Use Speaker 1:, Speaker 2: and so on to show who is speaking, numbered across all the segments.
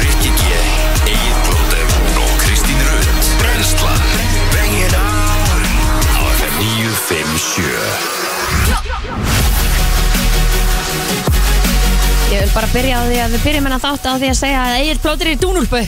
Speaker 1: Rikki G, Egil Blóter og Kristín Rund Brenslan Bring it on Á FM 957
Speaker 2: Ég vil bara byrja á því að við byrjum hennar þátt á því að segja að Egil Plóter er í dúnúlpu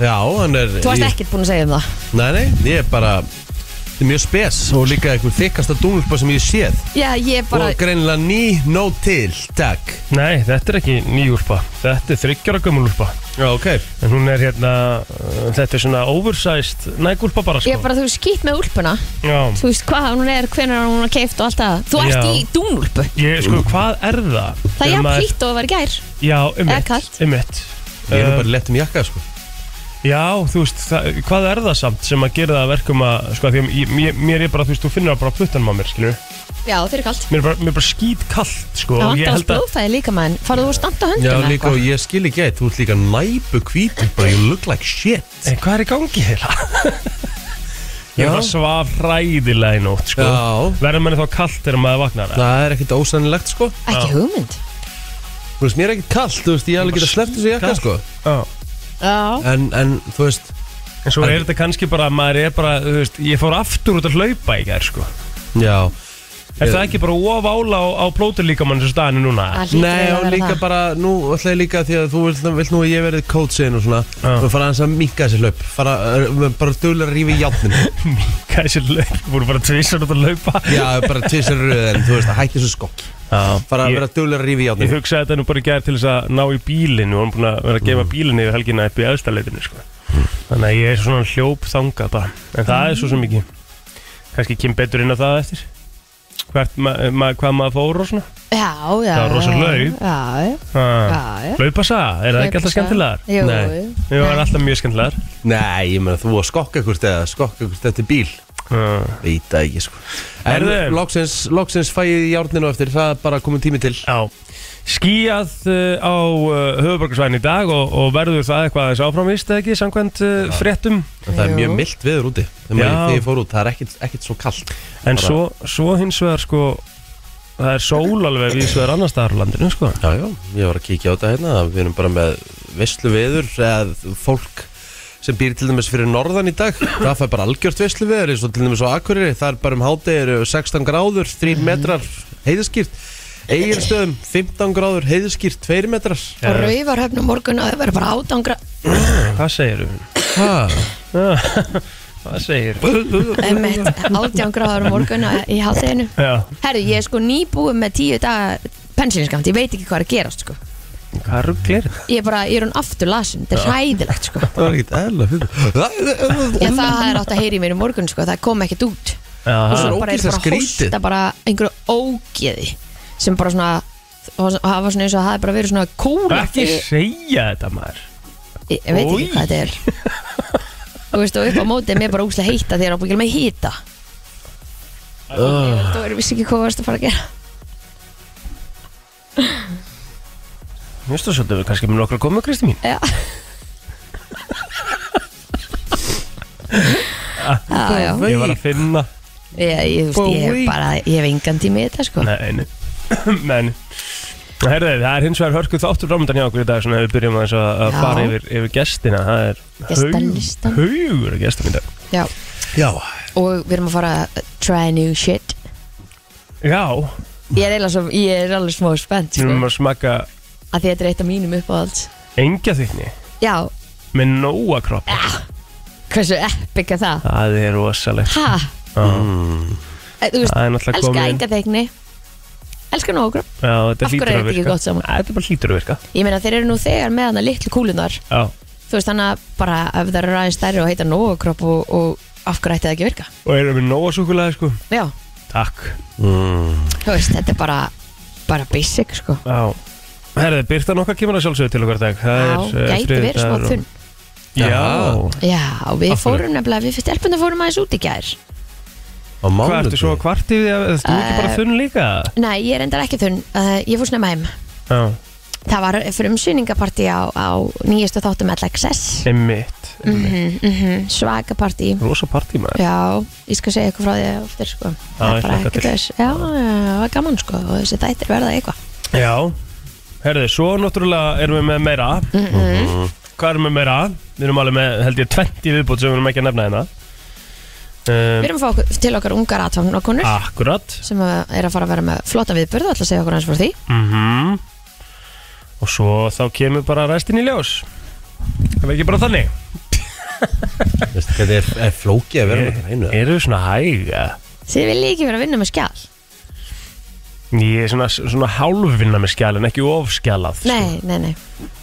Speaker 3: Já, hann er
Speaker 2: Þú varst
Speaker 3: ég-
Speaker 2: ekkert búin að segja um það
Speaker 3: Nei, nei, ég er bara Þetta er mjög spes og líka einhver þykasta dúnulpa sem ég séð
Speaker 2: Já, ég bara
Speaker 3: Og greinilega ný nóg til, takk
Speaker 4: Nei, þetta er ekki ný úlpa Þetta er þryggjara gömul úlpa
Speaker 3: Já, ok
Speaker 4: En hún er hérna, uh, þetta er svona oversized nægúlpa bara sko
Speaker 2: Ég bara, þú veist, skýtt með úlpuna
Speaker 4: Já,
Speaker 2: Þú veist hvað hún er, hvenær hún er keift og allt það Þú ert
Speaker 4: Já.
Speaker 2: í dúnúlpu
Speaker 4: ég, sko, hvað er það?
Speaker 2: Það er
Speaker 4: Þegar
Speaker 2: jafn
Speaker 4: maður-
Speaker 2: hlýtt og það var í gær
Speaker 4: Já, um
Speaker 2: Eða kalt.
Speaker 4: ummitt, ummitt
Speaker 3: Ég er nú bara lett um jakka, sko
Speaker 4: Já, þú veist, það, hvað er það samt sem að gera það að verkum að, sko, því að ég- mér, mér er bara, þú veist, þú finnur það bara á pluttanum á mér, skilur
Speaker 2: Já, þeir eru kalt
Speaker 4: Mér er bara, mér er bara skít kallt, sko
Speaker 2: Það
Speaker 4: og ég
Speaker 2: vantar alls
Speaker 4: held að-
Speaker 2: blóðfæði líka maður Farðu þú að standa höndum
Speaker 3: Já,
Speaker 2: eða
Speaker 3: líka og
Speaker 2: eitthvað?
Speaker 3: ég skil ekki eitt Þú ert líka næpu hvítur, bara you look like shit
Speaker 4: Nei, hvað er í gangi heila? Ég
Speaker 3: Já.
Speaker 4: var svaf hræðilega í nótt, sko
Speaker 3: Já.
Speaker 4: Verður manni þá kallt þegar maður vaknar eða?
Speaker 3: Það er ekkert ósennilegt, sko
Speaker 2: Ekki hugmynd
Speaker 3: Þú veist, mér er ekkert kalt, þú veist, ég alveg geta sleppt þessu jakka,
Speaker 4: Kalt.
Speaker 3: sko
Speaker 4: Já
Speaker 2: Já
Speaker 3: En, en, þú veist,
Speaker 4: En svo er þetta kannski bara, að maður er bara, þú veist, ég fór aftur út að hlaupa í gær, sko.
Speaker 3: já
Speaker 4: Er það ekki bara of ála á, á plótur líkamann sem staðinu núna?
Speaker 2: Það hlýtur
Speaker 3: Nei,
Speaker 2: eiginlega að
Speaker 3: og
Speaker 2: vera
Speaker 3: líka
Speaker 2: það.
Speaker 3: bara, nú ætla ég líka því að þú vilt, vilt nú að ég verið coachin og svona
Speaker 4: Já.
Speaker 3: Þú fara aðeins að minka þessi hlaup Fara, uh, bara duðlega að rífi játnin
Speaker 4: Minka þessi löp, voru bara tvisar út að hlaupa.
Speaker 3: Já, bara tvisar röð en þú veist að hætti þessu skokk
Speaker 4: Já,
Speaker 3: Fara að
Speaker 4: ég,
Speaker 3: vera duglega að rífi í
Speaker 4: ég
Speaker 3: játnum
Speaker 4: hugsaði þetta nú bara í gær til þess að ná í bílinu og hann búin að vera að
Speaker 3: Mm.
Speaker 4: gefa bílinu yfir helgina upp í aðstæðleitinu, sko. Þannig að ég er svona hljóp þangað bara. En það er svo sem ekki. Kannski kem betur inn á það eftir. Hvert, ma, eh, ma, hvað maður fór og svona.
Speaker 2: Já, já
Speaker 4: Það var rosa
Speaker 2: já,
Speaker 4: laup.
Speaker 2: Já, já
Speaker 4: Ah.
Speaker 2: Já, já.
Speaker 4: Hlaupa sá, er það ekki alltaf skemmtilegar?
Speaker 2: Jú,
Speaker 3: Nei.
Speaker 2: jú.
Speaker 4: Jú, það er alltaf mjög skemmtilegar.
Speaker 3: Nei, ég meina þú að skokka ekkert eða skokka ekkert eftir bíl
Speaker 4: Ah.
Speaker 3: Veit það ekki sko En
Speaker 4: Herðu.
Speaker 3: loksins, loksins fæ ég í járninu eftir Það er bara komið tími til
Speaker 4: Já, skíjað uh, á uh, höfuborgarsvæðin í dag og, og verður það eitthvað aðeins áframvist eða ekki samkvæmt uh, fréttum
Speaker 3: En það er
Speaker 2: Jú.
Speaker 3: mjög mildt viður úti Þegar
Speaker 4: Já.
Speaker 3: maður- þegar ég fór út, það er ekkert, ekkert svo kallt
Speaker 4: en
Speaker 3: Bara-
Speaker 4: svo, svo hins vegar sko það er sól alveg við svegar annar staðar á landinu sko
Speaker 3: Já, já, ég var að kíkja á þetta hérna að Við erum bara með veislu viður Eða fólk sem býr til dæmis fyrir norðan í dag Það fær bara algjört veislu viður Eins og til dæmis á Akureyri Það er bara um hádegi eru 16 gráður,
Speaker 2: Mhm.
Speaker 3: 3 metrar heiðskýrt Egilstöðum 15 gráður heiðskýrt, 2 metrar
Speaker 2: Og rauvarhöfnum morgun að það verður bara átangra
Speaker 4: Hvað segir þú?
Speaker 3: Ha,
Speaker 4: Hvað segir
Speaker 2: Emmett, átjangráður morgun að- í hátteginu
Speaker 4: Já,
Speaker 2: Herru, ég er sko nýbúið með tíu daga pensilinskamt, ég veit ekki hvað er að gerast sko.
Speaker 4: hvað rugglir það?
Speaker 2: Ég er bara, ég er hún aftur lasin, þetta er hræðilegt sko.
Speaker 3: það var ekkert eðla fyrir
Speaker 2: Já, það er átt að heyri mér í morgun, sko, það kom ekkert út Og
Speaker 4: Já,
Speaker 3: er
Speaker 2: bara er
Speaker 3: ógeðslega
Speaker 2: bara að
Speaker 3: skrítið.
Speaker 2: hósta bara einhverju ógeði sem bara svona og það var svona eins og það hefði bara verið svona kúra
Speaker 4: ekki segja þetta maður
Speaker 2: ég ég veit ekki
Speaker 4: Oj.
Speaker 2: hvað þetta er þú veist og upp á móti er mér bara úslega heita þegar það er með hýta
Speaker 4: Ah.
Speaker 3: Ah.
Speaker 2: þú er vissi ekki hvað varst að fara að gera
Speaker 4: Mér finnst þú svolítið við kannski með nokkra komu, Kristi mín
Speaker 2: Já Já, já,
Speaker 4: Ég var að finna
Speaker 2: ég, ég, þú veist, ég hef bara, ég hef engan tími í þetta sko
Speaker 4: Nei, nei, nei nei. Herðu, það er hins vegar hörkuð þáttur rámöndan hjá okkur í dag svona ef við byrjum aðeins að að
Speaker 2: Já.
Speaker 4: fara yfir, yfir gestina það er
Speaker 2: Gestalistan.
Speaker 4: haugur að gestum í dag
Speaker 2: Já,
Speaker 3: Já,
Speaker 2: og við erum að fara að try new shit
Speaker 4: Já,
Speaker 2: Ég er eiginlega svo, ég er alveg smá spennt
Speaker 4: við
Speaker 2: sko
Speaker 4: erum að smaka
Speaker 2: að því þetta er eitt af mínum uppáhalds
Speaker 4: engja þykni
Speaker 2: Já,
Speaker 4: með nóa kropp
Speaker 2: hversu epic er það?
Speaker 4: Það er rosalegt
Speaker 2: Ha?
Speaker 4: mm.
Speaker 2: Eh, Þú veist,
Speaker 4: Það er náttúrulega
Speaker 2: elska
Speaker 4: komin
Speaker 2: engateikni Elska nógra
Speaker 4: Já, þetta
Speaker 2: Af hverju
Speaker 4: hlýtur
Speaker 2: er þetta
Speaker 4: að
Speaker 2: ekki
Speaker 4: virka
Speaker 2: gott saman?
Speaker 4: Æ, Þetta bara hlýtur að virka
Speaker 2: Ég meina þeir eru nú þegar með hana litlu kúlunar
Speaker 4: Já,
Speaker 2: Þú veist þannig að bara ef það eru aðeins stærri og heita nógakropp og, og af hverju ætti það ekki að virka
Speaker 4: og erum við nóa súkulega sko
Speaker 2: Já,
Speaker 4: Takk Mm.
Speaker 2: þú veist, þetta er bara bara basic sko
Speaker 4: Já Herðu, Birtan okkar kemur að sjálfsögðu til okkar í dag Það
Speaker 2: Já,
Speaker 4: er, eh,
Speaker 2: gæti verið
Speaker 4: þriðjudagur
Speaker 2: smá
Speaker 4: og-
Speaker 2: þunn
Speaker 4: Já,
Speaker 2: Já, og við
Speaker 4: Af hverju?
Speaker 2: fórum nefnilega, við fyrst erfum að fórum aðeins út í gær
Speaker 3: á
Speaker 4: Hvað ertu svo
Speaker 3: mánuði
Speaker 4: kvart yfir því að þú ekki bara
Speaker 2: Eh,
Speaker 4: þunn líka?
Speaker 2: Nei, ég er endar ekki þunn, uh, ég fór snemma heim
Speaker 4: Já,
Speaker 2: Það var frumsýningapartí á, á nýjastu þáttum LXS
Speaker 4: einmitt
Speaker 2: mm Svaka partí
Speaker 4: Rosa partí maður
Speaker 2: Já, ég skal segja eitthvað frá því á eftir sko. Það
Speaker 4: ég
Speaker 2: er bara
Speaker 4: hlakka
Speaker 2: ekkert
Speaker 4: til.
Speaker 2: þess Já, já, það var gaman sko og þessi þættir verða eitthvað
Speaker 4: Já Herðu, svo náttúrulega erum við með meira
Speaker 2: Mhm.
Speaker 4: Hvað erum við meira? Við erum alveg með, held ég, 20 viðbútt sem við erum ekki að nefna hérna
Speaker 2: Við
Speaker 4: um,
Speaker 2: erum að fá okkur, til okkar ungar aðtáknarkonur
Speaker 4: Akkurat
Speaker 2: sem að- er að fara að vera með flotta viðburð og ætla að segja okkur hans frá því
Speaker 4: mm Og svo þá kemur bara restin í ljós Það verður ekki bara þannig
Speaker 3: Veistu hvað er, er flókið að vera með þetta einu
Speaker 4: Eru við svona hæga?
Speaker 2: Þið viljið ekki vera að vinna með skjál
Speaker 4: Sko. Ég er svona, svona hálfvinna með skjal en ekki ofskjalað
Speaker 2: Nei, nei, nei,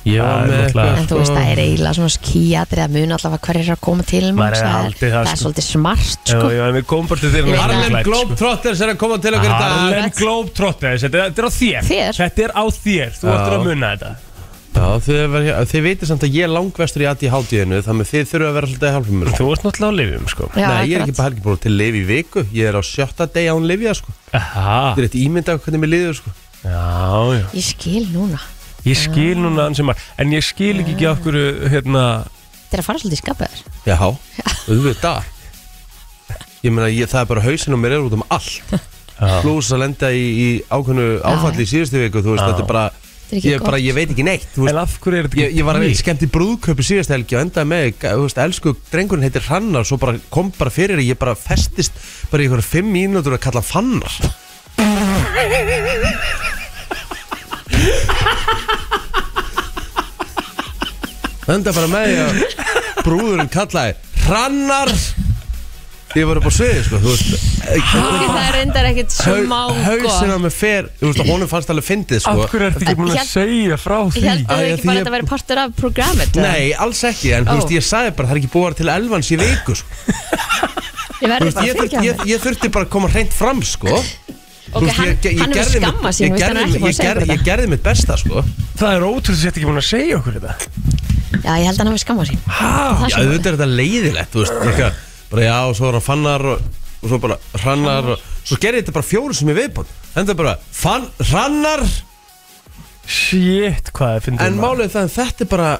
Speaker 3: Ég
Speaker 4: Það
Speaker 3: var
Speaker 4: er
Speaker 3: með
Speaker 4: náttúrulega-
Speaker 3: eitthvað sko.
Speaker 2: en þú veist það er eiginlega svona skíatri að muna allavega hverjir er að koma til manns.
Speaker 4: Maður hefði
Speaker 2: það,
Speaker 4: haldið
Speaker 2: er-
Speaker 4: það,
Speaker 2: það er
Speaker 4: sko.
Speaker 2: svolítið smart sko.
Speaker 4: Já, já, en við komum bara til þér með
Speaker 2: Ég veit
Speaker 4: Harlem
Speaker 3: Harlem
Speaker 4: Globe-
Speaker 3: Globetrotters er að koma til okkur í dag
Speaker 4: Harlem Globetrotters, þetta, þetta er á þér.
Speaker 2: Þér?
Speaker 4: Þetta er á þér, þú
Speaker 3: Já.
Speaker 4: ættir að munna þetta
Speaker 3: Já, þið, var, þið veitir samt að ég er langvestur í aði hátíðinu Þannig að þið þurfa að vera svolítið hálfum mér
Speaker 4: Þú varst náttúrulega á lifjum sko
Speaker 2: Já,
Speaker 3: Nei, ég er ekki
Speaker 2: akkurat.
Speaker 3: bara, ekki bara til lifi í viku Ég er á sjötta degi án lifja sko.
Speaker 4: Aha,
Speaker 3: Þetta er eitt ímyndað hvernig mér liður sko.
Speaker 4: já, já
Speaker 2: Ég skil núna
Speaker 4: Ég skil núna hans sem að En ég skil ekki ekki af hverju, hérna
Speaker 2: Þetta er að fara svolítið í skapöður
Speaker 3: Já, auðvitað Ég meina, ég, það er bara hausinn og mér er út um allt
Speaker 4: Já,
Speaker 3: Plús að lenda í, í ákveðnu áfalli í síðustu viku Þú veist,
Speaker 4: Já.
Speaker 3: þetta er bara
Speaker 2: er ekki
Speaker 3: ég, er bara,
Speaker 2: gott.
Speaker 3: ég veit ekki neitt þú
Speaker 4: En
Speaker 3: veist,
Speaker 4: af hverju er þetta
Speaker 3: ég, ég var skemmt í brúðköpi síðustu helgi og endaði með, þú veist, elsku drengurinn heitir Hrannar, svo bara kom bara fyrir ég bara festist bara í einhverja fimm mínútur að kalla hann Fannar Enda bara með því að brúðurinn kallaði Hrannar Ég var upp á sviði, sko, þú veist
Speaker 2: Það er endar ekkit smá sko.
Speaker 3: Hauðsina með fer, þú veist, að honum fannst alveg fyndið, sko
Speaker 4: Af hverju ertu ekki búin að
Speaker 2: Ég-
Speaker 4: segja frá
Speaker 2: Ég
Speaker 4: því?
Speaker 2: held að
Speaker 3: Æ,
Speaker 2: það ekki bara
Speaker 3: ég- ég-
Speaker 2: að þetta verið partur af programmet
Speaker 3: Nei, alls ekki,
Speaker 2: Ó.
Speaker 3: en þú veist, ég sagði bara það er ekki búið að vera til elvans í viku sko.
Speaker 2: Ég
Speaker 3: Þú
Speaker 2: verði
Speaker 3: veist,
Speaker 2: bara
Speaker 3: ég,
Speaker 2: að
Speaker 3: þurfti,
Speaker 2: fylgja
Speaker 3: ég, ég þurfti bara að koma hreint fram sko. Þú
Speaker 2: Ok,
Speaker 3: veist,
Speaker 2: hann,
Speaker 3: ég- ég- ég
Speaker 2: hann hefur
Speaker 3: gerði mitt-
Speaker 2: skamma sín
Speaker 3: ég
Speaker 2: Þú veist hann
Speaker 3: gerði-
Speaker 2: er ekki búin að
Speaker 3: ég
Speaker 2: segja
Speaker 3: gerði-
Speaker 2: okkur
Speaker 3: Ég
Speaker 2: þetta
Speaker 3: gerði mitt besta sko.
Speaker 4: Það er ótrúð þessi ekki búin að segja okkur þetta
Speaker 2: Já, ég held að hann hefur skamma sín
Speaker 4: Hæ?
Speaker 2: Það
Speaker 3: Já,
Speaker 2: sem var-
Speaker 3: auðvitað er þetta leiðilegt þú veist, líka, bara, Já, og svo er hann fannar og, og svo bara hrannar og, Svo gerði ég þetta bara fjóru sem ég viðbúin Þetta er bara fann, hrannar
Speaker 4: Shit, hvað það finnir
Speaker 3: En málið er það en þetta er bara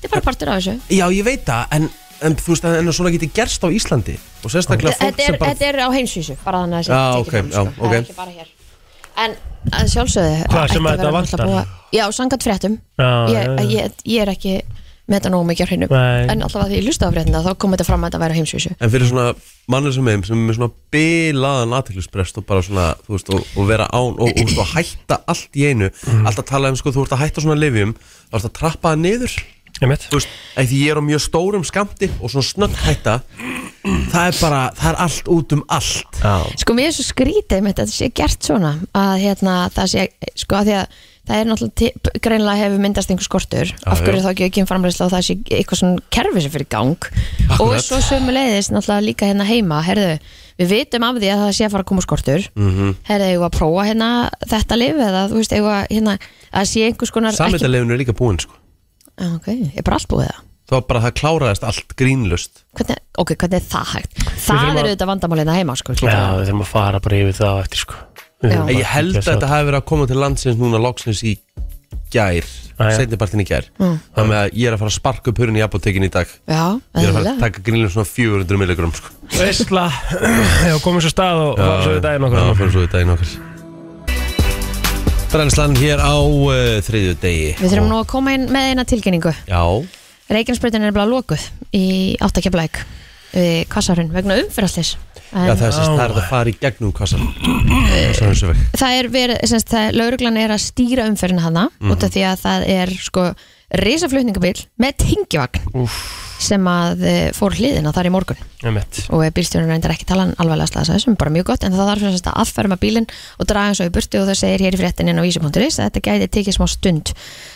Speaker 2: Þetta er bara partur af þessu
Speaker 3: Já, ég veit það, en, en þú veist, en svona getur gerst á Íslandi Og sérstaklega fólk
Speaker 2: Þetta
Speaker 3: sem
Speaker 2: er,
Speaker 3: bara
Speaker 2: þetta er á heimsvísu bara þannig að sé
Speaker 3: Já,
Speaker 2: tekið
Speaker 3: ok,
Speaker 2: fram,
Speaker 3: já,
Speaker 2: sko. Það
Speaker 3: ok.
Speaker 2: er ekki bara hér En að sjálfsögðu
Speaker 4: Hvað,
Speaker 2: ætti
Speaker 4: sem að
Speaker 2: vera
Speaker 4: þetta
Speaker 2: náttúrulega
Speaker 4: vantar?
Speaker 2: búið að- Já, sangat fréttum
Speaker 4: Já,
Speaker 2: ég,
Speaker 4: já, já.
Speaker 2: ég, ég er ekki með þetta nógu mikið á hreinu
Speaker 4: Nei.
Speaker 2: En alltaf að því ég lustaði á fréttina þá kom þetta fram að þetta væri á heimsvísu
Speaker 3: En fyrir svona mannir sem heim sem er með svona bilaðan aðteklisprest og bara svona, þú veist, og, og vera án og, og, og hætta allt í einu allt að tala um, sko, þú ert að hætta svona lifjum þá ert að trappa það niður, þú veist eða því ég er á mjög stórum skamti og svona snögg hætta það er bara, það er allt út um allt
Speaker 2: Sko mér er svo skrítið með þetta sé gert svona að hérna það sé sko að því að það er náttúrulega til- greinlega hefur myndast einhver skortur af hverju
Speaker 3: já.
Speaker 2: þá ekki ekki framræðsla og það sé eitthvað svona kerfi sem fyrir gang og
Speaker 3: Akkurat.
Speaker 2: svo sömu leiðis náttúrulega líka hérna heima herðu, við vitum af því að það sé að fara að koma skortur mm
Speaker 3: Mhm.
Speaker 2: -hmm. herðu, eigum við að prófa hérna þetta lif eða þú veist, eigum við að hérna að sé einhvers konar ekki,
Speaker 3: Samveitalefinu er líka búinn, sko
Speaker 2: Já, ok, er bara allt búið það
Speaker 3: þá er bara að það kláraðist allt grínlust
Speaker 2: hvernig, ok, hvernig er það hægt
Speaker 4: þurfum
Speaker 2: það
Speaker 4: að-
Speaker 2: er auðvitað vandamálina heima sko,
Speaker 4: Já, við þurfum að fara bara yfir það á eftir sko Við
Speaker 2: Já.
Speaker 4: þurfum
Speaker 3: En
Speaker 4: bara
Speaker 3: ég held
Speaker 4: kíkja
Speaker 3: að
Speaker 4: á
Speaker 3: þetta hafi verið að koma til landsins núna loksins í gær,
Speaker 4: Ah, já.
Speaker 3: setnipartin í gær þannig að ég er að fara að sparka upp hurinn í apotekin í dag
Speaker 2: já,
Speaker 3: Ég er að fara
Speaker 2: eðlilega.
Speaker 3: að taka grillum svona 400 milligram sko.
Speaker 4: Vesla Já, komið svo stað og var svo í daginn okkur
Speaker 3: Já, fórum svo í daginn okkur Brennslan hér á uh, þriðju degi
Speaker 2: Við þurfum nú að koma inn með eina tilkynningu.
Speaker 3: Já,
Speaker 2: Reykjanesbreytin er bara lokuð í áttakeflæk við kassarun vegna umfyrallis.
Speaker 3: já það er
Speaker 4: Já.
Speaker 3: sérst, það er hægt að fara í gegnum kassan Kassan þessu vekk
Speaker 2: það er verið, semst, það, lauruglan er að stýra umfyrin hana
Speaker 3: Mhm.
Speaker 2: út af því að það er sko risaflutningabíl með tengjivagn sem að eh, fór hliðina þar í morgun
Speaker 4: Um mitt
Speaker 2: og bílstjórnum reyndar ekki tala hann alvarlega slasa sem er bara mjög gott en það þarf semst að afferma bílinn og draga hans á í burtu og það segir hér í fréttin inn á vísi.is að þetta gæti tekið smá stund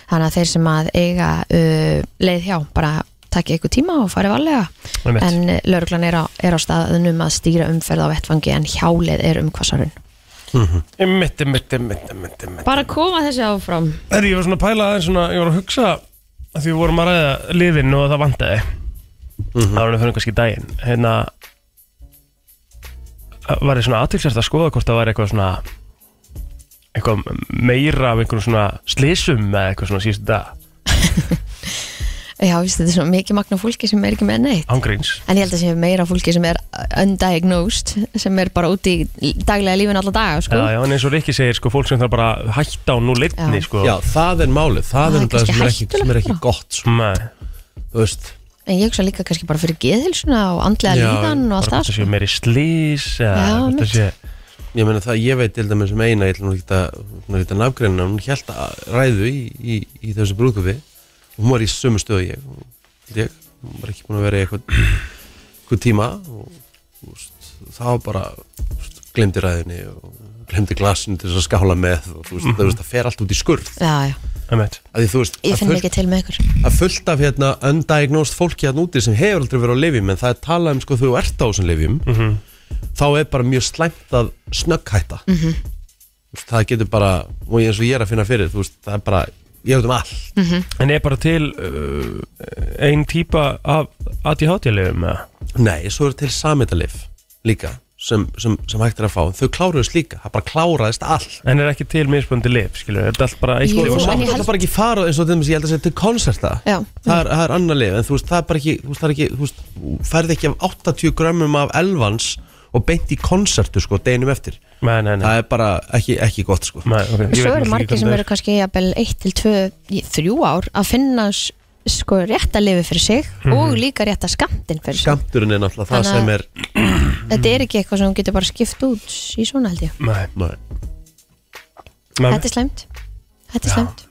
Speaker 2: þannig að þeir sem að eiga uh, leið hjá bara takki eitthvað tíma og fari varlega
Speaker 4: Einmitt.
Speaker 2: en uh, lauruglan er á, er á staðunum að stýra umferð á vettfangi en hjáleið er um hvassarun
Speaker 4: Um mitt, um mitt, um mitt, um mitt, um mitt
Speaker 2: bara koma þessi áfram
Speaker 4: Herri, ég var svona að pæla aðeins svona Ég var að hugsa að Því við vorum að ræða lifin og það vantaði Það
Speaker 3: Mhm.
Speaker 4: var hann að fyrir kannski daginn Hérna Var ég svona aðtilsert að skoða hvort það var eitthvað svona Eitthvað meira af einhverjum svona slysum eða eitthvað svona síðustu dag
Speaker 2: Já, víst, þetta er svo mikið magna fólki sem er ekki með neitt
Speaker 4: ángríns
Speaker 2: En ég held að sé meira fólki sem er undiagnosed sem er bara úti í daglega lífin alla daga sko.
Speaker 4: Já, já, en eins og Rikki segir, sko, fólk sem þarf bara að hætta á nú litni,
Speaker 2: Já.
Speaker 4: sko
Speaker 3: Já, það er málið, það
Speaker 2: Það er
Speaker 3: er það
Speaker 2: kannski
Speaker 3: sem er ekki, sem er ekki gott sko,
Speaker 4: Nei,
Speaker 3: Þú veist,
Speaker 2: En ég hugsa líka kannski bara fyrir geðhilsuna og andlega
Speaker 3: Já,
Speaker 2: líðan og allt
Speaker 4: bara
Speaker 2: það
Speaker 4: um- hvort það séu
Speaker 2: sko.
Speaker 4: meiri slís eða
Speaker 2: Já,
Speaker 4: hvort
Speaker 2: mitt.
Speaker 4: það sé
Speaker 3: ég meina það, ég veit til dæmis um eina, ég ætlum að geta, hún geta nafgrinna, hún held að ræðu í, í, í þessu brúðköpi og hún var í sömu stöðu og ég, og ég, hún var ekki búin að vera í eitthvað, eitthvað tíma og, og veist, það var bara, þú veist, glemdi ræðinni og glemdi glasinu til þess að skála með og þú veist, það, veist, það fer allt út í skurð
Speaker 2: Mhm. Já, já,
Speaker 4: Emmett,
Speaker 3: að því þú veist,
Speaker 2: ég
Speaker 3: að
Speaker 2: finn
Speaker 3: fullt-
Speaker 2: ekki til með ykkur
Speaker 3: að fullt af hérna undiagnosed fólki hérna úti sem hefur aldrei verið á lifjum en það er talað um sko þú ert á þessum lifjum
Speaker 4: Mhm.
Speaker 3: þá er bara mjög slæmt að snögghætta mm
Speaker 2: Mhm.
Speaker 3: -hmm. það getur bara, og eins og ég er að finna fyrir þú veist, það er bara, ég veit um all
Speaker 2: Mhm.
Speaker 4: en er bara til uh, ein típa af ADHD-legum, eða?
Speaker 3: nei, svo er til sametalif líka sem, sem, sem hægt er að fá þau kláruðist líka, það bara kláraðist allt
Speaker 4: En er ekki til misböndi lif, skilur, er þetta allt bara eitt
Speaker 2: Jú,
Speaker 4: lyf
Speaker 2: en
Speaker 4: og saman?
Speaker 2: ég
Speaker 3: það
Speaker 2: held-
Speaker 3: er bara ekki fara eins og til dæmis, ég held að segja til konserta
Speaker 2: Já.
Speaker 3: það er, það er annar lif en þú veist, það er bara ekki þú veist, það er ekki, þú veist, þú ferð ekki af 80 grömmum af elvans og beint í konsertu sko, deginum eftir
Speaker 4: Nei, nei, nei
Speaker 3: það er bara ekki, ekki gott sko
Speaker 4: Nei, ok, ég veit
Speaker 2: Svo
Speaker 4: náttúrulega
Speaker 2: eru margir
Speaker 4: ekki
Speaker 2: sem
Speaker 4: hvernig
Speaker 2: eru kannski jafnvel 1 til 2, 3 ár að finna s- sko rétt að lifi fyrir sig
Speaker 4: Mhm.
Speaker 2: og líka rétt að skamtinn fyrir sig
Speaker 3: skamturinn er náttúrulega það
Speaker 2: Þannig að-
Speaker 3: sem er
Speaker 2: Þetta er ekki eitthvað sem hún getur bara skipt út í svona held ég
Speaker 4: það er.
Speaker 3: Nei.
Speaker 4: Nei,
Speaker 2: Þetta er slæmt Þetta er slæmt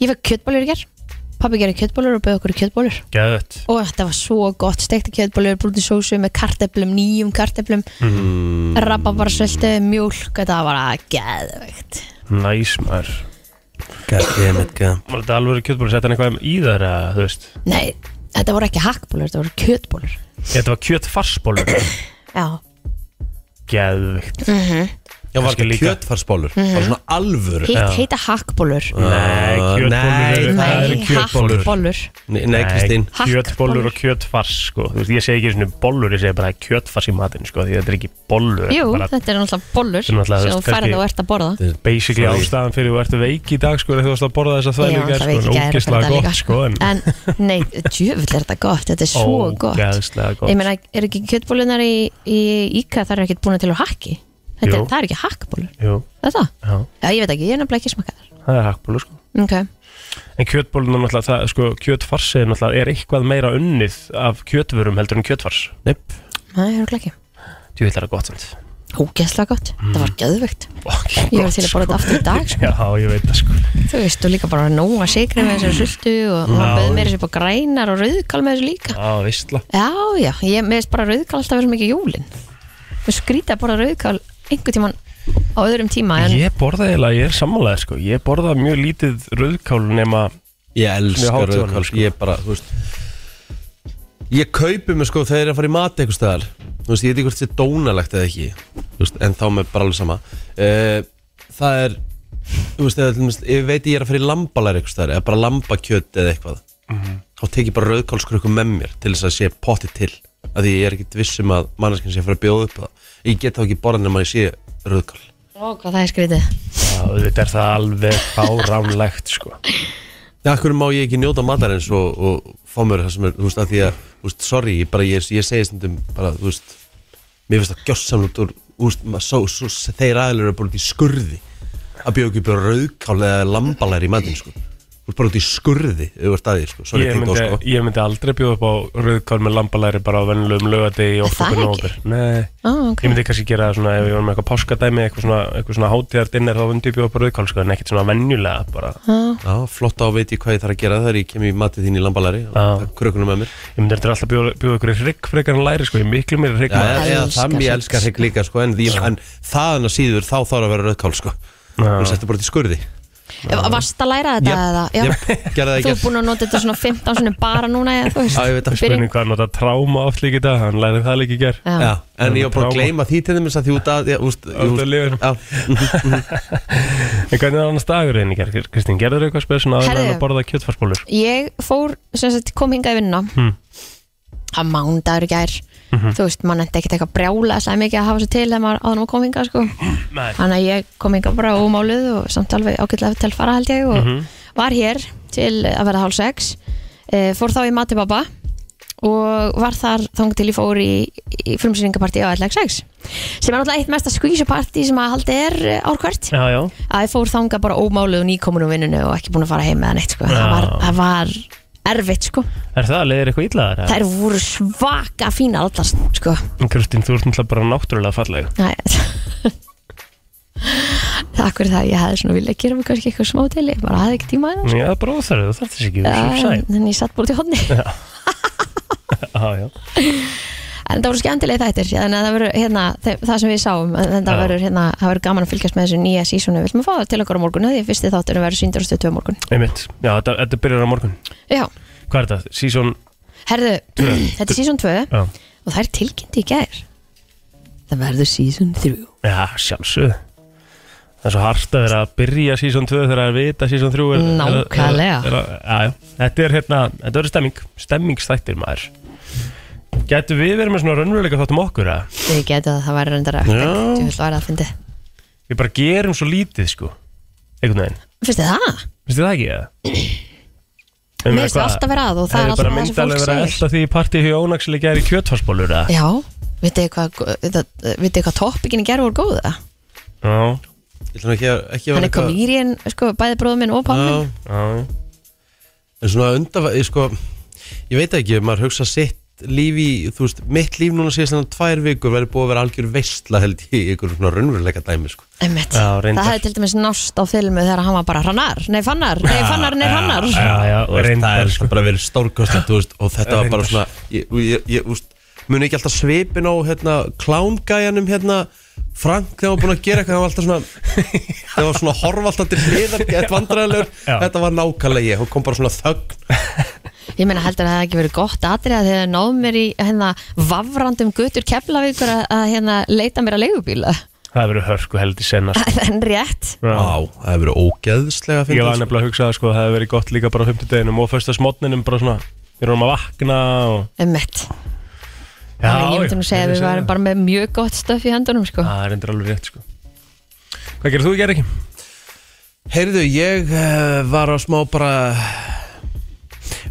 Speaker 2: Ég fekk kjötbólur í ger Pabbi gerir kjötbólur og bauð okkur í kjötbólur
Speaker 4: geðvett
Speaker 2: og þetta var svo gott, stekta kjötbólur brúti sósu með karteplum, nýjum karteplum
Speaker 4: Mhm.
Speaker 2: mm. rababarsöldu mjólk, þetta var að geðveikt
Speaker 4: Næs, maður
Speaker 3: God damn it, God.
Speaker 4: Var þetta alveg kjötbólur, setja hann eitthvað í þær, eða, þú veist
Speaker 2: Nei, þetta voru ekki hakkbólur, þetta voru kjötbólur
Speaker 4: Þetta var kjötfarsbólur
Speaker 2: Já,
Speaker 4: Geðveikt
Speaker 3: Já, var
Speaker 4: Kannski
Speaker 3: ekki
Speaker 4: líka.
Speaker 3: kjötfarsbólur
Speaker 2: Mhm.
Speaker 3: bara svona alvöru Ah,
Speaker 2: hitt
Speaker 4: Já.
Speaker 2: heita hakkbólur
Speaker 4: Nei, kjötbólur
Speaker 3: Nei,
Speaker 4: eru- það
Speaker 2: Nei,
Speaker 4: eru kjötbólur
Speaker 2: hakkbólur
Speaker 3: Nei, nei Kristín
Speaker 4: Kjötbólur og kjötfars sko. Þú veist, Ég segi ekki svona bollur, ég segi bara kjötfars í matinn sko, Því þetta er ekki bollur
Speaker 2: Jú,
Speaker 4: þetta er bara
Speaker 2: þetta er náttúrulega bólur
Speaker 4: Þetta er
Speaker 2: sem
Speaker 4: náttúrulega, þú
Speaker 2: þú
Speaker 4: veist,
Speaker 2: færið
Speaker 4: kannski-
Speaker 2: og ert að borða
Speaker 4: Basically
Speaker 3: Sorry.
Speaker 4: ástæðan fyrir þú ert veik í dag sko, er Þú varst að borða
Speaker 2: Já,
Speaker 4: þessa þvælu í gær,
Speaker 2: það veit
Speaker 4: sko,
Speaker 2: ekki að
Speaker 4: Ógislega
Speaker 2: þetta
Speaker 4: gott
Speaker 2: líka
Speaker 4: sko, en,
Speaker 2: En nei, djöfull er þetta gott, þetta er svo gott
Speaker 4: Ógeðslega gott.
Speaker 2: Ég meina, er ekki kjötbólunar í, í Íka, það er ekkert búin til að hakki Þetta er,
Speaker 4: Jú.
Speaker 2: það er ekki hakkbólur,
Speaker 4: Jú,
Speaker 2: það er það?
Speaker 4: já,
Speaker 2: Já, ég veit ekki, ég er nefnilega ekki smakaðar
Speaker 4: það er hakkbólur sko.
Speaker 2: Ok,
Speaker 4: En kjötbólun er náttúrulega það, sko, Kjötfarsið náttúrulega er eitthvað meira unnið Af kjötvörum heldur en kjötfars
Speaker 3: Nei,
Speaker 2: það er örugglega ekki
Speaker 4: Þú veit það gott samt
Speaker 2: Ógæslega gott, það var gæðvegt
Speaker 4: Fucking
Speaker 2: Ég var
Speaker 4: gott,
Speaker 2: til að borða þetta aftur í dag sko.
Speaker 4: Já, ég veit það sko
Speaker 2: Þú veist, og líka bara nóg að sigri með þessu sultu og, og
Speaker 4: Já.
Speaker 2: bauð meira sér upp á grænar og rauðkál með þessu líka
Speaker 4: Já, veistla
Speaker 2: Já, já, ég meðist bara rauðkál alltaf verið mikið jólin Mér skrýta að borða rauðkál einhvern tíman á öðrum tíma en
Speaker 4: Ég borða eiginlega, ég er sammálaðið sko Ég borða mjög lítið rauðkál nema
Speaker 3: Ég
Speaker 4: Mjög
Speaker 3: elska
Speaker 4: hátíðan,
Speaker 3: rauðkál
Speaker 4: sko.
Speaker 3: sko. Ég bara, þú veist Ég kaupi mig sko þegar ég er að fara í mat eitthvað staðar Þú veist, ég veit ekki hvort þetta er dónalegt eða ekki Þú veist, En þá með bara alveg sama uh, Það er Þú veist, eða, til dæmis, ég veit ég er að fara í lambalæri eitthvað staðar Eða bara lambakjöt eða eitthvað Þá tek ég bara rauðkálskrukku með mér Til þess að sé potti til af Því ég er ekkit viss um að manneskinn sé að fara að bjóða upp á það Ég get þá ekki borðan nema ég sé rauðkál
Speaker 2: Ó, hvað það er skrýtið
Speaker 4: Já, þetta er það alveg fáránlegt sko
Speaker 3: Já, af hverju má ég ekki njóta matarins og, og fá mér það sem er, þú veist, að því að, þú veist, sorry, ég bara, ég, ég segi stundum bara, þú veist, mér finnst það gjörsamlegt úr, þú veist, maður, svo, svo, þeir aðlur eru bara út í skurði að bjóða ekki upp á rauðkál eða lambalæri í matinn, sko. Þú ert bara út í skurði, ef þú ert að því, sko, sorry,
Speaker 4: ég
Speaker 3: tengt á,
Speaker 4: myndi,
Speaker 3: sko.
Speaker 4: ég myndi aldrei bjóða upp á rauðkál með lambalæri bara á vennilegum lögadegi og
Speaker 2: Það
Speaker 4: okkur
Speaker 2: ekki?
Speaker 4: nóver Nei,
Speaker 2: Ó, ok.
Speaker 4: ég myndi kannski gera það svona ef ég var með eitthvað páskadæmi eitthvað svona, eitthvað svona hátíðardinner þá myndi ég bjóða upp á rauðkál sko en ekkert svona venjulega bara
Speaker 3: Já, flott á, veit ég hvað ég þarf að gera þegar ég kem í matið þín í lambalæri og
Speaker 4: Já.
Speaker 3: takk krökkunum með mér.
Speaker 4: Ég myndi þetta alltaf bjóða, bjóða ykkur í hrygg frekar en læri sko ég er miklu meira hrygg
Speaker 3: Já,
Speaker 4: maður.
Speaker 2: elska
Speaker 3: eða það,
Speaker 2: hrygg,
Speaker 3: ég elskar hrygg líka, sko, en, því, en þaðan að síður, þá þarf að vera rauðkál, sko.
Speaker 4: Já.
Speaker 3: Þú veist, þetta er bara út í skurði.
Speaker 2: Varst að læra þetta eða? Já.
Speaker 3: Jep, gerði það
Speaker 2: Þú
Speaker 3: í
Speaker 2: er búin að nota þetta svona 15 sinni bara núna eða þú veist
Speaker 3: Já, ég veit það.
Speaker 2: Í byrjun.
Speaker 4: Spurning hvað hann nota tráma oft líka í dag, hann læri það líka í ger
Speaker 2: Já.
Speaker 3: Já, en
Speaker 4: Það er
Speaker 3: ég var bara að
Speaker 4: tráma.
Speaker 3: gleyma því til þeim að því út að, já, úst,
Speaker 4: Út af liðinu. En hvernig er annars dagurinn í ger, Kristín, gerður eitthvað spesum að hann
Speaker 2: Herðu.
Speaker 4: að borða kjötfarsbólur?
Speaker 2: Ég fór, sem sagt, kom hingað í vinna
Speaker 4: Hmm.
Speaker 2: að mándagur í gær
Speaker 4: Mhm.
Speaker 2: þú veist, mann endi ekkert eitthvað brjála sæmi ekki að hafa sér til þegar maður áðan að kom hingað sko.
Speaker 4: Nei
Speaker 2: þannig að ég kom hingað bara
Speaker 4: Mhm.
Speaker 2: ómáluð og samt alveg ágætlega til fara held ég og var hér til að vera hálf sex uh, fór þá í Mati Baba og var þar þang til ég fór í, í frumsýningapartí á LX6 sem er náttúrulega eitt mesta skvísupartí sem að haldi er árkvært
Speaker 4: Já, já,
Speaker 2: að ég fór þanga bara ómáluð og nýkomin úr vinnunni og ekki búin að fara heim með neitt sko. það,
Speaker 4: Já.
Speaker 2: var, það var erfitt sko
Speaker 4: er það, leiðir eitthvað illa þar?
Speaker 2: þær voru svaka fína allar sko
Speaker 4: Það Kristín, þú ert náttúrulega bara náttúrulega falleg
Speaker 2: Æ, takk fyrir það ég hefði svona viljað gera mig kannski eitthvað smá til ég bara hafði ekki tíma að
Speaker 4: Já, bara óþarið, það þarf þess ekki, þú er svo
Speaker 2: það
Speaker 4: sæt
Speaker 2: en ég satt bara út í hodni
Speaker 4: Já, já,
Speaker 2: en það voru skemmtileg þættir þannig að það verður hérna, þe- það sem við sáum en það
Speaker 4: Já.
Speaker 2: verður hérna, það verður gaman að fylgjast með þessu nýja sísónu við viljum að fá það til okkar á morgun því að fyrsti þátturinn verður síndur á stöðu á morgun
Speaker 4: einmitt Já, þetta, þetta byrjar á morgun
Speaker 2: já,
Speaker 4: Hvað er þetta? Season,
Speaker 2: herðu, þetta er sísón 2
Speaker 4: já,
Speaker 2: og það er tilkynnt í gær það verður sísón 3
Speaker 4: já sjálfsög Það er svo hart að vera að byrja season 2 þegar að vita season 3 er, er- er-
Speaker 2: Nákvæmlega.
Speaker 4: er- er- Já, já, þetta er hérna, þetta verður stemming Stemmingstættir maður Gætu við verið með svona raunveruleika þáttum okkur að
Speaker 2: þið getur það, það verður reyndar að
Speaker 3: Já.
Speaker 2: þú vil að fyndi
Speaker 4: Við bara gerum svo lítið sko Einhvern veginn,
Speaker 2: finnst þið það?
Speaker 4: finnst þið það ekki eða? Ég meina,
Speaker 2: Mér finnst það
Speaker 4: hvað-
Speaker 2: alltaf vera að og það er
Speaker 4: bara
Speaker 2: alltaf það sem
Speaker 4: myndalega
Speaker 2: fólk
Speaker 4: verið að
Speaker 2: segir
Speaker 4: elda því í partíu hjá Ónaksli gæri kjötfarsbólur eða?
Speaker 2: Já, vitið þið hvað eh, vitið þið hvað toppikinn í gerð voru góða
Speaker 4: Já,
Speaker 3: Ég ætlum ekki að ekki að
Speaker 2: hann er
Speaker 3: eitthvað-
Speaker 2: komýrin, sko, bæði bróðum minn og
Speaker 3: Já,
Speaker 2: pálminn
Speaker 4: já,
Speaker 3: en svona undan ég, sko, ég veit ekki, maður hugsa sitt líf í, þú veist, mitt líf núna síðast þannig tvær vikur verður búið að vera algjör veistla held ég, í ykkur svona raunveruleika dæmi sko.
Speaker 2: Einmitt.
Speaker 4: Já,
Speaker 2: það
Speaker 4: reyndar.
Speaker 2: hefði til dæmis nást á filmu þegar hann var bara hrannar, nei fannar, nei
Speaker 3: Ah,
Speaker 2: fannar, nei hannar
Speaker 4: já, já,
Speaker 3: Þú veist, það
Speaker 4: reyndar
Speaker 3: er
Speaker 4: sko
Speaker 3: bara verið stórkostlegt, þú veist, og þetta var bara
Speaker 4: Reyndar.
Speaker 3: svona ég, ég, ég, úst, muni ekki alltaf svipin á hérna, klángæjanum hérna Frank þegar hann var búin að gera eitthvað hann var alltaf svona þegar var svona að horfa alltaf til hliðar gett vandræðilegur,
Speaker 4: Já.
Speaker 3: þetta var nákvæmlega ég hún kom bara svona þögn
Speaker 2: Ég meina heldur að það hefði ekki verið gott atrið að þið hefði náð mér í hérna vafrandum gutur keflavíkur að, að hérna leita mér að leigubíla
Speaker 4: Það verður hörku held í sko. senast
Speaker 2: en rétt,
Speaker 3: á, það hefur verið
Speaker 4: Ég
Speaker 3: ógeðslega að
Speaker 4: var
Speaker 3: finna
Speaker 4: nefnilega að hugsa að sko, það hefði verið gott líka bara á fimmtudeginum og fyrsta smotninum bara svona Við erum að vakna og
Speaker 2: einmitt
Speaker 4: Já,
Speaker 2: Þannig ég myndi nú segja að við varum bara með mjög gott stöf í hendunum sko.
Speaker 4: Það er endur alveg rétt sko Hvað gerir þú í gerð ekki?
Speaker 3: heyrðu, ég uh, var á smá bara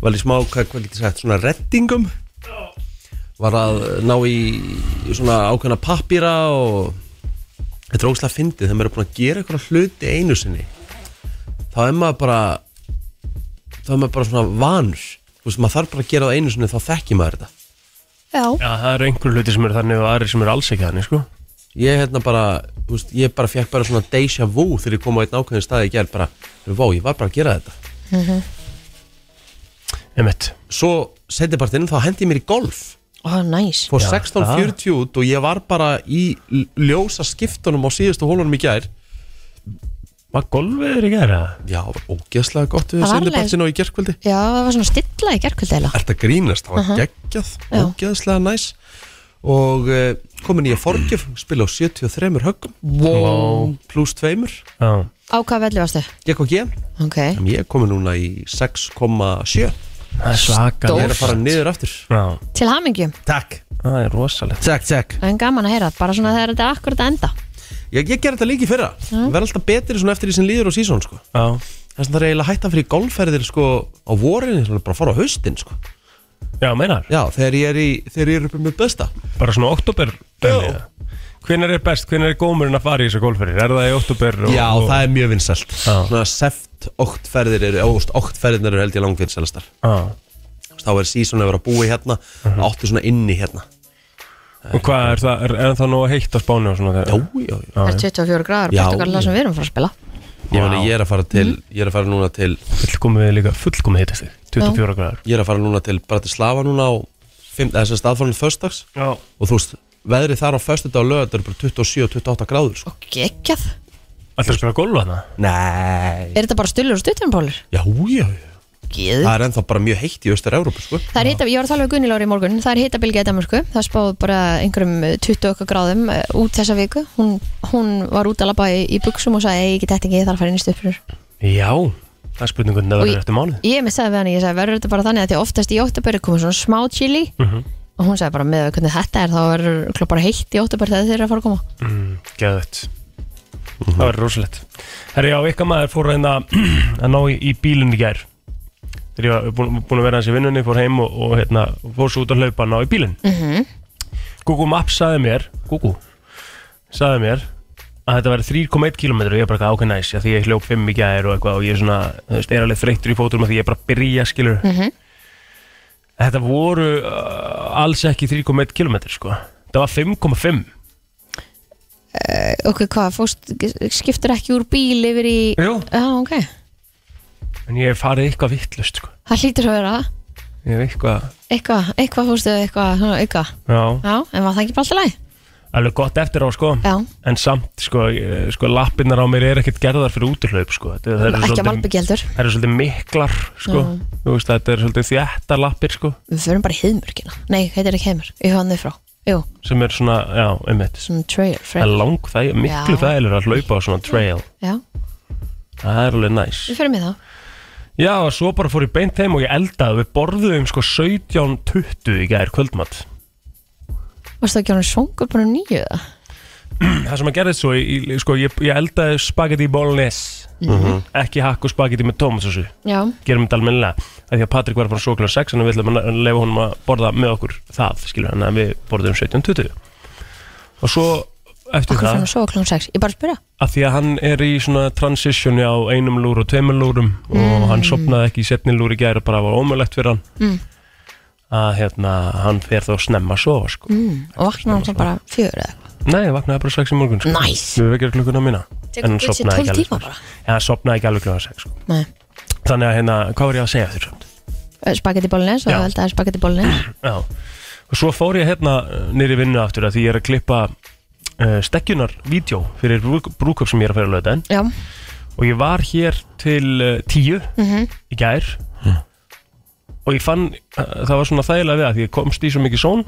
Speaker 3: var í smá, hvað, hvað getur sagt, svona reddingum var að ná í svona ákveðna pappýra og þetta er ógslag fyndið þegar maður er búin að gera eitthvað hluti einu sinni þá er maður bara þá er maður bara svona vanur þú veist, maður þarf bara að gera það einu sinni þá þekkir maður þetta
Speaker 2: Já,
Speaker 4: Já, það eru einhverju hluti sem eru þannig og aðrir sem eru alls ekki þannig sko
Speaker 3: ég hérna bara, þú veist, ég bara fekk bara svona deja vu þegar ég kom á einn ákveðin stað í gerð bara, vá, ég var bara að gera þetta
Speaker 2: Mhm.
Speaker 4: Emmett
Speaker 3: svo setjabartinn, þá hendi ég mér í golf
Speaker 2: ó næs
Speaker 3: fór
Speaker 4: Já,
Speaker 3: 16.40 út og ég var bara í l- ljósa skiptunum á síðustu hólunum í gær
Speaker 4: Var golfiður í gerð að?
Speaker 3: já, var ógeðslega gott við
Speaker 2: Það var alveg-
Speaker 3: setjabartinn og í gerðkvöldi
Speaker 2: Já, það var svona stilla í gerkvöldeila
Speaker 3: ert að grínast, það var geggjað
Speaker 2: Já.
Speaker 3: ógeðslega næs og uh, komin ég að forgjöf, spila á 73 höggum,
Speaker 4: Wow.
Speaker 3: pluss tveimur
Speaker 4: Já
Speaker 2: Á hvað velli varstu?
Speaker 3: gekk og ég,
Speaker 2: Ok
Speaker 3: ég er komin núna í 6,7
Speaker 4: Það er svaka
Speaker 3: ég er að fara niður aftur
Speaker 4: Já,
Speaker 2: Til hamingjum,
Speaker 3: Takk,
Speaker 4: það er rosalegt
Speaker 3: takk, takk
Speaker 2: en gaman að heyra Bara svona þegar þetta er akkurat að enda
Speaker 3: Ég, ég ger þetta líki fyrra mm. Verð alltaf betri svona eftir því sem líður á sísón sko.
Speaker 4: Já
Speaker 3: Þess að það er eiginlega að hætta fyrir golfferðir sko, á vorinni, svona bara að fara á haustin sko.
Speaker 4: Já, meinar
Speaker 3: Já, þegar ég er, í, þegar ég er uppið með besta
Speaker 4: Bara svona oktober Hvenær er best, hvenær er gómurinn að fara í þessu golfiður? Er það í oktober? Og,
Speaker 3: Já,
Speaker 4: og,
Speaker 3: það er mjög vinsælt
Speaker 4: Já.
Speaker 3: Svona seft óttferðir eru, óst, óttferðir eru held ég langvinsælastar
Speaker 4: Já.
Speaker 3: Þá er sísón að vera að búa í hérna Áttu svona inni hérna
Speaker 4: Mhm. Og hvað er það, er, er það nú heitt á Spáni og svona þegar? Ah,
Speaker 3: Jó, jó, jó
Speaker 2: Það er 24 gráður,
Speaker 3: Já.
Speaker 2: bestu hvað það sem við erum að fara að spila
Speaker 3: Ég, meni, ég, er að fara til,
Speaker 2: Mm.
Speaker 3: ég er að fara núna til
Speaker 4: Fullkomið líka, fullkomið heitast þig, 24 gráður.
Speaker 3: Ég er að fara núna til Bratislava núna á fimm- eða sem staðfórnum föstags
Speaker 4: Já.
Speaker 3: og þú veist, veðrið þar á föstu dag og lögat er bara 27-28 gráður sko.
Speaker 2: Og geggjað
Speaker 4: Alltaf að spila golf hana?
Speaker 3: Nei
Speaker 2: Er þetta bara stullur og stuttunpólur?
Speaker 3: Já, já, já
Speaker 2: Geð
Speaker 3: Það er ennþá bara mjög heitt í Östur-Európa sko.
Speaker 2: Það er hita, ég var að tala við Gunni Lóri í morgun, það er hitabilgja í Danmarku, það spáð bara einhverjum eh, 20 okkar gráðum eh, út þessa viku, hún, hún var út að labba í, í buksum og sagði, "Ei, ég get þetta ekki, ég þarf að fara inn í stöpurur.
Speaker 4: Já. Það er spurningun það verður eftir mánuð.
Speaker 2: Ég með sagði við hann, ég sagði, verður þetta bara þannig að því oftast í óttaböri komið svona smá chili
Speaker 4: Mhm.
Speaker 2: og hún sagði bara með hvernig þetta er, þá verður örugglega bara heitt í óttaböri þegar þeir eru að fara að koma.
Speaker 4: Mm, Gæðvett. Það verður rosalegt. Herri, já, ykkar maður fór að hérna að ná í, í bílun í gær. þegar ég var búin, búin að vera hans í vinnunni fór heim og, og hérna, fór svo út að hlaupa ná í bílinn Google Maps saði mér Google saði mér að þetta væri 3,1 km og ég bara eitthvað ákveð næs af því ég hljóp 5 í gær og eitthvað og ég er svona, þú veist, er alveg þreyttur í fótum af því ég er bara að byrja skilur Þetta voru uh, alls ekki 3,1 km sko Þetta var 5,5
Speaker 2: Ok, hvað, fórst, skiptir ekki úr bíl yfir í
Speaker 4: Jú.
Speaker 2: Já, ok
Speaker 4: en ég hef farið eitthvað vittlust sko
Speaker 2: Það hlýtur að vera það.
Speaker 4: Ég hef eitthvað,
Speaker 2: eitthvað, eitthvað fórstu, eitthvað, svona, eitthvað
Speaker 4: já,
Speaker 2: Já, en var það ekki bara alltaf læg?
Speaker 4: alveg gott eftir á sko
Speaker 2: Já,
Speaker 4: En samt, sko, ég- sko lappinnar á mér er ekkert gerðar fyrir útihlaup, sko. Þetta- þær eru
Speaker 2: ekki að
Speaker 4: svolítið-
Speaker 2: malbyggja heldur
Speaker 4: Þær eru svolítið miklar, sko.
Speaker 2: Já.
Speaker 4: Þú veist, þetta er svolítið þjættar lappir, sko,
Speaker 2: Við förum bara í heiðmörkina Nei, heitir ekki heiðmörk, ég hann þau frá Jú,
Speaker 4: sem er svona, já, einmitt.
Speaker 2: svona trail,
Speaker 4: Það er
Speaker 2: trail
Speaker 4: lang, það er miklu
Speaker 2: Já.
Speaker 4: þægilegur að hlaupa á svona trail.
Speaker 2: Já,
Speaker 4: Það er alveg næs.
Speaker 2: við förum í þá
Speaker 4: Já, og svo bara fór ég beint heim og ég eldaði. Við borðuðum, sko, 17.20 í gær kvöldmatt.
Speaker 2: Varstu ekki hann svongur bara um nýju það?
Speaker 4: Það sem að gerðist svo, ég, sko, ég, ég eldaði spagetti bolognese.
Speaker 2: Mhm.
Speaker 4: Ekki hakk og spagetti með tómatsósu.
Speaker 2: Já,
Speaker 4: gerum þetta almennilega að því að Patrik var bara svo klár 6 en við ætlum að lefa honum að borða með okkur það skilur hann að við borðum 17.20 og svo eftir
Speaker 2: okkur fyrir hann
Speaker 4: það
Speaker 2: svo klón 6 Ég bara að spyrja
Speaker 4: að því að hann er í svona transitioni á einum lúr og tveimur lúrum og hann sopnaði ekki í setni lúr í gæri bara var ómulegt fyrir hann
Speaker 2: Mm.
Speaker 4: að hérna hann fer þá snemma að sofa sko
Speaker 2: mm, Og vakna hann svo bara fjör eða eitthvað
Speaker 4: nei, ég vaknaði bara 6 í morgun sko
Speaker 2: Næs.
Speaker 4: við vekjar klukkuna mína
Speaker 2: Tekur
Speaker 4: hann
Speaker 2: Gucci 12 tíma
Speaker 4: ekki alveg sko.
Speaker 2: bara?
Speaker 4: ja, hann sopnaði ekki alveg klukkan 6 sko.
Speaker 2: Nei, Eh,
Speaker 4: þannig að hérna, hvað var ég að segja þér samt
Speaker 2: spagetti bólnins og
Speaker 4: Já.
Speaker 2: eldaði spagetti bólnins
Speaker 4: Já, og svo fór ég hérna nýri vinnu aftur að því ég er að klippa uh, stekkjunar vídeo fyrir brúk, brúkup sem ég er að fara að löta
Speaker 2: Já,
Speaker 4: og ég var hér til uh, tíu
Speaker 2: Mhm.
Speaker 4: í gær og ég fann, uh, það var svona þægilega við að því ég komst í svo mikið són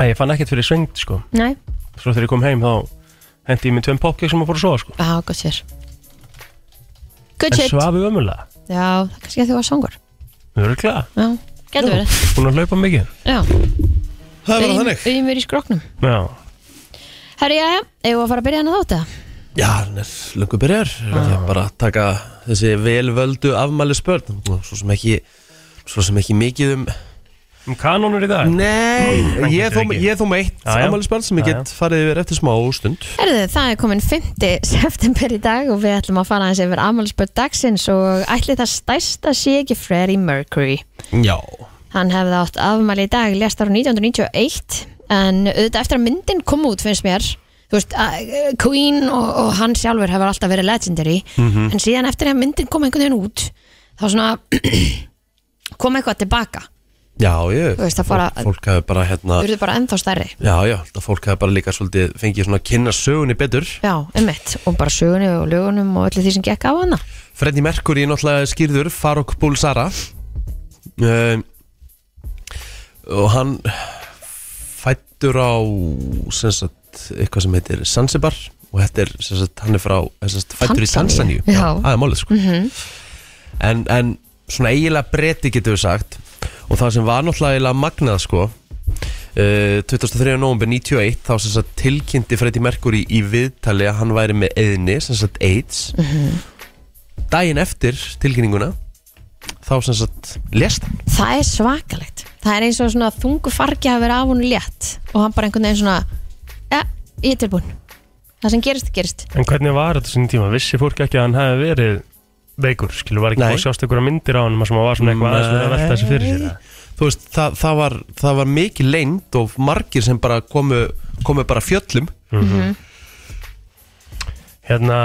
Speaker 4: að ég fann ekkert fyrir svengt sko
Speaker 2: nei,
Speaker 4: svo þegar ég kom heim þá hendi ég mér tveim popkeks sem að fór að sofa sko
Speaker 2: já, gott sér Good
Speaker 4: en
Speaker 2: shit Já,
Speaker 4: svafi ömulega,
Speaker 2: það er kannski að þú var svongur
Speaker 4: örglega
Speaker 2: Já, getur verið
Speaker 4: hún að hlaupa mikið
Speaker 2: Já,
Speaker 3: Það er bara
Speaker 2: auðum
Speaker 3: þannig
Speaker 2: auðum er í skróknum
Speaker 4: Já,
Speaker 2: Herri, já, já, eigum við að fara að byrja hana þátt eða?
Speaker 3: Já, hann er lungu byrjar Ég er bara að taka þessi velvöldu afmæli spörn Svo sem ekki Svo sem ekki mikið um
Speaker 4: um kanónur í dag
Speaker 3: Nei, ég er þó,
Speaker 4: ekki.
Speaker 3: ég er þó með eitt
Speaker 4: Já, já.
Speaker 3: afmæli spörn sem ég
Speaker 4: Já,
Speaker 3: get farið yfir eftir smá stund
Speaker 2: Herðu, það er komin 5. september í dag og við ætlum að fara aðeins yfir afmælisbörn dagsins og ætli það stærsta sé ekki Freddie Mercury.
Speaker 3: Já
Speaker 2: Hann hefði átt afmæli í dag, lest ára 1991 en auðvitað eftir að myndin kom út finnst mér, þú veist, að- eh, Queen og, og hann sjálfur hefur alltaf verið legendary en síðan eftir að myndin kom einhvern veginn út þá svona kom eitthvað tilbaka,
Speaker 3: Já, ég
Speaker 2: Þú veist, það fara-
Speaker 3: Fólk, fólk hefur bara hérna
Speaker 2: þú bara ennþá stærri.
Speaker 3: Já, já, það fólk hefur bara líka svolítið fengið svona að kynna sögunni betur
Speaker 2: Já, emmitt, og bara sögunni og lögunum og öllu því sem gekk á hana.
Speaker 3: Freddie Mercury er náttúrulega skýrður Farok Bulsara um, og hann fættur á sem sagt, eitthvað sem heitir Zanzibar og þetta er, sem sagt, hann er frá sem sagt, fættur í
Speaker 2: Tansaníu.
Speaker 3: Tansaníu
Speaker 2: Já.
Speaker 3: það er málið sko en, en svona eiginlega breyti getur við sagt og það sem var náttúrulega eiginlega magnað sko Uh, 23. november 91 þá sem sagt tilkynnti Freddie Mercury í viðtali að hann væri með eðni sem sagt AIDS daginn eftir tilkynninguna þá sem sagt lest hann
Speaker 2: Það er svakalegt Það er eins og svona þungu fargi að vera af hún létt og hann bara einhvern veginn svona ja, ég er tilbúin Það sem gerist, gerist
Speaker 4: En hvernig var þetta sinni tíma? Vissi fólk ekki að hann hefði verið veikur, skilur, var ekki
Speaker 3: Nei.
Speaker 4: búið að sjást einhverja myndir á hann sem hann var svona eitthvað aðeins verið að velta þessu fyrir sér eða?
Speaker 3: þú veist, það, það, var, það var mikið leynd og margir sem bara komu, komu bara fjöllum
Speaker 4: Mhm. Hérna,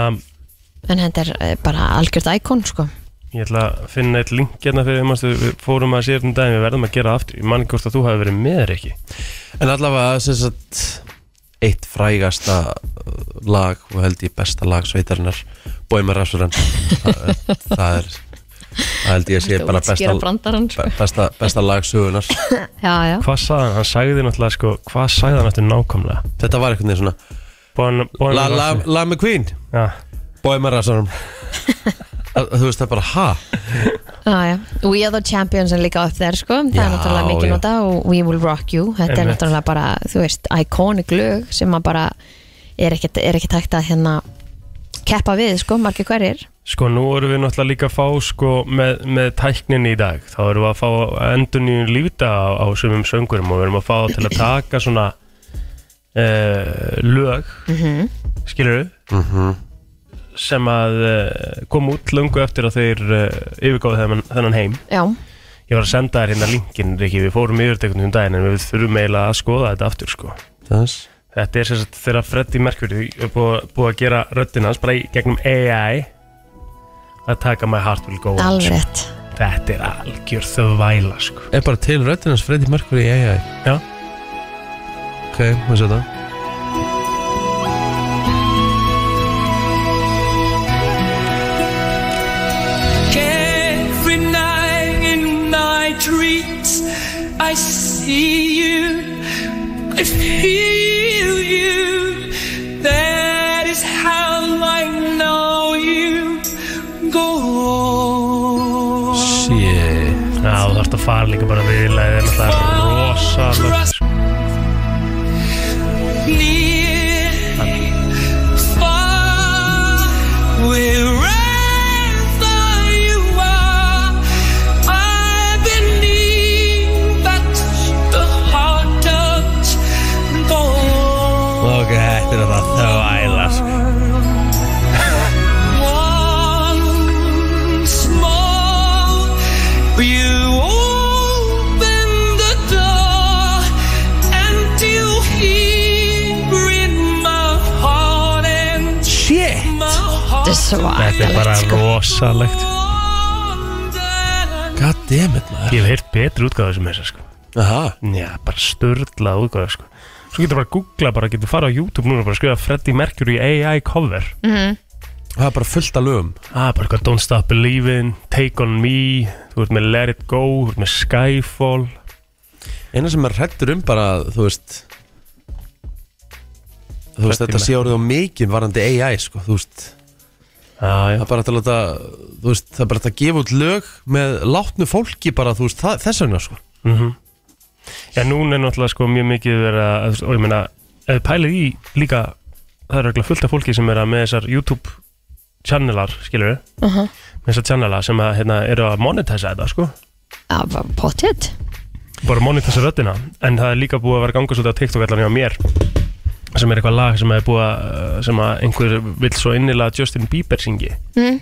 Speaker 2: En þetta er eh, bara algjört íkon sko
Speaker 4: ég ætla að finna eitt link hérna fyrir, manstu, við fórum að sér um daginn, við verðum að gera það aftur, ég man ekki hvort að þú hafi verið með þér ekki
Speaker 3: en allavega sem sagt eitt frægasta uh, lag og held ég besta lag sveitarinnar Bóimar Rafsurann það, það er það held ég að sé bara
Speaker 2: útskýra
Speaker 3: besta,
Speaker 2: brandarann sko.
Speaker 3: be- besta, besta lag sögunar
Speaker 2: Já, já,
Speaker 4: Hvað sagði hann? Hann sagði náttúrulega, sko, hvað sagði hann eftir nákvæmlega?
Speaker 3: þetta var einhvern veginn svona
Speaker 4: Bóin, bóin,
Speaker 3: La, la, la McQueen,
Speaker 4: Já,
Speaker 3: Bóimar Rafsurann þú veist það er bara ha
Speaker 2: já, já We are the champions er líka upp þeir sko Það
Speaker 3: Já,
Speaker 2: er náttúrulega mikið
Speaker 3: já.
Speaker 2: nota og we will rock you Þetta er
Speaker 4: Einmitt.
Speaker 2: náttúrulega bara, þú veist, iconic lög sem að bara er ekkert, er ekkert hægt að hérna keppa við, sko, margir hverjir
Speaker 4: Sko nú erum við náttúrulega líka að fá sko, með, með tækninni í dag þá erum við að fá endur nýjum lífda á, á sumum söngurum og við erum að fá þá til að taka svona uh, lög mm -hmm. skilur
Speaker 1: Mhm.
Speaker 4: sem að uh, kom út löngu eftir að þeir uh, yfirgáðu þennan, þennan heim
Speaker 2: Já,
Speaker 4: ég var að senda þér hérna linkin Riki, við fórum yfir þetta einhvern veginn um daginn en við þurfum eiginlega að skoða þetta aftur sko
Speaker 3: Þess
Speaker 4: Þetta er sem sagt þegar Freddie Mercury er búið, búið að gera röddina hans bara í gegnum AI að taka My Heart Will Go On
Speaker 2: alveg rétt
Speaker 4: sko. Þetta er algjör þvæla sko
Speaker 3: Er bara til röddinans Freddy Mercury í AI
Speaker 4: Já.
Speaker 3: Ok, maður sér það
Speaker 5: Every night in my dreams, I see you, I feel you. That is how I know you go on.
Speaker 3: Shit
Speaker 4: Já, þú þarfst að fara líka bara viðlega en það er rosalega sko.
Speaker 5: Near, far, wherever you are, I believe that the heart does go
Speaker 3: Ok, þetta er það þvæla sko.
Speaker 5: Once more, you open the door, and you hear in my heart and my
Speaker 2: Þetta
Speaker 5: heart.
Speaker 2: er
Speaker 4: Þetta er
Speaker 2: svakalegt,
Speaker 4: bara
Speaker 2: sko
Speaker 4: rosalegt
Speaker 5: wonder.
Speaker 3: God damn it
Speaker 4: Ég
Speaker 3: maður
Speaker 4: hef heyrt betri útgáðu sem þessa sko
Speaker 3: Aha
Speaker 4: Já, bara störla útgáðu sko Svo getur bara að googla, bara getur fara á YouTube núna og bara skrifa Freddie Mercury AI cover
Speaker 3: Það er bara fullt af lögum
Speaker 4: Ah, bara eitthvað Don't Stop Believin', Take On Me, þú ert með Let It Go, þú ert með Skyfall.
Speaker 3: Eina sem er hrættur um bara, þú veist Þú veist,
Speaker 4: Freddy
Speaker 3: þetta sé orðið á mikið varandi AI, sko, þú veist
Speaker 4: Ah,
Speaker 3: Það
Speaker 4: já,
Speaker 3: er bara hægt að láta, þú veist, það er bara hægt að gefa út lög með látnu fólki bara, þú veist, það, þess vegna, sko
Speaker 4: Mhm. já, núna er náttúrulega sko mjög mikið verið að, og ég meina, ef þið pælið í líka, það er eitthvað fullt af fólki sem er að með þessar YouTube channelar, skilur við, með þessar channelar sem að, hérna, eru að monetisa þetta, sko.
Speaker 2: Já, bara Pottet
Speaker 4: bara monitasa röddina en það er líka búið að vera ganga svolítið á TikTok allan hjá mér sem er eitthvað lag sem er búið að eh, sem að einhver vill svo innilega að Justin Bieber syngi
Speaker 2: Mm.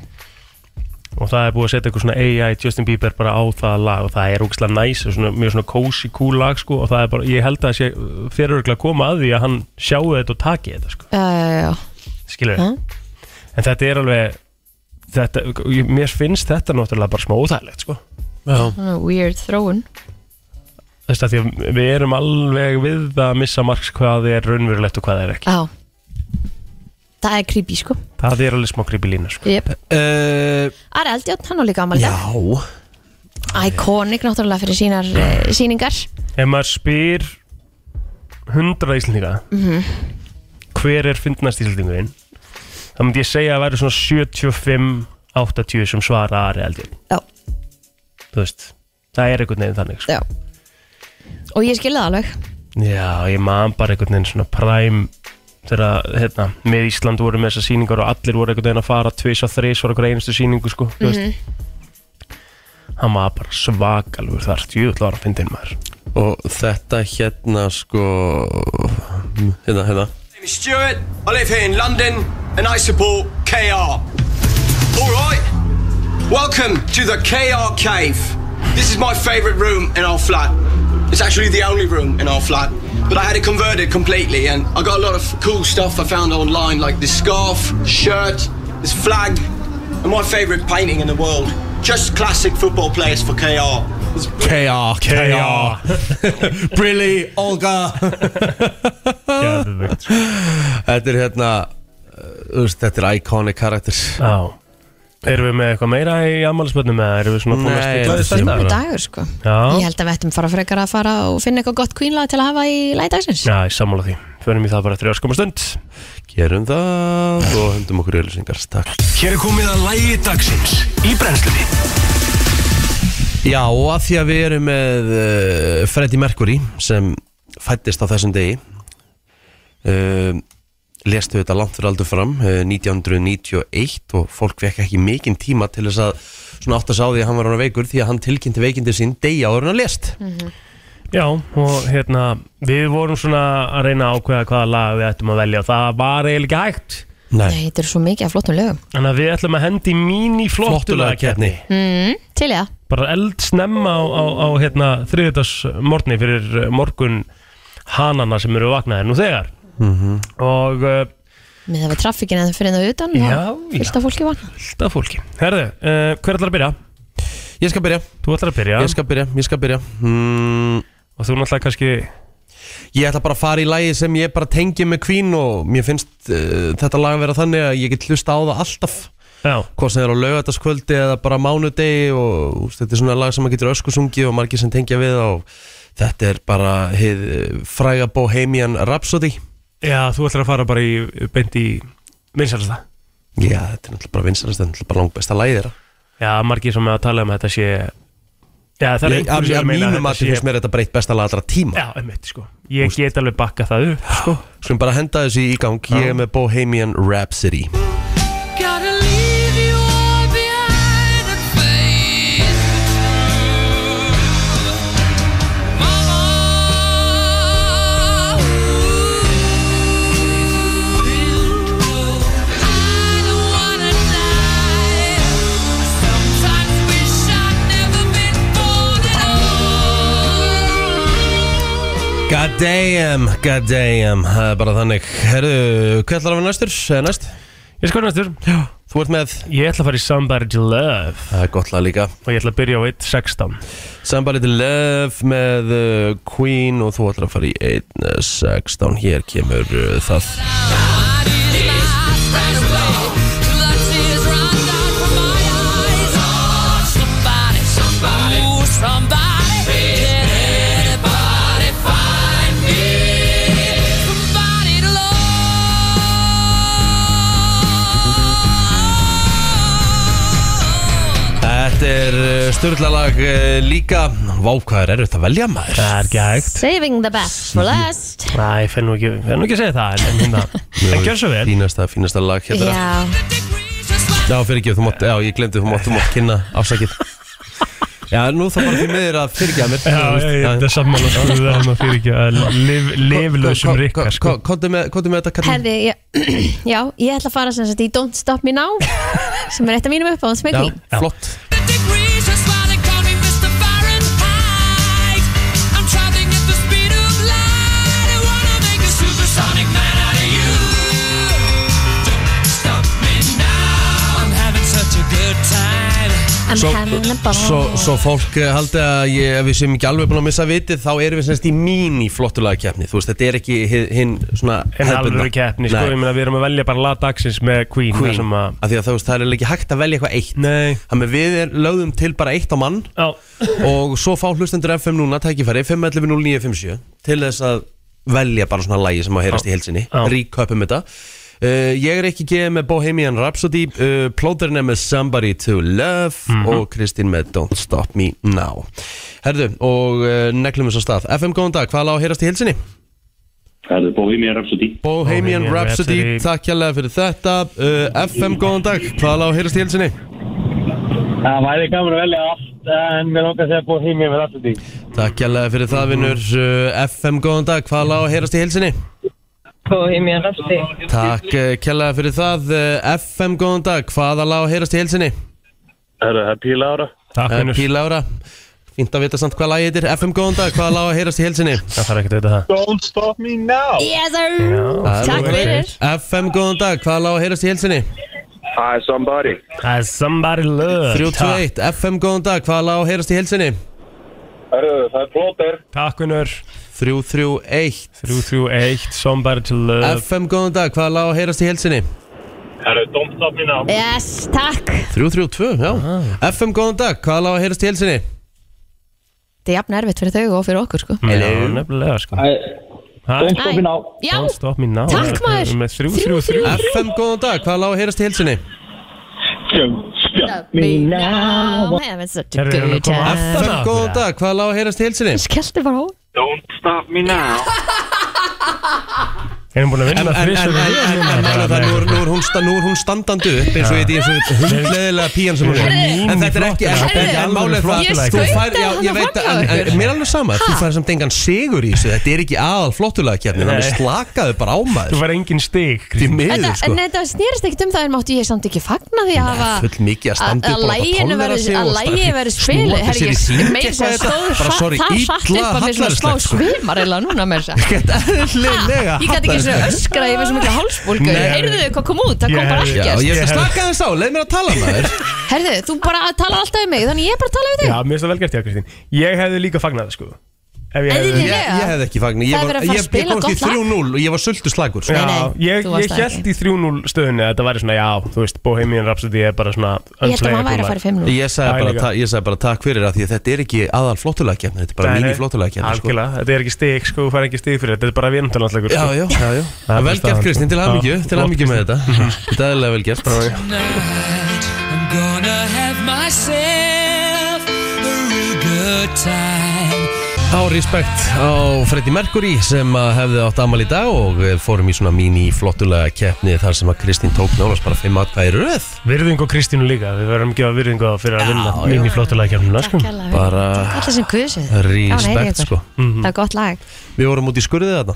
Speaker 4: og það er búið að setja eitthvað svona AI Justin Bieber bara á það lag og það er ógislega næs og svona, mjög svona cozy cool lag sko og það er bara, ég held að sé fyriröglega koma að því að hann sjáu þetta og taki þetta sko,
Speaker 2: Já, já, Eh, já, já.
Speaker 4: skilur
Speaker 2: Mm.
Speaker 4: en þetta er alveg þetta, ég- mér finnst þetta náttúrulega bara smá óþægilegt sko
Speaker 3: Já,
Speaker 2: Svona weird þróun
Speaker 4: Þess að því að við erum alveg við að missa marks hvað er raunverulegt og hvað er ekki.
Speaker 2: Já Það er creepy, sko
Speaker 4: Það er alveg smá kripi lína, sko.
Speaker 2: yep.
Speaker 3: uh,
Speaker 2: Ari Eldjátt, hann var líka ámæli
Speaker 3: já.
Speaker 2: dag Iconic, náttúrulega, fyrir sínar uh, síningar
Speaker 4: Ef maður spyr hundra íslendinga,
Speaker 3: Mm-hmm.
Speaker 4: hver er fyndnast íslendingurinn, þá myndi ég segja að væri svona 75-80 sem svara aðri eldur.
Speaker 2: Já,
Speaker 4: Þú veist, það er einhvern veginn þannig, sko.
Speaker 2: já Og ég skilði það alveg
Speaker 4: Já, ég man bara einhvern veginn svona præm þegar, hérna, með Ísland voru með þessar síningar og allir voru einhvern veginn að fara tvís og þrís voru einhver einustu síningu, sko, þú
Speaker 2: Mhm.
Speaker 4: veist.
Speaker 6: Mm-hmm.
Speaker 4: Hann var bara svakalur þar, djúðlega var að finna inn maður.
Speaker 3: Og þetta hérna, sko Hérna, hérna
Speaker 7: My name is Stuart. I live here in London and I support KR. All right. Welcome to the KR Cave. This is my favorite room in our flat. It's actually the only room in our flat, but I had it converted completely and I got a lot of cool stuff I found online like this scarf, shirt, this flag, and my favorite painting in the world. Just classic football players for KR. It's
Speaker 3: KR,
Speaker 4: KR.
Speaker 3: Brilli, Olga
Speaker 4: Geðveikt, sko.
Speaker 3: Þetta er hérna uh, Þú veist, þetta er iconic karakter
Speaker 4: Já. Erum við með eitthvað meira í ammálspötnum eða erum við svona búin að
Speaker 3: Nei,
Speaker 4: stilla
Speaker 3: þetta er
Speaker 4: þetta?
Speaker 2: Úr
Speaker 4: eða?
Speaker 2: dagur, sko Ég
Speaker 4: Já,
Speaker 2: held að við ættum fara frekar að fara og finna eitthvað gott kvínlag til að hafa í lægdagsins
Speaker 4: já, ég sammála því. Förum í það bara eftir öskum og stund.
Speaker 3: Gerum það og höndum okkur öllusingar Takk
Speaker 1: Hér er komið að lægi dagsins í brennslunni
Speaker 3: Já, og að því að við erum með uh, Freddie Mercury sem fættist á þessum degi uh, lestu þetta langt fyrir aldur fram eh, 1991 og fólk vekk ekki mikinn tíma til þess að svona átt að sá því að hann var hann veikur því að hann tilkynnti veikindi sín degi áður en hann lest
Speaker 4: Já, og hérna, við vorum svona að reyna að ákveða hvaða lag við ættum að velja og það var eiginlega ekki hægt
Speaker 2: Nei, þetta er svo mikið af flottum lögum
Speaker 4: Þannig að við ætlum að hendi mín í
Speaker 3: flottulega
Speaker 4: flottulagakeppni
Speaker 3: keppni
Speaker 2: mm, Til ég það
Speaker 4: Bara eld snemma á, á, á hérna, þriðudagsmorni fyrir eh, morgun hanana sem eru vaknaðir nú þegar
Speaker 3: Mhm.
Speaker 4: Og uh,
Speaker 2: Með það við traffikin eða fyrir það utan
Speaker 4: Já,
Speaker 2: og Fyllt
Speaker 4: já.
Speaker 2: af fólki vann
Speaker 4: alltaf fólki Herðu, uh, hver ætlar að byrja?
Speaker 3: Ég skal byrja,
Speaker 4: Þú ætlar að byrja
Speaker 3: ég skal byrja, ég skal byrja mm,
Speaker 4: og þú náttúrulega kannski
Speaker 3: Ég ætla bara að fara í lagi sem ég bara tengi með Queen og mér finnst uh, þetta lag að vera þannig að ég get hlusta á það alltaf
Speaker 4: Já,
Speaker 3: hvort sem það er á laugataskvöldi eða bara mánudegi og úst, þetta er svona lag sem maður getur öskusungið og margir sem tengja við það og þetta er bara hið eh, fræga Bohemian Rhapsody
Speaker 4: já þú ætlar að fara bara í beint í vinsælsta
Speaker 3: Já, þetta er náttúrulega bara vinsarast, þetta er náttúrulega bara langbesta lagið þeirra
Speaker 4: Já, margir sem að tala um að þetta sé Já, það er
Speaker 3: Ég- Að
Speaker 4: einhverjum sem
Speaker 3: að
Speaker 4: meina
Speaker 3: mínum að
Speaker 4: þetta
Speaker 3: þetta finnst mér þetta breytt besta lag allra tíma
Speaker 4: Já, einmitt, sko Ég get alveg bakka það upp, sko
Speaker 3: Skulum bara henda þessu í gang, ég er með Bohemian Rhapsody
Speaker 5: Gotta leave you all behind and face Mama I don't wanna die Sometimes wish I'd never been born at all
Speaker 3: God damn, god damn, það er bara þannig Herðu, hvað ætlar að vera næstur? Eða Næst?
Speaker 4: Ég sko næstur Já
Speaker 3: Þú ert með,
Speaker 4: Ég ætla að fara í Somebody to Love
Speaker 3: það er gott lag líka
Speaker 4: og ég ætla að byrja á 1.16
Speaker 3: Somebody to Love með uh, Queen og þú ætlar að fara í 1.16 hér kemur uh, það
Speaker 5: Oh,
Speaker 3: Þetta er uh, störðlalag uh, líka Vá, hvað er erfitt að velja maður
Speaker 4: Það er ekki hægt
Speaker 2: Saving the best for last
Speaker 4: Næ, ég fenn nú ekki, fer nú ekki að segja það en, en, hérna, en gjör svo vel
Speaker 3: Fínasta, fínasta lag hérna
Speaker 2: Já,
Speaker 3: Já, fyrir ekki, þú mátt, já, ég glemdi, þú mátt, þú mátt kynna afsakið Já, nú það bara því miður að fyrirgeða mér
Speaker 4: Já, ég, ég, þetta er sammála sko það er maður fyrir ekki að lif, liflausum rikka sko
Speaker 3: Kóttu með þetta, Katrín
Speaker 2: herði, ég, já, ég ætla að fara sem sagt í Don't Stop Me Now sem er eitt af mínum uppáðans með
Speaker 3: Já,
Speaker 2: Queen
Speaker 3: flott
Speaker 5: Supersonic man out of you. Don't stop me now. I'm having such a good time.
Speaker 2: I'm
Speaker 3: Svo,
Speaker 2: having a ball.
Speaker 3: svo, svo fólk eh, haldi að ég, ef við séum ekki alveg búin að missa vitið þá erum við semst í mín í flottulagakefni þú veist, þetta er ekki hi- hinn svona
Speaker 4: En
Speaker 3: hefðbundna.
Speaker 4: alvöru keppni sko,
Speaker 3: Nei.
Speaker 4: ég meina við erum að velja bara lag dagsins með Queen,
Speaker 3: Queen,
Speaker 4: þar sem að
Speaker 3: af því að þú veist, það er ekki hægt að velja eitthvað eitt
Speaker 4: Nei
Speaker 3: þannig að við er, lögðum til bara eitt á mann
Speaker 4: Já,
Speaker 3: og svo fá hlustendur FM núna tækifæri 511-0957 til þess að velja bara svona lægi sem að heyrast í helsinni
Speaker 4: Já.
Speaker 3: ríköpum þetta uh, ég er ekki geðið með Bohemian Rhapsody uh, plóðurinn er með Somebody to Love
Speaker 4: Mhm.
Speaker 3: og Kristín með Don't Stop Me Now herðu og uh, neglum þess að stað FM góðan dag, hvað lág að heyrast í helsinni?
Speaker 8: Það er Bohemian Rhapsody
Speaker 3: Bohemian,
Speaker 4: Bohemian
Speaker 3: Rhapsody,
Speaker 4: Rhapsody.
Speaker 3: takk hérlega fyrir þetta uh, FM góðan dag, hvað lág að heyrast í helsinni?
Speaker 9: Það væri gaman að velja allt en mér langar að segja Bohemian Rhapsody.
Speaker 3: Takk hérlega fyrir það vinnur uh, FM góðan dag, hvað lág að heyrast í helsinni?
Speaker 6: Oh,
Speaker 9: Bohemian Rhapsody.
Speaker 3: Takk uh, kjærlega fyrir það uh, FM góðan dag, hvaða lag á að heyrast í helsinni?
Speaker 8: Það er Happy Laura
Speaker 4: takk
Speaker 3: Uh,
Speaker 4: minnur
Speaker 3: Pí Lára Fínt að vita samt hvað lagi þetta er FM góðan dag, hvaða lag á að heyrast í helsinni?
Speaker 4: Það þarf ekki að vita það
Speaker 8: Don't stop me now
Speaker 2: Yes, sir
Speaker 4: Já,
Speaker 2: Takk fyrir
Speaker 3: FM góðan dag, hvaða lag á að heyrast í helsinni?
Speaker 8: Hi somebody
Speaker 4: Það er Somebody Love
Speaker 3: 321 FM góðan dag, hvaða lag á að heyrast í helsinni?
Speaker 8: Það er Plotter
Speaker 4: Takk vinnur
Speaker 3: 331
Speaker 4: 331 Somebody to Love
Speaker 3: FM góðan dag, hvaða lag á að heyrast í helsinni?
Speaker 8: Það er Don't stop me now
Speaker 2: Yes, takk
Speaker 3: 332, já
Speaker 4: Ah.
Speaker 3: FM góðan dag, hvaða lag á að heyrast í helsinni?
Speaker 2: Þetta er jafn erfitt fyrir þau og fyrir okkur sko
Speaker 4: Hello Já, nefnilega sko Ha?
Speaker 9: Don't stop me now.
Speaker 2: Já,
Speaker 4: Don't stop me now
Speaker 2: Takk, maður.
Speaker 4: Með 333
Speaker 3: FM góðan dag, hvaða lag á að heyrast í helsinni?
Speaker 2: stop me now I'm having such a
Speaker 4: Herri, er hún
Speaker 2: good time
Speaker 4: að koma aftur?
Speaker 3: FM góðan dag, hvaða lag á að heyrast í helsinni?
Speaker 2: Skellti bara á
Speaker 8: Don't stop me now
Speaker 4: Erum búin að
Speaker 3: En,
Speaker 4: vinna
Speaker 3: en, en, en,
Speaker 4: þrissur
Speaker 3: en, en málega það, nú er, nú, er hún sta, nú er hún standandi upp eins og ég eins og hundleðilega píjan sem hún er
Speaker 4: Herðu.
Speaker 3: En þetta er ekki, en, en, en málega það
Speaker 2: Ég
Speaker 3: þú
Speaker 2: skautaði
Speaker 3: fær- já,
Speaker 2: hana
Speaker 3: ég veit
Speaker 2: framhjá
Speaker 3: að- en,
Speaker 2: ykkur.
Speaker 3: en, Mér er alveg sama, þú fær samt engan sigur í þessu Þetta er ekki aðal flottulega kjarni Þannig
Speaker 4: Nei.
Speaker 3: slakaðu bara á
Speaker 4: Þú
Speaker 3: maður
Speaker 4: fær engin stig
Speaker 3: Því
Speaker 4: Kristín.
Speaker 3: miður
Speaker 2: Þetta,
Speaker 3: sko
Speaker 2: En þetta snerist ekkert um það en mátti ég samt ekki fagna því að hafa
Speaker 3: full mikið að
Speaker 2: að-
Speaker 3: standa upp
Speaker 2: að
Speaker 3: og láta
Speaker 2: læginu
Speaker 3: tólera
Speaker 2: verður-
Speaker 3: sig
Speaker 2: að
Speaker 3: og
Speaker 2: lægi
Speaker 3: standa-
Speaker 2: verður
Speaker 3: snúa
Speaker 2: spilu
Speaker 3: sér
Speaker 2: herri
Speaker 3: í
Speaker 2: ég
Speaker 3: hring
Speaker 2: meira sem
Speaker 3: eitthvað
Speaker 2: stóð
Speaker 3: þetta, bara
Speaker 2: það
Speaker 3: sorry,
Speaker 2: satt upp
Speaker 3: illa
Speaker 2: að mér svona smá
Speaker 3: hallærislegt, sko.
Speaker 2: svimar eða núna með þess að
Speaker 3: Þetta er eðlilega
Speaker 2: ég gæti ekki
Speaker 3: hallærislegt.
Speaker 2: svona öskra ég með svo mikið hálsbólgu
Speaker 3: Nei.
Speaker 2: heyrðu þau hvað kom út, það
Speaker 4: Ég
Speaker 2: kom bara
Speaker 4: hefði-
Speaker 3: Já,
Speaker 2: ekkert
Speaker 3: ég
Speaker 4: Ég
Speaker 3: skal
Speaker 4: hef-
Speaker 3: slaka þess á, leið mér að tala maður
Speaker 2: herðu þú bara tala alltaf um mig þannig ég bara tala við þig
Speaker 4: Já, mér finnst það vel gert hjá Kristín Ég hefði líka fagnað það sko Ef ég hefði-
Speaker 2: Eðlilega.
Speaker 3: Ég, ég hefði ekki fagnir, ég,
Speaker 2: Það er
Speaker 3: var-
Speaker 2: verið að fara að
Speaker 3: ég, ég
Speaker 2: spila
Speaker 3: komst í
Speaker 2: gott lag.
Speaker 3: 3-0 og ég var söldu slagur sko.
Speaker 4: Já,
Speaker 2: nei,
Speaker 4: ég,
Speaker 2: þú varst
Speaker 4: ég
Speaker 2: það
Speaker 4: held í 3-0 stöðunni að þetta væri svona, já, þú veist, Bohemian Rhapsody er bara svona
Speaker 2: ég held að maður væri að fara í 5 nú
Speaker 3: Ég sagði
Speaker 4: Já,
Speaker 3: bara,
Speaker 4: líka.
Speaker 3: ta- ég sagði bara takk fyrir að því að þetta er ekki aðal flottulega kemni, þetta er bara mínu flottulega kemni sko.
Speaker 4: Algjörlega, þetta er ekki stig, sko, þú fær ekki stig fyrir þetta, þetta er bara vinutalandslegur
Speaker 3: Já,
Speaker 4: sko.
Speaker 3: já, já, já.
Speaker 4: Það er
Speaker 3: Vel
Speaker 4: bara
Speaker 3: gert
Speaker 4: staðan,
Speaker 3: Kristinn,
Speaker 4: sko.
Speaker 3: til hamingju,
Speaker 4: Já,
Speaker 3: til hamingju með
Speaker 4: flott,
Speaker 3: þetta Þetta er eðlilega vel gert
Speaker 5: I'm gonna have myself a real good time.
Speaker 3: Á respekt á Freddie Mercury sem að hefði átt amal í dag og við fórum í svona mínu flottulega kemni þar sem að Kristinn tók nálast bara 5 atkvæði í röð
Speaker 4: Virðingu og Kristínu líka, við verðum ekki að virðingu á fyrir að vinna
Speaker 3: já.
Speaker 4: mín í flottulega kemnuna
Speaker 2: Takk
Speaker 4: sko.
Speaker 2: hérlega fyrir.
Speaker 3: Bara
Speaker 2: Takk allir sem kusið Gaman að heyra
Speaker 3: respekt
Speaker 2: ykkur.
Speaker 3: sko
Speaker 4: Mhm.
Speaker 2: það er gott lag
Speaker 3: Við vorum út í skurðið þarna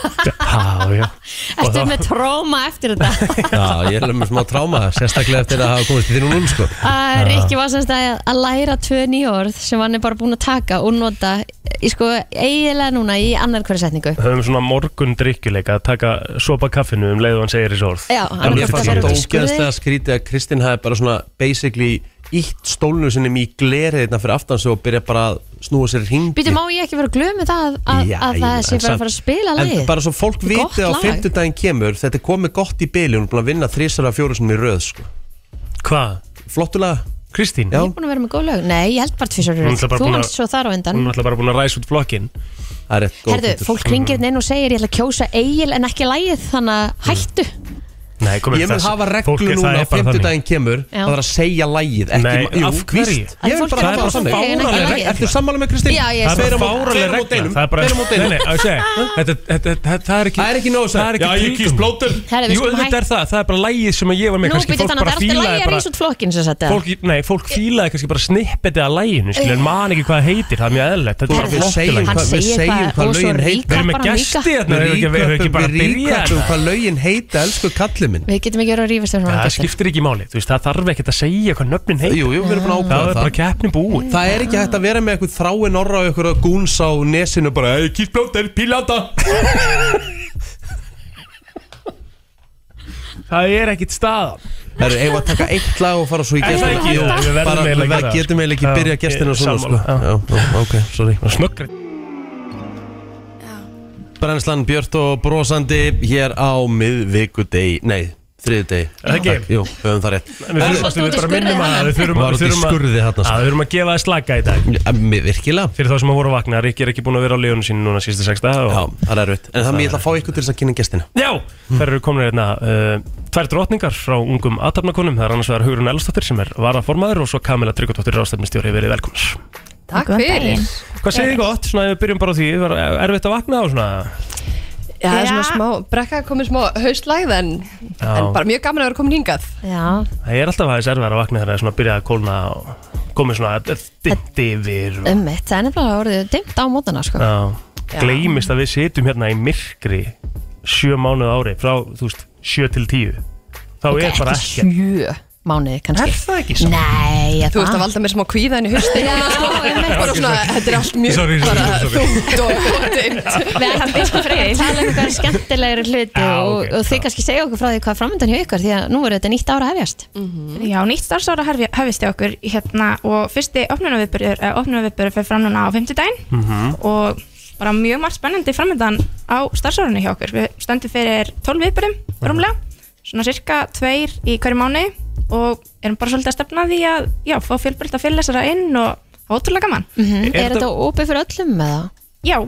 Speaker 4: Já, já
Speaker 2: ertu með tróma eftir þetta
Speaker 3: Já, ég er alveg með smá tráma, sérstaklega eftir að hafa komist í þínu núl sko
Speaker 2: að Rikki var semst að, að læra tvö nýjórð sem hann er bara búin að taka og nota í sko eiginlega núna í annar hverju setningu
Speaker 4: Höfum svona morgun drikkjuleika að taka sopa kaffinu um leið og hann segir þessi orð
Speaker 2: Já,
Speaker 4: Alveg
Speaker 2: hann
Speaker 3: Mér
Speaker 2: er
Speaker 3: fannst
Speaker 2: bara
Speaker 3: þetta
Speaker 2: að
Speaker 3: ógeðslega skrítið að Kristinn hafi bara svona basically ítt stólnu sinni í glerið hérna fyrir aftan sig og byrja bara að snúa sér hringi
Speaker 2: Býtu, má ég ekki vera að glömu það að, að, að það sé bara að fara að spila
Speaker 3: En
Speaker 2: lagið?
Speaker 3: bara svo fólk
Speaker 2: Þetta er gott
Speaker 3: viti að á
Speaker 2: lag.
Speaker 3: fimmtudaginn kemur þetta er komið gott í byli og hún er búin að vinna þrísara fjóru sinni í röð sko.
Speaker 4: Hvað?
Speaker 3: Flottulega
Speaker 4: Kristín?
Speaker 3: Já.
Speaker 2: Ég er búin að vera með góð lög Nei, ég held bara tvisar
Speaker 4: Hún ætla bara
Speaker 2: Þú
Speaker 4: búin að-
Speaker 2: vannst svo þar á
Speaker 4: Hún
Speaker 2: undan
Speaker 4: er alltaf bara búin að ræsa út flokkin
Speaker 3: Það er rétt góð
Speaker 2: Herðu,
Speaker 3: punktur.
Speaker 2: fólk ringir hérna inn og segir ég ætla að kjósa eigil en ekki lagið þannig
Speaker 4: Mm.
Speaker 2: að hættu
Speaker 4: Nei, komið
Speaker 3: Ég mun hafa reglu núna á fimmtudaginn kemur
Speaker 2: Já.
Speaker 3: Það er að segja lægið ekki,
Speaker 4: Nei,
Speaker 3: jú,
Speaker 4: af hverju?
Speaker 3: víst.
Speaker 2: Að
Speaker 3: Ég vil
Speaker 2: fólk
Speaker 3: bara
Speaker 2: er bara
Speaker 3: hafa það þannig
Speaker 2: fáráleg
Speaker 3: Fáránleg-
Speaker 2: regla.
Speaker 3: Ertu sammála með Kristinn?
Speaker 2: Já, ég er
Speaker 4: Það er
Speaker 3: Tveir á
Speaker 4: bara
Speaker 3: móti-
Speaker 4: fáraleg
Speaker 3: tveir á móti
Speaker 4: regla
Speaker 3: einum.
Speaker 4: Það er bara
Speaker 3: Tveir á móti einum.
Speaker 4: Nei, nei, á, segi, þetta- þetta- þetta- Það er ekki
Speaker 3: Það er ekki nóg að segja.
Speaker 4: Það er ekki
Speaker 3: Já, ég kýs
Speaker 4: tilgangur.
Speaker 3: blóter.
Speaker 2: Herðu, við
Speaker 4: Jú,
Speaker 2: skulum
Speaker 4: auðvitað
Speaker 2: hætt-
Speaker 4: er það Það er bara lægið sem að ég var með
Speaker 2: Nú
Speaker 4: kannski
Speaker 2: býtu
Speaker 4: fólk
Speaker 2: þannig að
Speaker 4: bara
Speaker 2: það er alltaf
Speaker 4: fílaði
Speaker 2: lagið að
Speaker 4: bara-
Speaker 2: rísa út flokkin sem sagt eða?
Speaker 4: Fólk, nei, fólk fílaði kannski bara snippetið að læginu skilur, en man ekki hvað það heitir, það er mjög eðlilegt þetta er bara
Speaker 2: Herðu,
Speaker 3: við
Speaker 4: flott
Speaker 3: segjum
Speaker 2: Hann
Speaker 3: hvað- við
Speaker 2: segir
Speaker 3: segjum
Speaker 2: hvað
Speaker 3: hvað
Speaker 2: og svo
Speaker 3: lögin heita.
Speaker 2: ríkar
Speaker 4: við erum með
Speaker 2: hann líka
Speaker 4: gesti hérna,
Speaker 3: Við
Speaker 4: við erum ekki bara að byrja
Speaker 3: ríkvæpum
Speaker 4: þetta?
Speaker 3: hvað lögin heita, elsku kallið minn
Speaker 2: Við getum ekki verið að rífast um
Speaker 4: það
Speaker 2: svona
Speaker 4: skiptir ekki máli, þú veist, það þarf ekkert að segja hvað nöfnin heit,
Speaker 3: Jú, jú, við erum búin að
Speaker 4: það
Speaker 3: ákvæða
Speaker 4: er bara
Speaker 3: það
Speaker 4: keppnin búin
Speaker 3: Það er ekki hægt að vera með eitthvað þráin orra og eitthvað gúns á nesinu bara "Hey, Kýtt blóttir, pílata
Speaker 4: það er ekkert staðan
Speaker 3: Það er eigum að taka eitt lag og fara svo í
Speaker 4: Er það
Speaker 3: gestina
Speaker 4: ekki?
Speaker 3: Jú,
Speaker 4: Jú, við verðum
Speaker 3: bara-
Speaker 4: eiginlega að
Speaker 3: Við
Speaker 4: gera það.
Speaker 3: getum eiginlega ekki
Speaker 4: Já,
Speaker 3: byrja gestina
Speaker 4: ég-
Speaker 3: svona sko.
Speaker 4: sammála, já.
Speaker 3: Já, já, ok, sorry
Speaker 4: snöggri
Speaker 3: Brennslan Björt og brosandi hér á miðvikudegi Nei, þriðudegi
Speaker 4: Er það ekki?
Speaker 3: Jú, höfum það rétt
Speaker 4: við
Speaker 3: Herðu,
Speaker 4: þurfum
Speaker 2: varst
Speaker 4: við
Speaker 2: út í
Speaker 4: bara
Speaker 2: skurði
Speaker 4: minnum að
Speaker 2: þarna.
Speaker 4: við þurfum
Speaker 3: Var
Speaker 4: að
Speaker 3: út í
Speaker 4: við þurfum að-
Speaker 3: skurði þarna, sko.
Speaker 4: að við þurfum að gefa það slaka í dag
Speaker 3: Ja, mér- Virkilega
Speaker 4: fyrir þá sem að voru að vakna, Rikki er ekki búin að vera á leiðunum sín núna síðustu sex dag
Speaker 3: Já,
Speaker 4: og...
Speaker 3: það er erfitt En þannig ég ætla að fá ykkur til þess að kynna gestina
Speaker 4: Já, þær eru komin hérna uh, tvær drotningar frá ungum aðtapnakonum það er annars vegar Hugrun Elsdóttir sem er varaformaður og svo Kamila Tryggvadóttir ráðstefnistjóri verið velkomnar
Speaker 10: Takk fyrir
Speaker 4: Hvað segir þið gott? Svona, ef við byrjum bara á því, var erfitt að vakna og svona
Speaker 10: Já, það er svona smá, brekka komið smá hauslæð en,
Speaker 4: Já.
Speaker 10: en bara mjög gaman að vera komin hingað
Speaker 2: Já,
Speaker 4: Það er alltaf aðeins erfitt að vakna þegar það er svona að byrja að kólna og komið svona dimt yfir og,
Speaker 2: ummitt, það er nefnilega orðið dimmt á mótana sko.
Speaker 4: Já, gleymist að við sitjum hérna í myrkri sjö mánuð á ári frá, þú veist, sjö til tíu þá
Speaker 2: Ok,
Speaker 4: er bara
Speaker 2: ekki
Speaker 4: ekki
Speaker 2: sjö mánuði kannski
Speaker 4: Er það ekki saman?
Speaker 2: Nei, ég
Speaker 10: Þú veist að valda mér smá kvíðan í hausti
Speaker 2: Já, einmitt.
Speaker 10: Bara svona, þetta er allt mjög
Speaker 4: Sorry, sorry,
Speaker 10: bara
Speaker 4: sorry.
Speaker 10: þungt og dimt
Speaker 2: Við ætlum sko fyrir að tala um eitthvað skemmtilegri hluti
Speaker 4: Já,
Speaker 2: og,
Speaker 4: ok,
Speaker 2: og þið
Speaker 4: já.
Speaker 2: kannski segja okkur frá því hvað er framöndan hjá ykkur því að nú er þetta nýtt ára að hefjast
Speaker 11: Já, nýtt starfsára hefist hjá okkur hérna, og fyrsti opnunarviðbörður eh, opnunarviðbörður fyrir fram núna á 50 daginn og bara mjög margt spennandi framöndan á starfsárunni hjá okkur við stöndum fyrir 12 viðbörðum
Speaker 2: Mhm.
Speaker 11: rúmlega, svona cirka tveir í hverju mánu og erum bara svolítið að stefna að því að já, fá fjölbreyta fyrirlesara inn og það er ótrúlega gaman
Speaker 2: Mhm. Er,
Speaker 4: Er
Speaker 2: þetta opið fyrir öllum með það?
Speaker 11: Já,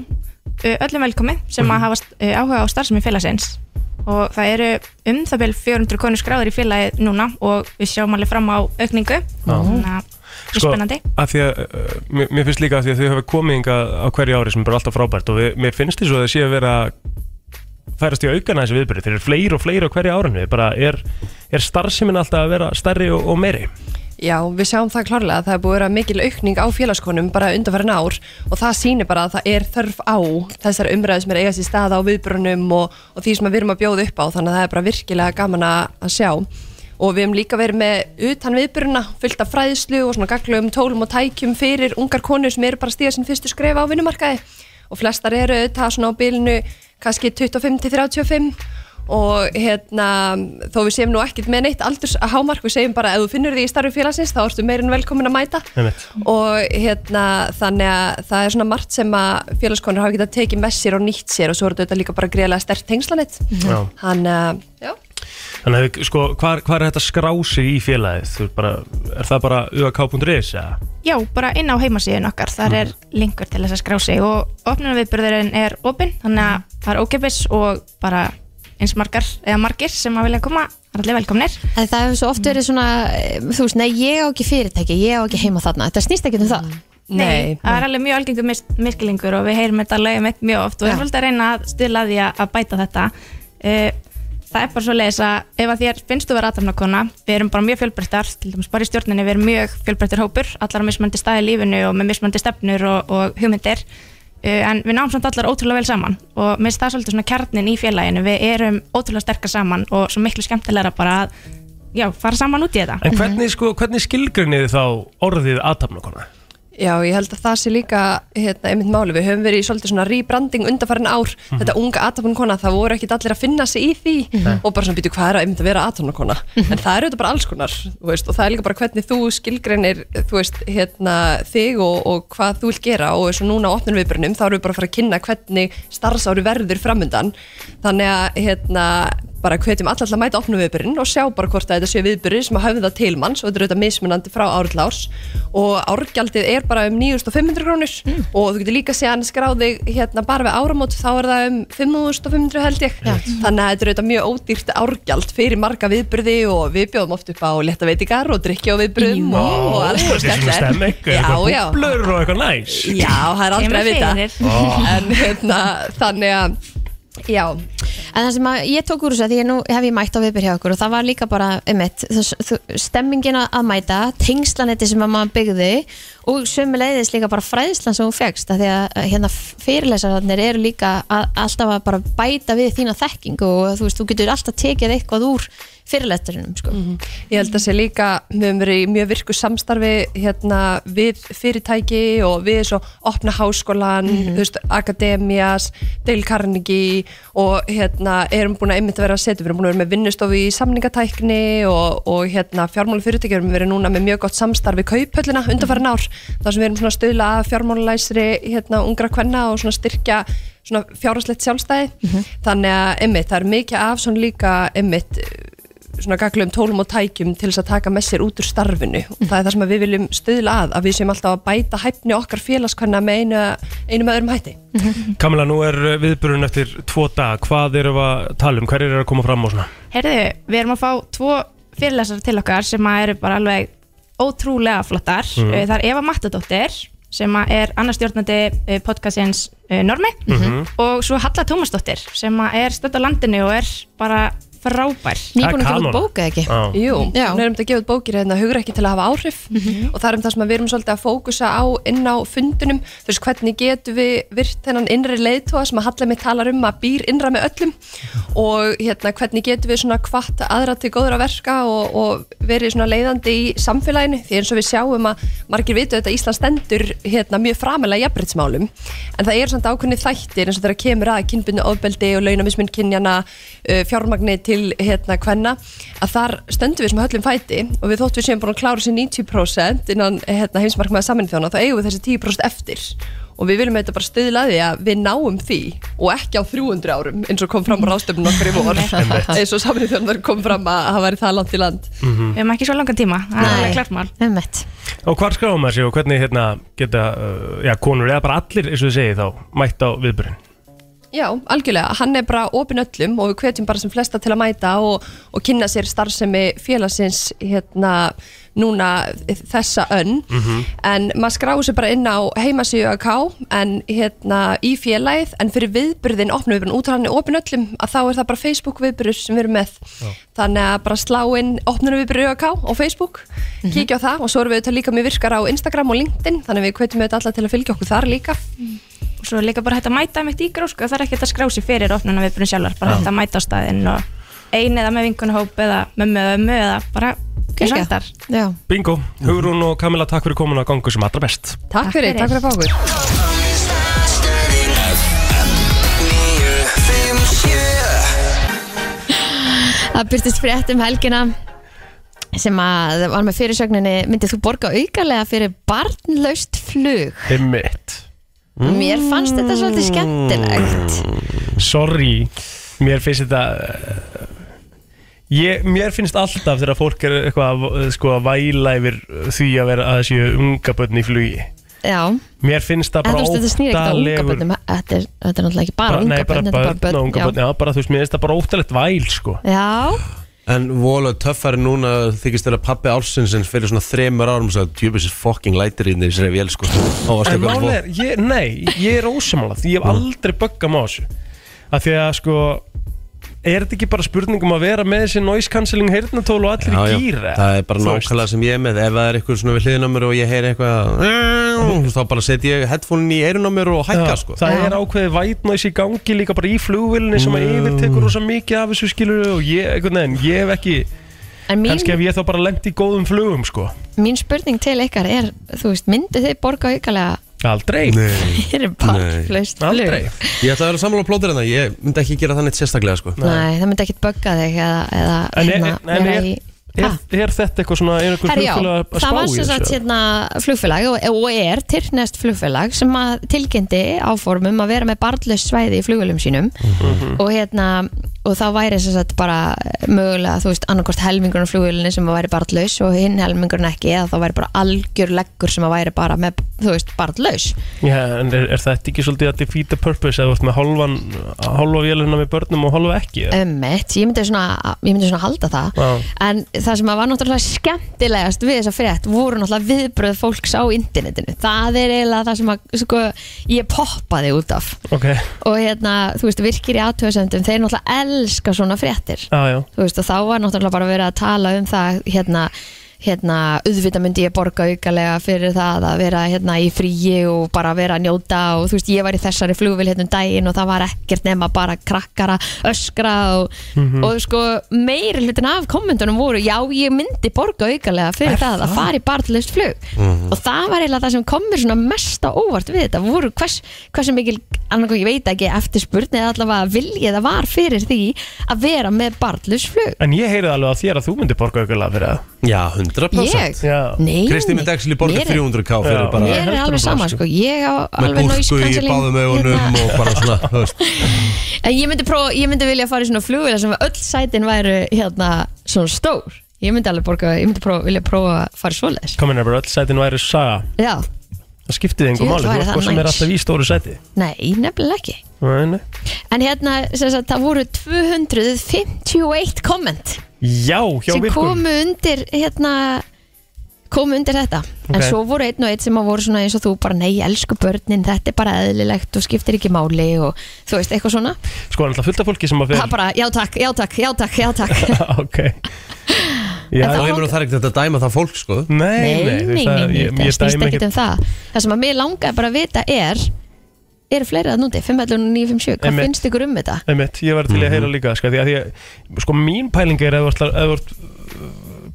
Speaker 11: ö, öllum velkomi sem
Speaker 2: Mhm.
Speaker 11: að hafa st- ö, áhuga á starfsemi félagsins og það eru um það bil 400 konur skráður í félagið núna og við sjáum alveg fram á aukningu þannig að það
Speaker 2: Sko,
Speaker 11: er spennandi
Speaker 4: af því að, uh, mér, mér finnst líka af því að þau hafa komið inga á hverju ári sem er bara alltaf frábært og við, mér finnst því svo að það sé að vera færast í aukana þessi viðbyrði þeir eru fleiri og fleiri á hverju árunni bara er, er starfsemin alltaf að vera stærri og, og meiri
Speaker 10: Já, við sjáum það klárlega að það er búið að vera mikil aukning á félagskonum bara undanfærin ár og það sýnir bara að það er þörf á þessar umræðu sem er að eiga sér stað á viðbrunum og, og því sem við erum að bjóða upp á þannig að það er bara virkilega gaman að að sjá og við hefum líka verið með utan viðbruna fullt af fræðslu og svona gaglugum tólum og tækjum fyrir ungar konur sem eru bara að stíða sinn fyrstu skref á vinnumarkaði og flestar eru auðvitað svona á bilinu kannski 25 til 35 og hérna þó við séum nú ekkert með neitt aldurs að hámark við segjum bara ef þú finnur því í starfi félagsins þá ertu meirinn velkomin að mæta
Speaker 4: Einmitt.
Speaker 10: og hérna þannig að það er svona margt sem að félagskonur hafa getað tekið með sér og nýtt sér og svo er þetta líka bara greiðlega stert tengslanett
Speaker 4: Já.
Speaker 10: þannig að já,
Speaker 4: þannig að við- sko, hvað, hvað er þetta skrási í félagið Þú ert bara, er það bara uak.is eða?
Speaker 12: Já, bara inn á heimasíðun okkar, þar er linkur til þess að skrá sig og opnunarviðburðurinn er opinn, þannig að það er ókeppis og bara eins margar eða margir sem að vilja koma, það er allir velkomnir.
Speaker 2: En það hefur svo oft verið svona, eh, þú veist, nei, ég á ekki fyrirtæki, ég á ekki heima þarna. Þetta snýst ekki um það.
Speaker 12: Nei, það er alveg mjög algengur mis miskilingur og við heyrum þetta lögum eitt mjög oft og við erum alltaf að reyna að stila því að að bæta þetta. Eh, Það er bara svo leiðis að ef að þér finnst þú vera aðtafnakona, við erum bara mjög fjölbreyttar, til dæmis bara í stjórninni, við erum mjög fjölbreyttar hópur, allar á mismöndi staði í lífinu og með mismöndi stefnur og, og hugmyndir, Eh, en við náum samt allar ótrúlega vel saman og mér finnst það svolítið svona kjarnin í félaginu, við erum ótrúlega sterkar saman og svo miklu skemmtilegra bara að, já, fara saman út í þetta.
Speaker 10: Mhm.
Speaker 4: en hvernig, sko, hvernig skilgrinni þið þá orðið aðtapnakona
Speaker 10: Já, ég held að það sé líka hérna, einmitt máli, við höfum verið í svolítið svona rebranding undanfærin ár, þetta unga aðtöfnukona það voru ekkit allir að finna sig í því
Speaker 13: Mhm.
Speaker 10: og bara svona býtu hvað er að einmitt að vera aðtöfnukona en það eru þetta bara alls konar þú veist, og það er líka bara hvernig þú skilgreinir þú veist, hérna, þig og, og hvað þú vil gera og eins og núna á opnum viðbjörnum þá erum við bara að fara að kynna hvernig starfsári verður framundan þannig að hérna, bara hvetjum alla til að mæta opnum viðbyrjun og sjá bara hvort að þetta séu viðbyrjur sem að höfða til manns og þetta er auðvitað mismunandi frá ár til árs og árgjaldið er bara um 9.500 krónur
Speaker 4: Mm.
Speaker 10: og þú getur líka séðan skráði hérna bara við áramót þá er það um 5.500 held ég þannig að þetta er auðvitað mjög ódýrt árgjald fyrir marga viðbyrði og við bjóðum oft upp á letta veitingar og drikki á viðbyrðum og, og alls konar
Speaker 4: Þetta er svona
Speaker 10: skemmtilegt.
Speaker 4: stemming,
Speaker 10: Já,
Speaker 4: eitthvað
Speaker 10: já.
Speaker 4: búblur og eitthvað næs
Speaker 10: Já, það er aldrei að
Speaker 2: Kemur
Speaker 10: vita
Speaker 2: fyrir. Ó.
Speaker 10: en hérna, þannig að Já.
Speaker 2: En það sem að ég tók úr þessu að því að nú hef ég mætt á viðbyr hjá okkur og það var líka bara, um eitt, stemmingin að að mæta, tengslanetti sem að maður byggði og sömuleiðis líka bara fræðslan sem hún fegst að því að eh, hérna fyrirlesararnir eru líka að, alltaf að bara bæta við þína þekkingu og þú veist, þú getur alltaf tekið eitthvað úr fyrirlesarinnum, sko.
Speaker 10: Mhm. Ég held að sé líka, við höfum verið í mjög virku samstarfi hérna, við fyrirtæki og við svo opna háskólan, þú veist, akademías, Dale Carnegie og hérna, erum búin að einmitt vera að setja, við erum búin að vera með vinnustofu í samningatækni og, og hérna, fjármála fyrirtæki erum verið núna með mjög gott samstarfi kauphöllina undanfærin ár, þar sem við erum svona að stuðla að fjármálalæsri hérna, ungra kvenna og svona styrkja svona fjárhastlegt sjálfstæði þannig að einmitt, það er mikið af svona líka einmitt svona gaglum tólum og tækjum til þess að taka með sér út úr starfinu og það er það sem að við viljum stuðla að að við séum alltaf að bæta hæfni okkar félagskvæmna með einu, einu með öðrum hætti
Speaker 4: Kamila, nú er viðbyrjun eftir tvo dag Hvað erum við að tala um? Hver er að koma fram og svona?
Speaker 12: Herðu, við erum að fá tvo fyrirlesar til okkar sem að eru bara alveg ótrúlega flottar.
Speaker 4: Mhm.
Speaker 12: Mm.
Speaker 11: Eh,
Speaker 12: Það er Eva Mattadóttir sem að er annarstjórnandi podcastins eh, Normi
Speaker 4: Mhm.
Speaker 12: og svo Halla Tómasdóttir sem að er stödd á landinu og er bara frábær.
Speaker 10: Nýbúin að gefa út bók eða ekki? Jú,
Speaker 2: Mm.
Speaker 12: Já.
Speaker 10: hún er um þetta að gefa út bókir hérna hugra ekki til að hafa áhrif og það er um það sem að við erum svolítið að fókusa á inn á fundunum, þú veist hvernig getum við virt þennan innri leiðtóa sem að Halla mig talar um að býr innra með öllum og hérna hvernig getum við svona hvart aðra til góðra verka og, og verið svona leiðandi í samfélaginu því eins og við sjáum að margir vitu þetta Ísland stendur hérna mjög framalega jafnbreytsmálum en það er samt ákveðni þættir eins og þegar kemur að kynbunni ofbeldi og launamismin kynjana uh, fjármagni til hérna hvenna að þar stöndum við sem höllum fæti og við þóttum við séum búin að klára sér 90% innan hérna, heimsmarkmaða saminni þjóna þá eigum við þessi 10% eftir og við viljum þetta bara stuðla að því að við náum því og ekki á 300 árum eins og kom fram á ráðstöfnum okkar í vor
Speaker 12: Einmitt.
Speaker 10: eins og saminni þjóna kom fram að það væri það land í land
Speaker 4: Mhm.
Speaker 12: Við erum ekki svo langan tíma, það er
Speaker 10: Nei.
Speaker 12: alveg klart mál.
Speaker 2: Emmett.
Speaker 4: Og hvar skráum maður sig eh, og hvernig hérna, geta uh, já, konur eða bara allir, eins og þið segið þá, mætt á viðbyrjun?
Speaker 10: Já, algjörlega, hann er bara opinn öllum og við hvetjum bara sem flesta til að mæta og, og kynna sér starfsemi félagsins hérna núna þessa önn
Speaker 5: Mhm.
Speaker 10: en maður skráður sér bara inn á heimasíu AK en hérna í félagið en fyrir viðbyrðin, opnum viðbyrðin út af hann er opinn öllum að þá er það bara Facebook viðbyrður sem við erum með þannig að bara slá inn opnum viðbyrður AK á Facebook kíkja á það og svo erum við auðvitað líka með virkar á Instagram og LinkedIn þannig að við hvetjum auðvitað alla til að fylgja okkur þar líka
Speaker 11: og svo er líka bara hægt að mæta mitt í grósku það er ekkert að skrá sig fyrir opnuna viðbunum sjálfar bara
Speaker 10: Já.
Speaker 11: hægt að mæta á staðinn og ein eða með vinkunahóp eða mömmu eða ömmu eða bara
Speaker 2: Geggjað.
Speaker 11: kjöndar
Speaker 2: Já.
Speaker 4: Bingo, Hugrún og Kamila, takk fyrir komuna að gangu sem allra best
Speaker 10: Takk, fyrir,
Speaker 11: fyrir.
Speaker 10: takk fyrir að fá okkur
Speaker 2: Það byrtist frétt um helgina sem að var með fyrirsögninni myndið þú borga aukalega fyrir barnlaust flug
Speaker 4: Einmitt
Speaker 2: Mm. Mér fannst þetta svolítið skemmtilegt.
Speaker 4: Mm. Sorry, mér finnst þetta eh, ég, Mér finnst alltaf þegar fólk er eitthvað að- sko, að væla yfir eh, því að vera að þessi unga börn í flugi
Speaker 2: Já, en
Speaker 4: Mér finnst
Speaker 2: þú
Speaker 4: það bara
Speaker 2: veist þetta snýr ekkert á unga
Speaker 4: óttalegur-
Speaker 2: börnum þetta er, þetta er náttúrulega ekki bara,
Speaker 4: bara,
Speaker 2: unga
Speaker 4: nei, bara
Speaker 2: börn, þetta er
Speaker 4: börn,
Speaker 2: bara
Speaker 4: og unga
Speaker 2: já.
Speaker 4: börn Já, bara þú veist, mér finnst það bara óttalegt væl sko
Speaker 2: Já,
Speaker 3: En vola töffari núna þykist þér að pappi álsinsins fyrir svona þremur árum svo að djúbis er fucking lætir í þessari vél sko Ó, varstu
Speaker 4: En
Speaker 3: eitthvað að
Speaker 4: málið
Speaker 3: fá-
Speaker 4: er, ég, nei, ég er ósamála Því
Speaker 3: Mm.
Speaker 4: ég hef aldrei böggað með þessu Af því að sko Er þetta ekki bara spurning um að vera með þessi noise cancelling heyrnatól og allir
Speaker 3: Já, já,
Speaker 4: í gýra
Speaker 3: Það er bara nákvæmlega sem ég er með Ef það er eitthvað svona við hliðin á mér og ég heyri eitthvað Þá bara setja ég headphone-in í eyrun á mér og hækka sko
Speaker 4: Mm. Það er ákveðið white noise í gangi líka bara í flugvillinni sem að
Speaker 3: Mm.
Speaker 4: yfirtekur rosa mikið af þessu skilur og ég, einhvern veginn, ég hef ekki
Speaker 2: En mín-
Speaker 4: kannski hef ég þá bara lent í góðum flugum sko
Speaker 2: mín spurning til ykkar er þú veist, myndið þið borga aukalega
Speaker 4: Aldrei
Speaker 3: Nei
Speaker 2: fyrir barnlaust flug
Speaker 3: Aldrei Ég ætla að vera sammála plótur en það Ég myndi ekki gera það neitt sérstaklega sko
Speaker 2: Nei, það myndi ekkert bögga þig eða, eða
Speaker 3: En er-
Speaker 2: hérna,
Speaker 3: en
Speaker 2: vera
Speaker 3: er-
Speaker 2: í-
Speaker 4: Er, er þetta eitthvað svona, er eitthvað
Speaker 2: Herri, já,
Speaker 4: flugfélag að spá
Speaker 2: það var
Speaker 4: í
Speaker 2: sem sagt
Speaker 4: þessu?
Speaker 2: hérna flugfélag og, og er Tyrknest flugfélag sem að tilkynnti áformum að vera með barnlaust svæði í flugvélum sínum
Speaker 5: Mhm.
Speaker 2: og hérna og þá væri sem sagt bara mögulega þú veist annarkost helmingurinn á flugvélunni sem að væri barnlaus og hinn helmingurinn ekki eða þá væri bara algjör leggur sem að væri bara með þú veist barnlaus
Speaker 4: Já, en er, er þetta ekki svolítið að defeat the purpose eða þú ert með hálfan, hálfa vélina með börnum og hálfa ekki? eða?
Speaker 2: Ömmett, ég myndi svona, ég myndi svona halda það
Speaker 4: Já.
Speaker 2: En það sem að var náttúrulega skemmtilegast við þessa frétt voru náttúrulega viðbröð fólks á internetinu. Það er eiginlega það sem að, sko, ég poppaði út af.
Speaker 4: Ok,
Speaker 2: Og hérna, þú veist, virkir í aðtöðsendum, þeir náttúrulega elska svona fréttir.
Speaker 4: já, já.
Speaker 2: Þú veist, og þá var náttúrulega bara verið að tala um það, hérna, hérna, auðvitað myndi ég borga aukalega fyrir það að vera hérna í fríi og bara vera að njóta og þú veist, ég var í þessari flugvil hérna um daginn og það var ekkert nema bara krakkara öskra og,
Speaker 5: Mhm.
Speaker 2: og sko meiri hlutin af kommentunum voru já, ég myndi borga aukalega fyrir það, að fara í barnlist flug og það var eiginlega það sem komur svona mest á óvart við þetta, voru hvers, hversu mikil annarkoð, ég veit ekki, eftirspurn eða allavega viljið það var fyrir því að vera með barnlist flug
Speaker 4: En ég heyrið alveg að þér að þú myndir borga aukulega fyrir það
Speaker 3: Já, 100%
Speaker 2: Ég? Nei,
Speaker 3: Kristín
Speaker 2: nei.
Speaker 3: myndi actually borga
Speaker 2: Mér er-
Speaker 3: 300k fyrir bara
Speaker 2: Mér er alveg sama, sko, ég á
Speaker 3: Með
Speaker 2: alveg noise
Speaker 3: búrku í
Speaker 2: cancelling
Speaker 3: báðum augunum
Speaker 2: hérna.
Speaker 3: og bara svona þú veist.
Speaker 2: En ég myndi, prófa, ég myndi vilja fara í svona flugvila sem öll sætin væru hérna svona stór Ég myndi alveg borga, ég myndi prófa, vilja prófa að fara í svoleiðis
Speaker 4: Komin er bara öll sætin væri saga
Speaker 2: Já,
Speaker 4: Það skiptið
Speaker 2: Jú,
Speaker 4: einhver
Speaker 2: væri
Speaker 4: máli, þú ert
Speaker 2: það
Speaker 4: hvað sem
Speaker 2: næs.
Speaker 4: er alltaf í stóru sæti
Speaker 2: nei, nefnilega ekki
Speaker 4: Nei, nei.
Speaker 2: En hérna, sem sagt, það voru 251 komment
Speaker 4: Já, hjá
Speaker 2: sem
Speaker 4: virkum
Speaker 2: komu undir hérna komu undir þetta en
Speaker 4: Ok.
Speaker 2: svo voru einn og einn sem að voru svona eins og þú bara nei, ég elsku börnin, þetta er bara eðlilegt og skiptir ekki máli og þú veist, eitthvað svona
Speaker 4: Sko, alltaf fullt af fólki sem að
Speaker 2: það
Speaker 4: fyrir
Speaker 2: bara, já takk, já takk, já takk, já takk
Speaker 4: Ok
Speaker 3: Já,
Speaker 4: Já,
Speaker 3: og ég meina það er ekkert að dæma það fólk sko
Speaker 4: Nei,
Speaker 2: nei, nei, nei, nei,
Speaker 4: ég-
Speaker 2: það
Speaker 4: ég
Speaker 2: snýst
Speaker 4: dæmi
Speaker 2: ekkert
Speaker 4: ekkert-
Speaker 2: um það það sem að mér langaði bara að vita er eru fleiri að núti, 5.957 hvað
Speaker 4: Einmitt.
Speaker 2: finnst ykkur um þetta?
Speaker 4: Einmitt, ég var til í að heyra líka sko, því að því að, sko mín pæling er ef þú ætlar- ef þú ert uh,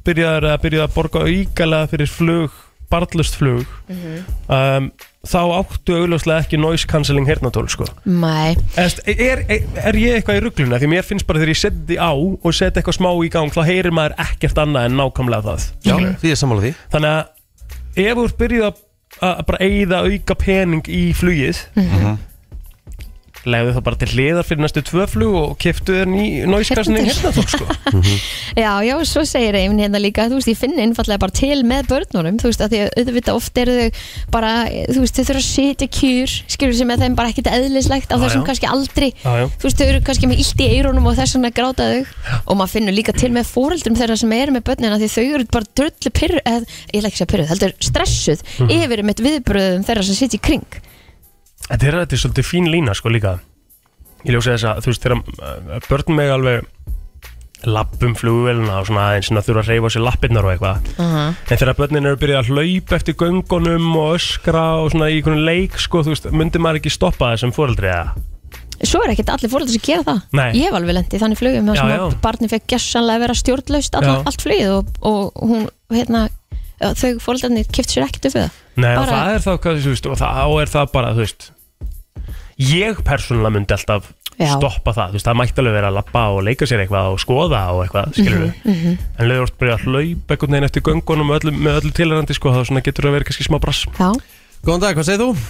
Speaker 4: byrjaðar að byrjaðar að borga aukalega fyrir flug barnlust flug
Speaker 2: Mhm.
Speaker 4: um, þá áttu augljóslega ekki noise cancelling hernatól sko
Speaker 2: Mæ,
Speaker 4: Eðst, er, er, er ég eitthvað í ruggluna því mér finnst bara þegar ég seti á og seti eitthvað smá í gang þá heyrir maður ekkert annað en nákvæmlega það
Speaker 3: Já, því er sammála því
Speaker 4: þannig að ef þú ert byrjuð að að bara eigða auka pening í flugið
Speaker 3: Mhm.
Speaker 4: legðu þá bara til hliðar fyrir næstu tvö flug og keftu þér ný nóiskassinni hérna þá sko
Speaker 2: Já, já, svo segir Eifin hérna líka þú veist, ég finn einfallega bara til með börnunum þú veist, að því að auðvitað oft eru þau bara, þú veist, þau þurfa að sitja kjur skilur sem er þeim bara ekkit eðlislegt á
Speaker 4: Já,
Speaker 2: þessum
Speaker 4: já.
Speaker 2: kannski aldri
Speaker 4: Já, já.
Speaker 2: þú veist, þau eru kannski með illt í eyrunum og þess vegna gráta þau og maður finnur líka til með fóreldrum þeirra sem eru með börnina því þau eru bara drullu pyrru eð, ég ætla ekki að segja pyrru, heldur stressuð
Speaker 4: Mhm.
Speaker 2: yfir með viðbröðum þeirra sem sitja í kring
Speaker 4: Þetta er, þetta er svolítið fín lína sko líka Ég ljósi þess að þú veist þegar uh, börn með alveg lappum flugvelina og svona aðeins svona þurfa að reyfa sér lappirnar og eitthvað
Speaker 5: Mhm.
Speaker 4: En þegar börnin eru byrjað að hlaupa eftir göngunum og öskra og svona í einhvern leik sko þú veist, myndi maður ekki stoppa þessum fóreldri eða?
Speaker 2: Svo er ekkert allir fóreldrar sem gera það
Speaker 4: Nei.
Speaker 2: Ég hef alveg lendið þannig flugum
Speaker 4: Já,
Speaker 2: þar sem að
Speaker 4: já.
Speaker 2: barni fekk gessanlega að vera stjórnlaust
Speaker 4: Já.
Speaker 2: allan, allt flugið og, og hún, hérna, þau fóreldrarnir kipt sér ekkert upp við það
Speaker 4: Nei, og
Speaker 2: Bara-
Speaker 4: það er þá, hvað, þú veist, og þá er það bara, þú veist Ég persónulega myndi alltaf
Speaker 2: Já.
Speaker 4: stoppa það, þú veist, það mætti alveg vera að labba og leika sér eitthvað og skoða og eitthvað, skilur við
Speaker 5: mhm.
Speaker 4: En leiður orðið að hlaupa einhvern veginn eftir göngunum með öllu, með öllu tilhærandi, sko, þá svona getur það verið kannski smá brass
Speaker 2: Já
Speaker 3: Góðan dag, hvað segir þú?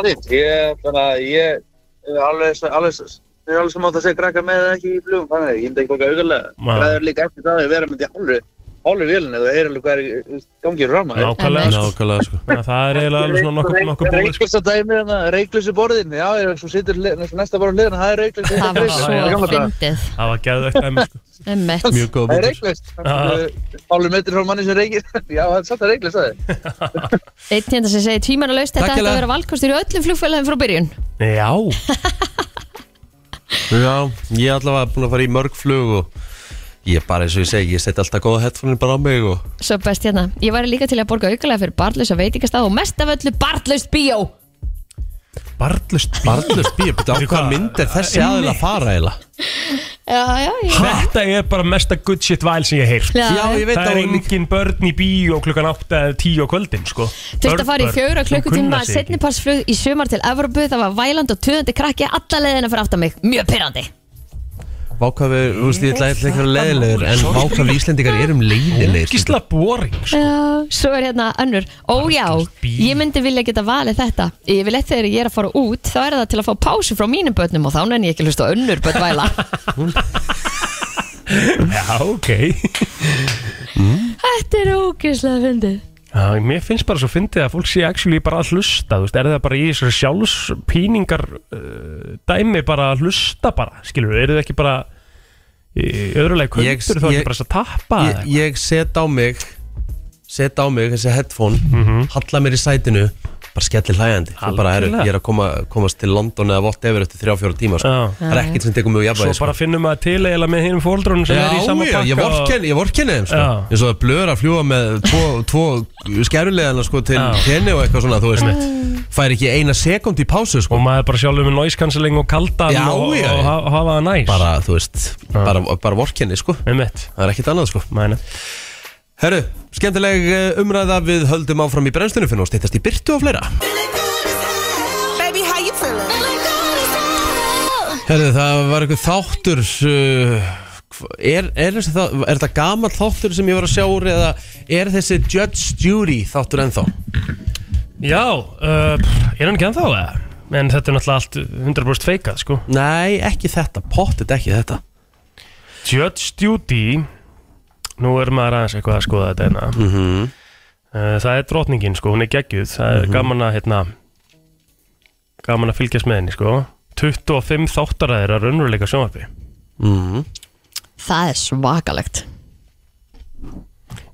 Speaker 14: Allir, ég, þannig að ég, er alveg, alveg, ég er alveg sem átt að segja krakkar með eða ekki í flugum, þannig að ég myndi ekki okkar auðvitað.
Speaker 4: Já.
Speaker 14: Það er líka eftir það að vera með því hálfri, hálfri vélinu, það er alveg hvað er í- gangi rama.
Speaker 4: Nákvæmlega, sko.
Speaker 3: Nákvæmlega, sko
Speaker 4: Þannig að það er eiginlega alveg svona nokkuð nokkuð búið, sko
Speaker 14: Reykjösa dæmi hérna, reyklusu borðin, já, ég svo situr le- næst- næsta borðin liðan, það er reyklusu.
Speaker 2: Það var svo fyndið.
Speaker 4: Það var geðveikt dæmi, sko
Speaker 2: Einmitt.
Speaker 4: Mjög góð
Speaker 14: Það er
Speaker 4: punktur.
Speaker 14: reiklust.
Speaker 4: Já.
Speaker 14: Hálfur metri frá manni sem reykir. Já, það er satt að reiklust, það er.
Speaker 2: Eitt hérna sem segir tvímanna laust
Speaker 14: Takk
Speaker 2: Þetta ætti
Speaker 14: hérlega.
Speaker 2: að vera valkostur í öllum flugfélagum frá byrjun
Speaker 4: Já
Speaker 3: Já, ég er allavega búin að fara í mörg flug og ég bara eins og ég segi, ég seti alltaf góða headphone bara á mig og
Speaker 2: Svo best hérna Ég var líka til að borga aukulega fyrir barnlausa veitingastað og mest af öllu barnlaust bíó
Speaker 4: Barnlust
Speaker 3: Barnlust bíó, betur á hvað mynd er þessi
Speaker 4: Einmitt.
Speaker 3: aðeins að fara eiginlega?
Speaker 2: Já, já, já
Speaker 4: Þetta er bara mesta good shit væl sem ég heyr
Speaker 2: Já. Já, ég veit
Speaker 4: Það
Speaker 2: það
Speaker 4: er
Speaker 2: og-
Speaker 4: engin börn í bíó klukkan 8 eða 10 á kvöldin sko.
Speaker 2: Þurfti að fara í
Speaker 4: Börn-
Speaker 2: fjögra
Speaker 4: börn sem
Speaker 2: klukkutíma
Speaker 4: kunna sig ekki.
Speaker 2: setniparsflug í sumar til Evropu Það var væland og töðandi krakki alla leiðina fyrir aftan mig Mjög pyrrandi
Speaker 3: Vákvað við, þú veist, ég ætla ekki að vera leiðilegur en vákvað við Íslendingar um erum leiðilegir
Speaker 4: Ógisla boring sko.
Speaker 2: Já, svo er hérna önnur Ó já, ég myndi vilja geta valið þetta Yfirleitt þegar ég er að fara út þá er það til að fá pásu frá mínum börnum og þá nenni ég ekki að hlusta á önnur börn væla
Speaker 4: Já, ok
Speaker 2: Þetta er ógeðslega fyndið
Speaker 4: Já, mér finnst bara svo fyndið að fólk sé actually bara að hlusta, þú veist, er það bara í þessari sjálfspíningar uh, dæmi bara að hlusta bara, skilur við, eru þið ekki bara í öðrulega
Speaker 3: Ég-
Speaker 4: kundur, þá er
Speaker 3: ég-
Speaker 4: ekki bara að tappa
Speaker 3: ég, ég set á mig set á mig þessi headphone halla mér í sætinu bara skellir hlægandi Svo bara, heru,
Speaker 4: Mhm. Algjörlega.
Speaker 3: ég er að koma, komast til London eða vott efir eftir 3-4 tíma sko.
Speaker 4: Já.
Speaker 3: það er ekkert sem tekur mjög
Speaker 4: Svo
Speaker 3: jafnvægi sko.
Speaker 4: bara finnum við að til eiginlega með hinum fóldrunum sem er í
Speaker 3: Já,
Speaker 4: sama
Speaker 3: já,
Speaker 4: pakka
Speaker 3: ég vorkenni, ég vorkenni þeim sko.
Speaker 4: Já.
Speaker 3: eins og það blöður að fljúa með tvo, tvo skærulegana sko, til tenni og eitthvað svona þú veist, fær ekki eina sekund í pásu sko.
Speaker 4: og maður bara sjálfur með noise cancelling og kaldan
Speaker 3: Já,
Speaker 4: og,
Speaker 3: já,
Speaker 4: og
Speaker 3: já.
Speaker 4: ha- hafa það næs
Speaker 3: bara, þú veist, bara, bara vorkenni sko. það er ekkert annað sko. Herru, skemmtileg eh, umræða við höldum áfram í brennslunum fyrir og stýttast í byrtu og fleira
Speaker 5: Baby, how you feeling?
Speaker 2: Oh
Speaker 3: Herðu, það var einhver þáttur uh, hva- er, er, þessi þá, er þetta gamall þáttur sem ég var að sjá úr eða er þessi Judge Jury þáttur ennþá?
Speaker 4: Já, uh, pff, er hann ekki ennþá eða? En þetta er náttúrulega allt 100% feikað sko
Speaker 3: Nei, ekki þetta, pottet ekki þetta
Speaker 4: Judge Judy Nú er maður aðeins eitthvað að skoða þetta hérna -hmm. uh, Það er drotningin sko, hún er geggjuð Það er
Speaker 3: Mhm.
Speaker 4: gaman að hérna Gaman að fylgjast með henni sko 25 þáttaræðir að raunveruleika sjónvarpi
Speaker 3: mm.
Speaker 2: Það er svakalegt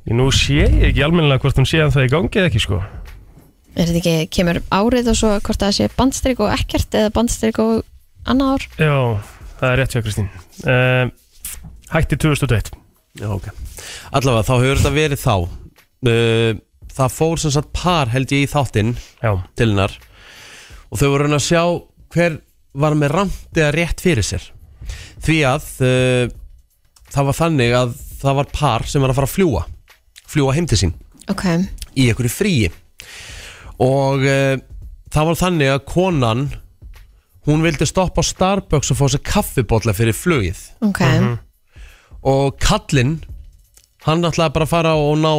Speaker 4: Ég nú sé ég ekki almennilega hvort hún sé að það í gangi eða ekki sko
Speaker 2: Er þetta ekki, kemur árið og svo hvort það sé bandstrik og ekkert eða bandstrik og annað ár
Speaker 4: Já, það er rétt hjá Kristín uh, Hætti 2001
Speaker 3: Já, ok Allavega, þá hefur þetta verið þá uh, Það fór sem sagt par held ég í þáttinn
Speaker 4: Já.
Speaker 3: til hennar og þau voru að reyna að sjá hver var með ramt eða rétt fyrir sér því að uh, það var þannig að það var par sem var að fara að fljúa fljúa heim til sín
Speaker 2: Ok,
Speaker 3: í einhverju fríi og uh, það var þannig að konan hún vildi stoppa á Starbucks og fá sér kaffibólla fyrir flugið Mhm.
Speaker 2: ok
Speaker 3: og kallinn hann ætlaði bara að fara og ná,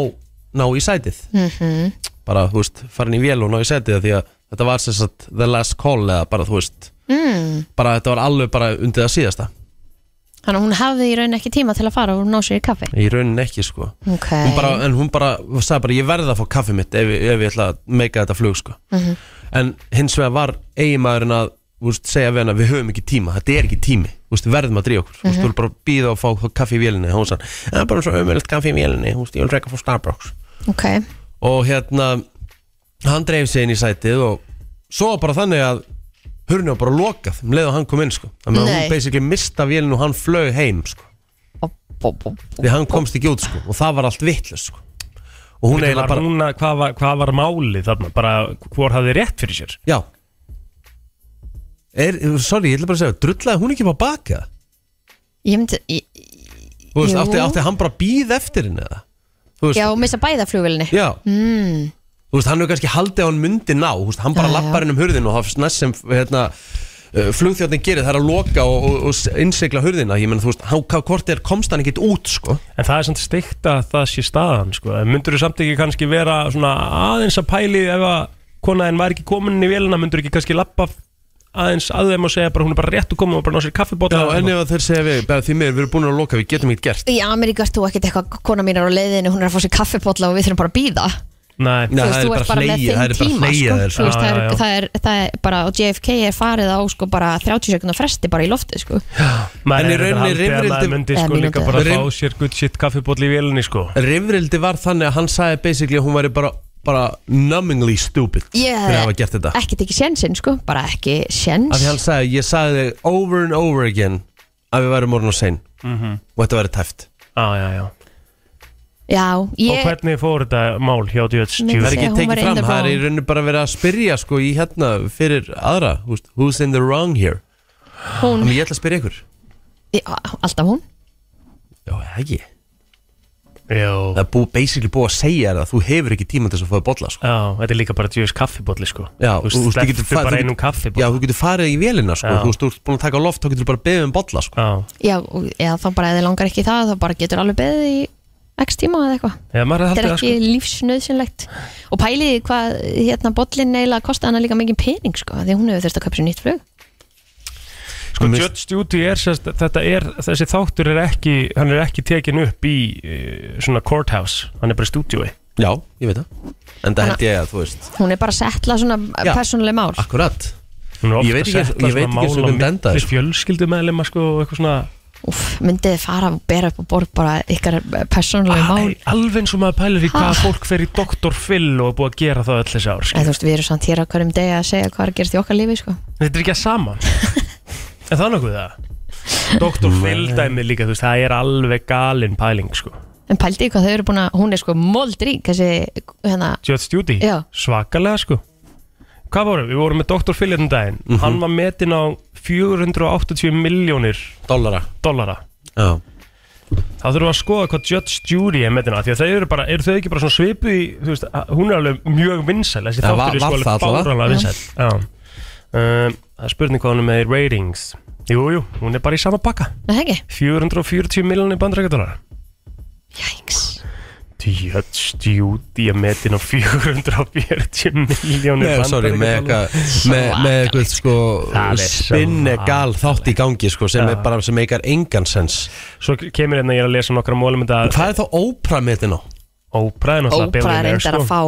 Speaker 3: ná í sætið
Speaker 2: Mhm.
Speaker 3: bara, þú veist, farin í vél og ná í sætið af því að Þetta var sem sagt the last call eða bara þú veist
Speaker 2: mm.
Speaker 3: bara þetta var alveg bara undir það síðasta
Speaker 2: Þannig að hún hafði í raun ekki tíma til að fara og hún ná sér í kaffi
Speaker 3: í rauninni ekki sko
Speaker 2: Ok
Speaker 3: hún bara, en hún bara, hún sagði bara ég verði að fá kaffi mitt ef, ég- ef ég ætla að meika þetta flug sko
Speaker 2: Mhm.
Speaker 3: en hins vegar var eiginmaðurinn að úst, segja við hana við höfum ekki tíma, þetta er ekki tími úst, við verðum að dríja okkur, mm
Speaker 2: Mhm.
Speaker 3: -hmm. þú vil bara býða og fá kaffi í vélinni hún sagði, það er bara svo ömulegt kaffi í vélinni úst, ég vil reyka frá Starbucks
Speaker 2: Ok
Speaker 3: og hérna hann dreif sig inn í sætið og svo var bara þannig að hurni var bara lokað um leið og hann kom inn sko þannig að
Speaker 2: Nei.
Speaker 3: hún basically mista vélinn og hann flög heim sko því hann komst ekki út sko og það var allt vittlust sko og hún
Speaker 4: Bíddu,
Speaker 3: eiginlega
Speaker 4: var
Speaker 3: bara
Speaker 4: hún að- hvað, var, hvað var málið þarna? Bara hvor hafði rétt fyrir sér?
Speaker 3: Já er, sorry, ég ætla bara að segja, drullaði hún ekki bara baka
Speaker 2: Ég myndi ég,
Speaker 3: þú veist,
Speaker 2: Jú.
Speaker 3: átti, átti hann bara býð eftir henni eða þú veist,
Speaker 2: Já, missa bæða flugvélni
Speaker 3: já,
Speaker 2: mm.
Speaker 3: þú veist, hann hefur kannski haldið að hann myndi ná, þú veist, hann bara
Speaker 2: Já,
Speaker 3: lappar inn um hurðin og það er næst sem, hérna uh, flugþjóttin gerir, það er að loka og, og, og innsigla hurðina, ég menn, þú veist, hann, hvað- hvort er komst hann ekkit út, sko
Speaker 4: En það er samt steikt að það sé staðan sko. Myndur þú samt ekki kannski vera svona aðeins að pæli ef að konaðin var ekki komin í vélina Myndur ekki kannski lappa aðeins að þeim og segja bara hún er bara rétt að koma og bara ná sér kaffibóta
Speaker 3: Já, en ef að þeir segja við, eh, bara því mér, við erum búin að loka, við getum ekkit gert
Speaker 2: Í Ameríku ert þú ekkert eitthvað Kona mín er á leiðinu, hún er að fá sér kaffipotla og við þurfum bara að býða
Speaker 4: Nei,
Speaker 2: Þú veist, þú ert bara með
Speaker 3: það er
Speaker 2: þeim
Speaker 3: bara
Speaker 2: tíma
Speaker 3: hleyja
Speaker 2: sko.
Speaker 3: þér,
Speaker 2: Þú veist,
Speaker 3: sko.
Speaker 2: það
Speaker 3: Já,
Speaker 2: er-
Speaker 3: já, já.
Speaker 2: það er- það er bara og JFK er farið á sko bara 30 sekundar fresti bara í lofti sko
Speaker 3: En
Speaker 4: hefði
Speaker 3: í rauninni
Speaker 4: haldið að maður
Speaker 3: rifrildi-
Speaker 4: myndi
Speaker 2: Eða
Speaker 4: sko líka
Speaker 2: mínútu
Speaker 4: bara
Speaker 2: eða-
Speaker 4: fá sér good shit kaffibótli í vélinni sko
Speaker 3: Rifrildi var þannig að hann sagði basically að hún væri bara, bara numbingly stupid
Speaker 2: Ég
Speaker 3: fyrir að hafa gert
Speaker 2: hefði
Speaker 3: þetta
Speaker 2: ekkert ekki sjensinn sko bara ekki
Speaker 3: Af
Speaker 2: sjens
Speaker 3: því hann sagði, ég sagði þig over and over again að við værum orðin á sein
Speaker 4: Mhm.
Speaker 3: og þetta væri tæft
Speaker 4: Já, já, já
Speaker 2: Já,
Speaker 4: Og
Speaker 2: ég
Speaker 4: hvernig fór þetta mál hjá Djöts
Speaker 2: Myndi
Speaker 3: Það er ekki
Speaker 2: Hún var
Speaker 3: tekið
Speaker 2: in
Speaker 3: fram,
Speaker 2: the
Speaker 3: það er í
Speaker 2: wrong.
Speaker 3: rauninu bara verið að spyrja sko í hérna fyrir aðra þú veist, Who's in the wrong here?
Speaker 2: Hún.
Speaker 3: Þannig ég ætla að spyrja ykkur
Speaker 2: Já, Alltaf hún
Speaker 3: Já, er það ekki
Speaker 4: Já
Speaker 3: Það er bú, basically búið að segja þér að þú hefur ekki tíma til þess að fóða bolla sko
Speaker 4: Já, þetta er líka bara Djöts kaffibótli sko
Speaker 3: Já,
Speaker 4: Þú veist,
Speaker 3: þú getur
Speaker 4: slepptu
Speaker 3: fa-
Speaker 4: bara
Speaker 3: þú
Speaker 4: einum
Speaker 3: getur-
Speaker 4: kaffibótli
Speaker 3: Já, þú getur farið í vélina sko
Speaker 4: Já.
Speaker 3: Þú veist, þú ert búin að taka loft, þá getur þú bara beðið um bolla sko
Speaker 4: Já,
Speaker 2: Já, og- eða þá bara eða langar ekki í það þá bara getur alveg beðið í x tíma eða eitthvað
Speaker 4: já maður hefði
Speaker 2: Þetta er
Speaker 4: haldið það
Speaker 2: ekki
Speaker 4: sko
Speaker 2: lífsnauðsynlegt og pæliði hvað hérna bollin neila kosti hana líka mikið pening sko af því að hún hefur þurft að kaupa sér nýtt flug
Speaker 4: Sko, Judge Judy er, sérst, þetta er, þessi þáttur er ekki, hann er ekki tekin upp í uh, svona courthouse, hann er bara í stúdíói.
Speaker 3: Já, ég veit það En það held ég að, þú veist
Speaker 2: hún er bara að setla svona
Speaker 3: Já.
Speaker 2: persónuleg mál
Speaker 4: Ah.
Speaker 3: Akkurat
Speaker 4: Hún er
Speaker 3: Ég veit ekki- ég veit ekki sem um denda,
Speaker 4: Fyrir
Speaker 3: sko.
Speaker 4: fjölskyldu meðlema, sko, og eitthvað svona,
Speaker 2: Úff, myndið þið fara og bera upp og borg bara ykkar persónuleg
Speaker 4: Ah,
Speaker 2: mál
Speaker 4: nei, alveg eins og maður pælir í hvað fólk fer í Dr. Phil og er búið að gera það öll þessi ár,
Speaker 2: En
Speaker 4: sko.
Speaker 2: þú veist, við erum samt hér á hverjum degi að segja hvað er að gerast í okkar lífi, sko.
Speaker 4: Þetta er ekki að sama. en það er nokkuð það. Dr. Phil dæmið líka, þú veist, það er alveg galin pæling, sko.
Speaker 2: En pældi í hvað þau eru búin að, hún er sko moldrík, þessi, hérna,
Speaker 4: Judge Judy,
Speaker 2: Já.
Speaker 4: svakalega, sko. Hvað vorum? við? Við vorum með Dr. Phil hérna um daginn. Hann var metinn á 480 miljónir
Speaker 3: Dollara
Speaker 4: dollara.
Speaker 3: Já
Speaker 4: þá þurfum við að skoða hvað Judge Judy er með hérna því að þau eru bara, eru þau ekki bara svona svipu í þú veist, að- hún er alveg mjög vinsæl þessi
Speaker 3: Það var-
Speaker 4: þáttur er
Speaker 3: var
Speaker 4: sko alveg
Speaker 3: það allavega.
Speaker 4: báranlega vinsæl Já. um, það er spurning hvað hún er með í ratings jújú, jú, hún er bara í sama bakka
Speaker 2: neða ekki?
Speaker 4: 440 miljonir bandrækjadólar Judge Judy er með hérna 440 miljonir
Speaker 3: Nei, sorry, með eitthvað með, með eitthvað sko
Speaker 4: Það er
Speaker 3: spinnegal þátt í gangi sko sem er bara sem eikar engan sens
Speaker 4: Svo kemur hérna, ég er að lesa nokkra mólum Hvað
Speaker 3: er þá Oprah með þetta?
Speaker 4: Oprah er náttúrulega
Speaker 2: Ópra
Speaker 4: billionaire, sko.
Speaker 2: reyndar að fá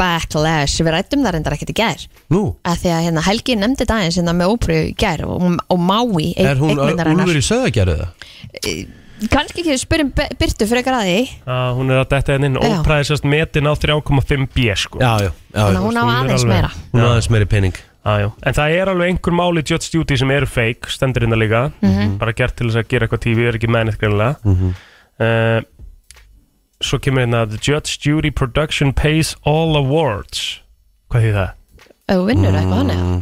Speaker 2: backlash, við rættum það reyndar ekkert í gær.
Speaker 3: Nú?
Speaker 2: Að því að hérna, Helgi nefndi daginn sinna með ópru í gær og, og Mái,
Speaker 3: Er hún Úlfur í söðagerðu það?
Speaker 2: Kanski ekki spyrjum Be- Birtu frekar að því,
Speaker 4: Já, hún er að detta henni inn
Speaker 2: Já.
Speaker 4: Ópræði sérst metin á 3,5 B sko.
Speaker 3: Já, já, já
Speaker 2: Þannig að hún á aðeins meira.
Speaker 3: Hún aðeins meiri pening
Speaker 4: já, já. En það er alveg einhver máli Judge Judy sem eru fake, stendur hérna líka
Speaker 2: Mhm.
Speaker 4: Bara gert til þess að gera eitthvað TV, er ekki mennið greinlega
Speaker 3: Mhm.
Speaker 4: uh, Svo kemur hérna The Judge Judy Production Pays All Awards Hvað þýð það?
Speaker 2: ef þú vinnur eitthvað hann eða,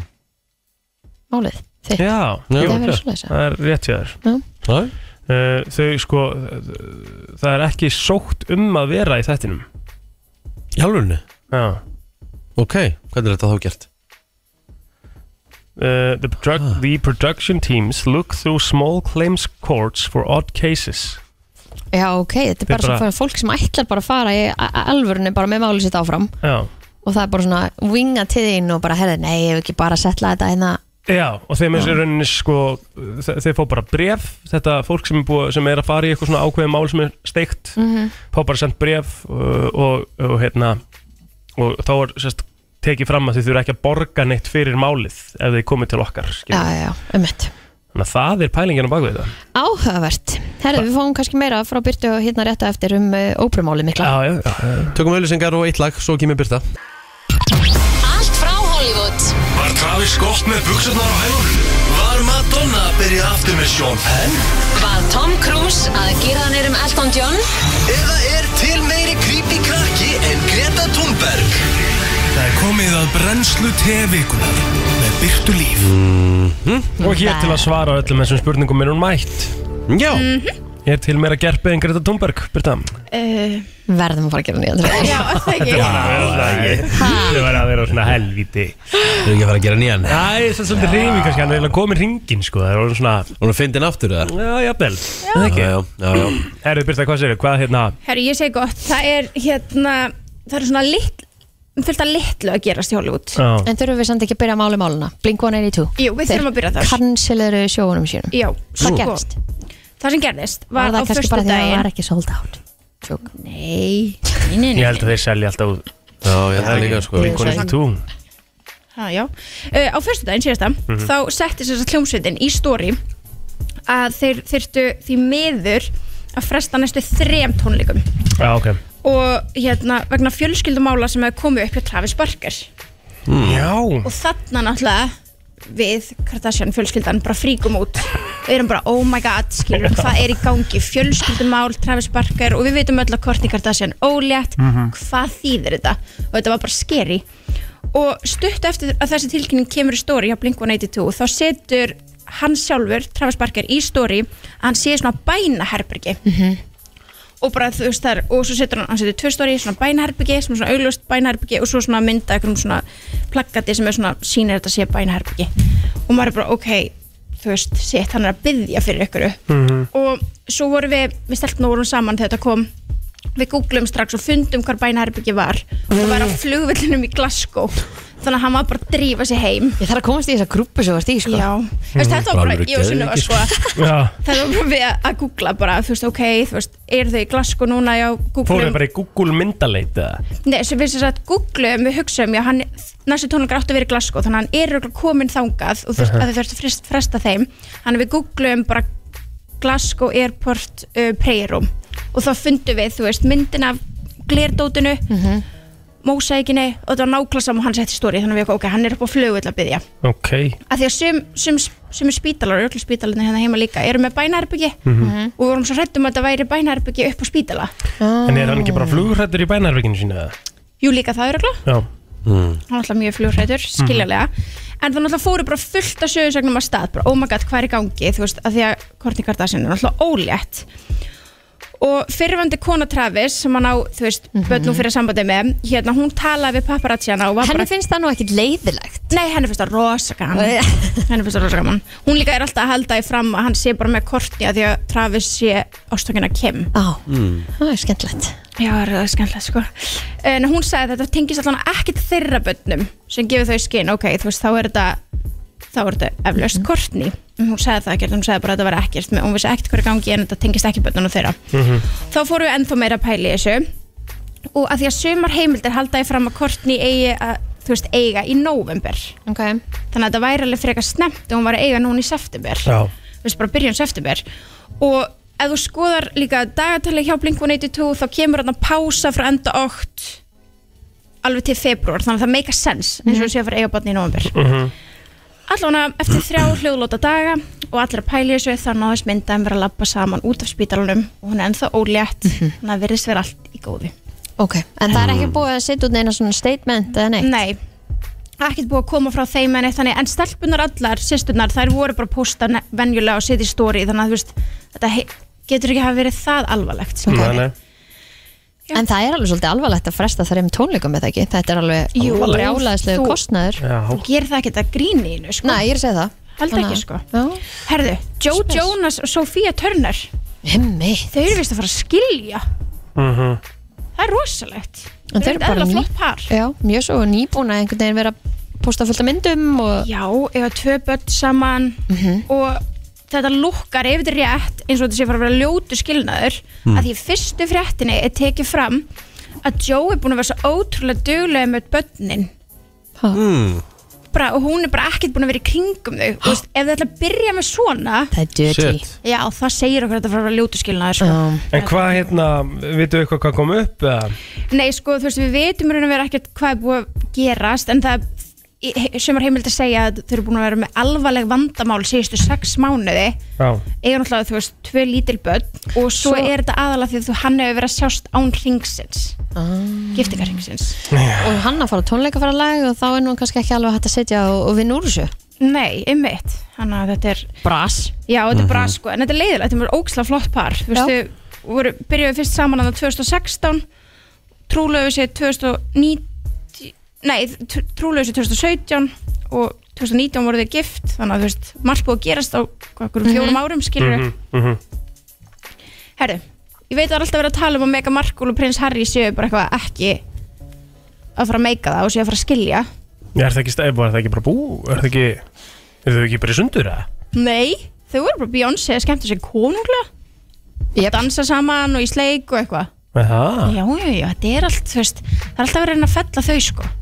Speaker 2: málið, þitt.
Speaker 4: Já,
Speaker 2: Það
Speaker 4: jú,
Speaker 2: er verið
Speaker 4: klart.
Speaker 2: svoleiðis, já.
Speaker 4: það er rétt hjá þér
Speaker 2: Já.
Speaker 4: Uh, Þau sko, uh, það er ekki sótt um að vera í þettinum
Speaker 3: Hjálfurinu?
Speaker 4: Já
Speaker 3: Ok, hvernig er þetta þá gert? Ah.
Speaker 4: Uh, the, produ- the production teams look through small claims courts for odd cases
Speaker 2: Já, ok, þetta er
Speaker 4: Þetta er
Speaker 2: bara, bara...
Speaker 4: bara-
Speaker 2: fólk sem ætlar bara að fara í a- a- alvörunni bara með málið sitt áfram
Speaker 4: Já,
Speaker 2: og og það er bara svona vinga til þín og bara herði, nei, ég hef ekki bara settla þetta hérna
Speaker 4: Já, og þeim er sér rauninni sko þe- þeir fá bara bref, þetta fólk sem er, búið, sem er að fara í eitthvað svona ákveðið mál sem er steikt,
Speaker 2: Mhm.
Speaker 4: fá bara sendt bref og, og, og hérna og þá er sérst tekið fram að þið þurfa ekki að borga neitt fyrir málið ef þið komið til okkar
Speaker 2: Já,
Speaker 4: skilur.
Speaker 2: já, já, ummitt
Speaker 4: þannig að það er pælingin á bakvið þetta
Speaker 2: Áhugavert, herði, við fáum kannski meira frá Byrtu og hérna rétt á eftir um uh, óprumáli mikla
Speaker 4: já, já, já.
Speaker 3: Tökum auðlýsingar og eitt lag, svo kemur Birta
Speaker 5: Allt frá Hollywood
Speaker 1: Var Travis Scott með buksarnar á hælunum? Var Madonna að byrja aftur með Sean Penn?
Speaker 5: Var Tom Cruise að gera hann um Elton John? Eða er til meiri creepy krakki en Greta Thunberg?
Speaker 1: Það er komið að brennslu tevikunar með Byrtu Líf
Speaker 4: og hér til að svara öllum þessum spurningum er hún mætt Já Ég er til meira gerpi en Greta Thunberg, Byrta
Speaker 11: Uh,
Speaker 2: Verðum að fara að gera nýjan þræð
Speaker 11: já, er það ekki
Speaker 4: Það var að vera svona helviti Þú er ekki að fara að gera nýjan Æ, það er svolítið hreyfi kannski, hann er eiginlega komin ringin sko Það er orðinn svona Hún er fyndin aftur það Já, jafnvel, það er ekki
Speaker 3: Já, já, já.
Speaker 4: Herru, Birta, hvað segir Hvað hérna
Speaker 11: Herru, ég segi gott, það er hérna, það er svona litl, fullt að litlu að gerast í Hollywood.
Speaker 2: En þurfum við samt ekki að byrja að máli máluna Blink 182
Speaker 11: Jú, við þurfum að byrja þar.
Speaker 2: Kansileru sjóunum sínum
Speaker 11: Já,
Speaker 2: Hvað
Speaker 11: sko,
Speaker 2: gerðist?
Speaker 11: Það sem gerðist
Speaker 2: Var
Speaker 11: var,
Speaker 2: það
Speaker 11: á
Speaker 2: kannski
Speaker 11: fyrstu
Speaker 2: bara því að það var
Speaker 11: daginn.
Speaker 2: ekki sold out? Tjók, nei Nei, nei,
Speaker 4: Ég held að þeir selja alltaf út Já, ég held að líka
Speaker 3: sko.
Speaker 4: Blink-182
Speaker 11: Ha, já, uh, á fyrstu daginn síðasta,
Speaker 4: Mhm.
Speaker 11: þá setti sér þess að hljómsveitin í stóri að þeir þyrtu því miður að fresta næstu þrem tónleikum
Speaker 4: Já, ok
Speaker 11: og hérna vegna fjölskyldumála sem hefði komið upp hjá Travis Barker og
Speaker 5: Mm. Mm-hmm.
Speaker 4: Já
Speaker 11: þarna náttúrulega við Kardashian fjölskyldan bara fríkum út við erum bara oh my god skilur hvað er í gangi fjölskyldumál Travis Barker og við veitum öll að Kourtney Kardashian ólétt
Speaker 5: Mhm.
Speaker 11: hvað þýðir þetta og þetta var bara scary og stutt eftir að þessi tilkynning kemur í stóri hjá Blink-182 þá setur hann sjálfur Travis Barker í stóri að hann sé í svona bænaherbergi og bara þú veist þar og svo setur hann, hann setur tvö stóri, svona bænaherbyggi sem er svona augljóst bænaherbyggi og svo svona mynda eitthvað svona plakkati sem er svona sýnir þetta sé bænaherbyggi og maður er bara ok, þú veist, sitt hann er að byggja fyrir ykkur og svo vorum við, við stelpna vorum saman þegar þetta kom við googlum strax og fundum hvar bænaherbyggi var og það var á flugvillinum í Glasgow þannig að hann var bara að drífa sig heim
Speaker 2: Ég þarf að komast í þessa grúpu sem þú varst í sko.
Speaker 11: Já, Þú veist, þetta var bara, ég og Sunniva sko
Speaker 4: Já
Speaker 11: Það var bara við að googla bara, þú veist, ok, þú veist, eru þau í Glasgow núna, já,
Speaker 4: Fóruðu
Speaker 11: googlum
Speaker 4: bara í Google myndaleit eða?
Speaker 11: Nei, sem við sem sagt googlum, við hugsaum, já, hann, næstu tónleikar áttu að vera í Glasgow, þannig að hann er örugglega kominn þangað og þurft,
Speaker 4: Mhm.
Speaker 11: að þau þurftu að frest, fresta þeim. Þannig að við googlum bara Glasgow Airport uh, prayer room og þá fundum við, þú veist, myndin af glerdótinu, mm -hmm. og þetta var nákvæmlega saman og hann setti stóri, þannig að við okkur, ok, hann er upp á flugu að byrja.
Speaker 4: Ok
Speaker 11: Af því að sum, sum, sum spítalar, öllu spítalarnir hérna heima líka, eru með bænaherbyggi
Speaker 4: Mhm. Ah.
Speaker 11: og við vorum svo hrættum að þetta væri bænaherbyggi upp á spítala.
Speaker 4: En er hann ekki bara flugrættur í bænarvikinu sína eða?
Speaker 11: Jú, líka það eru
Speaker 4: Já
Speaker 3: Mm.
Speaker 11: hann var alltaf mjög flugrætur, skiljarlega en það náttúrulega fóru bara fullt af sögursagnum að stað, bara oh my god, hvað er í gangi þú veist, að því að Kourtney Kardashian er náttúrulega ólétt og fyrirvandi kona Travis sem hann á, þú veist,
Speaker 2: Mhm.
Speaker 11: mm börnum fyrir sambandi með hérna, hún talaði við paparazziana og var
Speaker 2: Henni
Speaker 11: bara
Speaker 2: finnst það nú ekkit leiðilegt
Speaker 11: Nei, henni finnst það rosa gaman Henni finnst það rosa gaman Hún líka er alltaf að halda í fram að hann sé bara með Kourtney að því að Travis sé ástökina Kim
Speaker 2: Á, það er skemmtilegt
Speaker 11: Já, það er skemmtilegt sko en hún sagði að þetta tengist allan ekkert þeirra bönnum sem gefur þau skinn, ok, þú veist, þá er þetta þá er þetta
Speaker 2: Mhm.
Speaker 11: eflaust Kortni hún sagði það ekkert, hún sagði bara að þetta var ekkert hún vissi ekkert hverju gangi en þetta tengist ekki bönnunum þeirra
Speaker 4: Mhm.
Speaker 11: þá fórum við ennþá meira að pæla í þessu og að því að sumar heimildir halda ég fram að Kortni eigi að þú veist, eiga í november
Speaker 2: okay.
Speaker 11: þannig að þetta væri alveg frekar snemt og hún var að eiga núna í september
Speaker 4: Já
Speaker 11: þú veist, bara byrjun september og ef þú skoðar líka dagatali hjá Blink-182 þá kemur þarna pása frá enda 8 alveg til februar, þannig að það make a sense eins og þú séu að fara að eiga barn í november
Speaker 3: Mhm.
Speaker 4: Mhm.
Speaker 11: allavega eftir þrjá hljóðlóta daga og allir að pæli þessu þá náðist myndaðum vera að labba saman út af spítalunum og hún er ennþá ólétt þannig að virðist vera allt í góðu
Speaker 2: Ok, en það er ekki búið að setja út neina svona statement eða neitt?
Speaker 11: Nei, ekkert búið að koma frá þeim en eitt þannig, en stelpunar allar, sýsturnar, þær voru bara að posta ne- venjulega og setja í stóri þannig að þú veist, þetta he- getur ekki hafa verið það alvarlegt sko.
Speaker 3: Mm.
Speaker 11: skilur við.
Speaker 4: nei
Speaker 2: En það er alveg svolítið alvarlegt að fresta þreim tónleikum með það ekki Þetta er alveg
Speaker 11: Jú,
Speaker 2: brjálæðislegu
Speaker 11: þú-
Speaker 2: kostnaður
Speaker 11: Þú gerir það ekkert að gríni innu, sko
Speaker 2: Nei, ég er að segja það
Speaker 11: Held
Speaker 2: Þannig
Speaker 11: ekki,
Speaker 2: að-
Speaker 11: sko Herðu, Joe Jonas og Sophia Turner
Speaker 2: Himmi
Speaker 11: Þau eru vist að fara að skilja
Speaker 4: Mhm
Speaker 11: Það er rosalegt
Speaker 2: En þeir eru bara
Speaker 11: eðlilega
Speaker 2: ný,
Speaker 11: flott par
Speaker 2: já, mjög svo nýbúin að einhvern veginn vera að posta fullt af myndum og
Speaker 11: Já, eiga tvö börn saman
Speaker 2: Mhm.
Speaker 11: og þetta lukkar ef þetta er rétt eins og þetta sé fara að vera ljótu skilnaður
Speaker 15: Mm.
Speaker 4: Hmm.
Speaker 11: að því í fyrstu fréttinni er tekið fram að Joe er búin að vera svo ótrúlega duglega með börnin
Speaker 3: mm.
Speaker 11: bara, og hún er bara ekkert búin að vera í kringum þau og veist, ef þau ætla að byrja með svona
Speaker 2: Það er
Speaker 4: dirty. Shit.
Speaker 11: Já, það segir okkur að þetta fara að vera ljótu skilnaður sko.
Speaker 4: En hvað hérna, veitum við eitthvað hvað kom upp eða?
Speaker 11: Nei, sko, þú veist, við veitum raun og vera ekkert hvað er búið að gerast en það sem er heimild að segja að þau eru búin að vera með alvarleg vandamál síðustu sex mánuði
Speaker 4: Já
Speaker 11: eiga náttúrulega, þú veist, tvö lítil börn og svo,
Speaker 2: Svo-
Speaker 11: er þetta aðalega því að þú hann hefur verið að sjást án ringsins giftingarringsins
Speaker 2: og hann að fara á tónleika fara lag og þá er nú kannski ekki alveg hægt að setja og, og vinna úr þessu
Speaker 11: Nei, einmitt, hann að þetta er
Speaker 2: Bras
Speaker 11: Já, þetta
Speaker 2: Mhm.
Speaker 11: er bra sko, en þetta er leiðilegt, þetta er óksla flott par Þú veist, þau voru, byrjuðu fyrst saman að 2016 trúlegu sér 2019 nei, tr- trúlegu sér 2017 og 2019 voru þau gift þannig að þú veist, margt búið að gerast á okkur
Speaker 15: Mhm.
Speaker 11: fjórum árum, skilur
Speaker 15: Mhm, mhm.
Speaker 11: Herru, ég veit að það er alltaf verið að tala um að Mega Markle og Prins Harry séu bara eitthvað ekki að fara að meika það og séu að fara að skilja
Speaker 4: Já, er það ekki, stæ- er það ekki bara bú? Er það ekki, er það ekki bara í sundur eða?
Speaker 11: Nei, þau voru bara Beyoncé að skemmta sér konunglega yep. dansa saman og í sleik og eitthvað
Speaker 4: Með
Speaker 2: Ah.
Speaker 4: það?
Speaker 11: Já, já, já, þetta er allt, þú veist Það er alltaf verið að reyna að fella þau, sko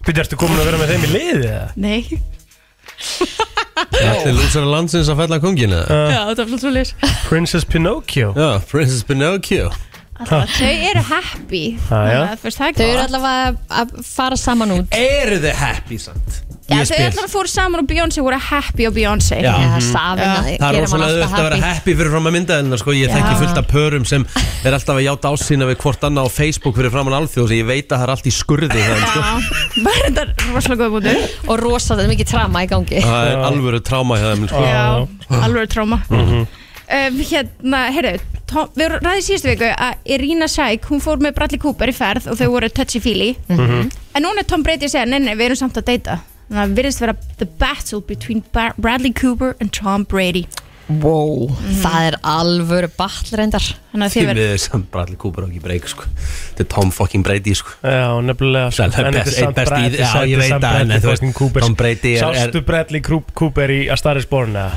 Speaker 4: Býttu, ertu komin að vera með þeim í liði eða?
Speaker 11: Nei
Speaker 3: Allir lúsar landsins að fella kongina
Speaker 4: Já,
Speaker 11: þetta er svo leys
Speaker 4: Uh,
Speaker 2: Ah.
Speaker 4: Princess Pinocchio
Speaker 3: Já, Princess Pinocchio
Speaker 11: Þau eru happy
Speaker 3: Já, já.
Speaker 11: Þannig að, þú veist, það er
Speaker 2: Ah, Þau eru
Speaker 11: gott.
Speaker 2: allavega að- að fara saman út
Speaker 3: Eru þið happy samt?
Speaker 11: Já,
Speaker 3: Ég
Speaker 11: þau
Speaker 3: spyr.
Speaker 11: allavega fóru saman og Beyoncé voru happy og Beyoncé
Speaker 3: Já. Mhm. Já,
Speaker 2: safin að
Speaker 3: Það er rosalega auðvitað að vera happy fyrir fram að myndaðina sko. Ég
Speaker 11: Já.
Speaker 3: þekki fullt af pörum sem er alltaf að játa ásýna við hvort annað á Facebook fyrir fram að alþjóð Ég veit að það er allt í skurði það, sko.
Speaker 11: Bara þetta er rosalega góð búinu
Speaker 2: Og rosalega mikið trama í gangi
Speaker 3: það er alvöru tráma hjá þeim sko.
Speaker 11: Já, alveg tróma
Speaker 3: Mhm.
Speaker 11: um, Hérna, heyrðu Tom, við vorum ræðið síðustu viku að Irina Shayk hún fór með Bradley Cooper í ferð og þau voru touchy-feely
Speaker 5: Mm-hmm.
Speaker 4: Mm-hmm.
Speaker 15: Mhm.
Speaker 11: en núna er Tom Brady að segja, nei, nei, við erum samt að deyta þannig að virðist vera the battle between Bar Bradley Cooper and Tom Brady
Speaker 2: Wow, það er alvöru battlerendar
Speaker 11: Þannig
Speaker 3: Því við erum samt Bradley Cooper og ekki breyk sko. Þetta er Tom fucking Brady sko.
Speaker 4: Já, nefnilega
Speaker 3: Sæl, það er
Speaker 4: en
Speaker 3: best-
Speaker 4: þetta samt
Speaker 3: einn besti í-
Speaker 4: Brad-
Speaker 3: já,
Speaker 4: samt-
Speaker 3: ég veit
Speaker 4: samt
Speaker 3: það, en
Speaker 4: Bradley
Speaker 3: þú veist,
Speaker 4: fucking Cooper.
Speaker 3: Tom Brady er- er-
Speaker 4: Sástu Bradley Cro- Cooper í að starri spórna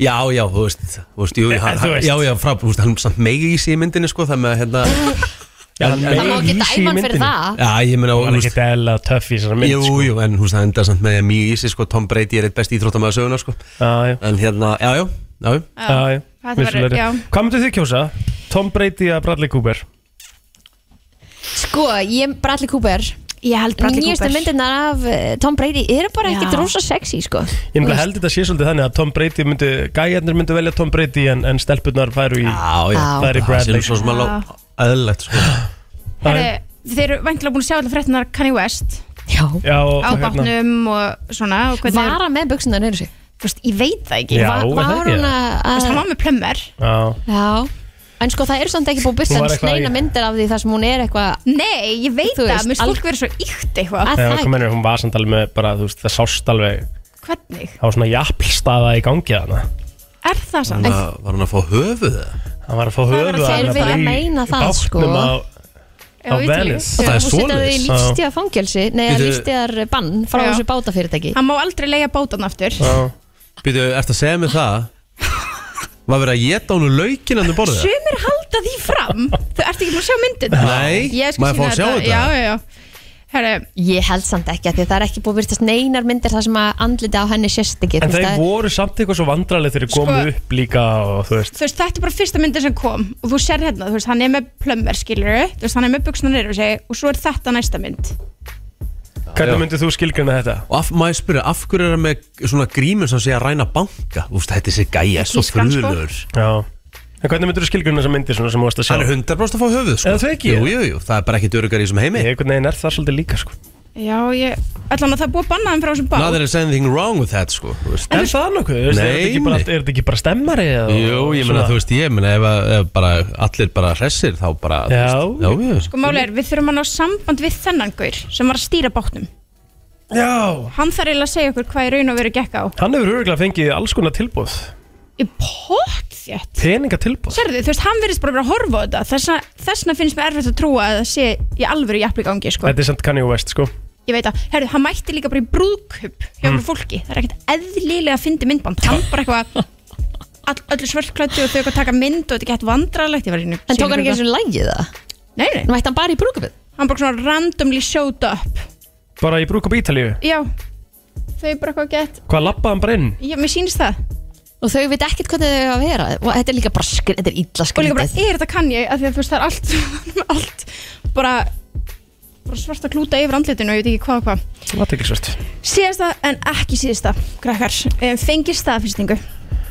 Speaker 3: Já, já, þú veist, þú veist, jú,
Speaker 4: En
Speaker 3: hann,
Speaker 4: Eh, þú veist.
Speaker 3: Já, já, frá, þú veist, hann samt megi í sig í myndinni sko, Það með að hérna
Speaker 4: Já, hann
Speaker 3: en-
Speaker 4: meig Það má ekki í sig í dæma hann fyrir myndinni. það.
Speaker 3: Já, ég meina
Speaker 4: Hann var ekkert eðla töff í þessari mynd,
Speaker 3: Jú,
Speaker 4: sko.
Speaker 3: jú, en þú veist, það enda samt með að mjög í sig sko, Tom Brady er eitt best íþróttamæða söguna sko.
Speaker 4: Já, já
Speaker 3: En hérna, já, já, já,
Speaker 4: Já, já,
Speaker 11: Það verður-
Speaker 4: vissulega.
Speaker 11: já.
Speaker 4: Hvað myndu þið kjósa? Tom Brady að Bradley Cooper
Speaker 2: Sko, ég, Bradley Cooper
Speaker 11: Ég held Bradley
Speaker 2: Nýjustu
Speaker 11: Cooper.
Speaker 2: myndirnar af eh, Tom Brady eru bara ekkert rosa sexy sko
Speaker 4: Ég nefnilega held þetta sé svolítið þannig að Tom Brady myndi Gæjarnir myndu velja Tom Brady en, en stelpurnar færu í
Speaker 3: já, já.
Speaker 4: Færu í
Speaker 3: Það
Speaker 4: Bradley
Speaker 3: sé svo sem alveg Æðilegt sko.
Speaker 11: Heyrðu, þið eru væntilega búin að sjá allir fréttinar Kanye West
Speaker 2: Já,
Speaker 4: já hérna.
Speaker 11: á bátnum og svona og
Speaker 2: Var hann með buksundar neyru sig?
Speaker 11: Fyrst, ég veit það ekki
Speaker 4: Já,
Speaker 2: var,
Speaker 4: er það
Speaker 2: var
Speaker 4: ekki?
Speaker 2: hún að
Speaker 11: Þú veist, hann var með plömmar
Speaker 4: Já
Speaker 2: Já, en sko það eru samt ekki búið
Speaker 4: Hún var
Speaker 2: byrstans
Speaker 4: eitthvað í-
Speaker 2: neina myndir af því þar sem hún er eitthvað
Speaker 11: Nei, ég veit
Speaker 2: Þú
Speaker 11: það,
Speaker 2: veist,
Speaker 11: mér finnst
Speaker 2: al-
Speaker 11: fólk verið svo ykt eitthvað
Speaker 4: Já, hvað mennir, hún var samt alveg með bara, þú veist, það sást alveg
Speaker 11: Hvernig?
Speaker 4: Það var svona jafnstaða í gangi hana
Speaker 11: Er það samt?
Speaker 3: Var hann að fá höfuð?
Speaker 4: Hann var að fá höfuð
Speaker 2: að þeir vilja meina það, sko.
Speaker 4: á Venice.
Speaker 2: Það er svoleiðis Hún setjaði í
Speaker 4: svoleiðis.
Speaker 2: lífstíða fangelsi, nei
Speaker 3: Bíddu.
Speaker 2: lífstíðar bann frá
Speaker 11: Já.
Speaker 2: þessu bátafyrirtæki
Speaker 11: Hann má aldrei leiða bátan aftur
Speaker 3: Býtu, ertu að segja mig það? Var verið að geta hún laukinan þú um borðið?
Speaker 11: Sumir halda því fram Þú ert ekki búin að sjá myndin
Speaker 3: Nei,
Speaker 11: Ég skal
Speaker 3: maður fá
Speaker 11: sýna
Speaker 3: að sjá þetta.
Speaker 11: Já, já, já Herru,
Speaker 2: Ég held samt ekki að því það er ekki búið byrstast neinar myndir þar sem að andlita á henni sérst ekki
Speaker 4: En
Speaker 2: þú veist,
Speaker 4: þeir
Speaker 2: það-
Speaker 4: voru samt eitthvað svo vandralið þegar þeir komu
Speaker 11: Sko-
Speaker 4: upp líka og þú veist
Speaker 11: þú veist, þetta er bara fyrsta myndin sem kom Og þú sér hérna, þú veist, hann er með plömmar, skilur Þú veist, hann er með buksna neyru sig Og svo er þetta næsta mynd
Speaker 4: Hvernig myndið þú skilgrina þetta?
Speaker 3: Og af, maður spyrja, af hverju er hann með svona grímur sem sé að ræna banka? Úst, þetta er sér gæja, svo
Speaker 4: Tískan, sko.
Speaker 3: frulur
Speaker 4: Já En hvernig myndir þú skilgrina þessa myndir svona sem þú varst að sjá?
Speaker 3: Hann er 100% að fá höfuð sko.
Speaker 4: Eða það ekki?
Speaker 3: Jú, jú, jú, það er bara ekki dörgar í þessum heimi
Speaker 4: Einhvern veginn er það svolítið líka sko.
Speaker 11: Já, ég Allan að það er búið að banna hann frá þessum bá
Speaker 3: Not that there's anything wrong with that sko, þú veist.
Speaker 4: Er það nokkuð? Þú veist, er þetta
Speaker 3: Nei,
Speaker 4: ekki bara-
Speaker 3: nei.
Speaker 4: Er þetta ekki bara stemmari? eða-
Speaker 3: Jú, ég meina,
Speaker 4: svona?
Speaker 3: þú veist, ég meina ef, að- ef bara allir bara hressir þá bara þú
Speaker 4: Já.
Speaker 3: veist, já, já.
Speaker 11: Sko máli er, við þurfum að ná samband við þennan gaur Sem var að stýra bátnum
Speaker 4: Já
Speaker 11: Hann þarf eiginlega að segja okkur hvað í raun og veru gekk á
Speaker 4: Hann hefur örgulega fengið alls konar tilbúð
Speaker 11: Í pott geðgjætt
Speaker 4: Peningatilbúð
Speaker 11: Sérðu, þú veist, hann virðist bara að vera að horfa á þetta Þessna, þessna finnst mér erfitt að trúa að það sé í alvöru jafnlega gangi, sko
Speaker 4: Þetta er samt Kanye West sko
Speaker 11: Ég veit að, herðu, hann mætti líka bara í brúðkup hjá mm.
Speaker 4: Mm.
Speaker 11: fólki, það er ekkert eðlilega að fyndi myndband, hann bara eitthvað all, öllu svörklættu og þau eitthvað taka mynd og þetta gett vandralegt, ég var einu
Speaker 2: En tók hann ekki eins og lægið það?
Speaker 11: Nei, nei
Speaker 2: Mætti hann bara í brúðkaupið?
Speaker 11: Hann bara svona randomly showed up
Speaker 4: Bara í brúk á Ítalíu
Speaker 11: Já, þau bara eitthvað gett
Speaker 4: Hvað lappaði hann bara inn?
Speaker 11: Já, mér sýnist það
Speaker 2: Og þau veit ekkert hvernig þau eiga að vera og þetta er líka bara skri, þetta er illa
Speaker 11: Og líka bara,
Speaker 2: skrítið
Speaker 11: er þetta kann ég, af því að þú veist, það er allt, allt bara, bara svarta klúta yfir andlitinu og ég veit ekki hvað og hvað
Speaker 4: Það er ekki svart
Speaker 11: Síðasta en ekki síðasta, krakkar, um, fengir staðfyrstingu.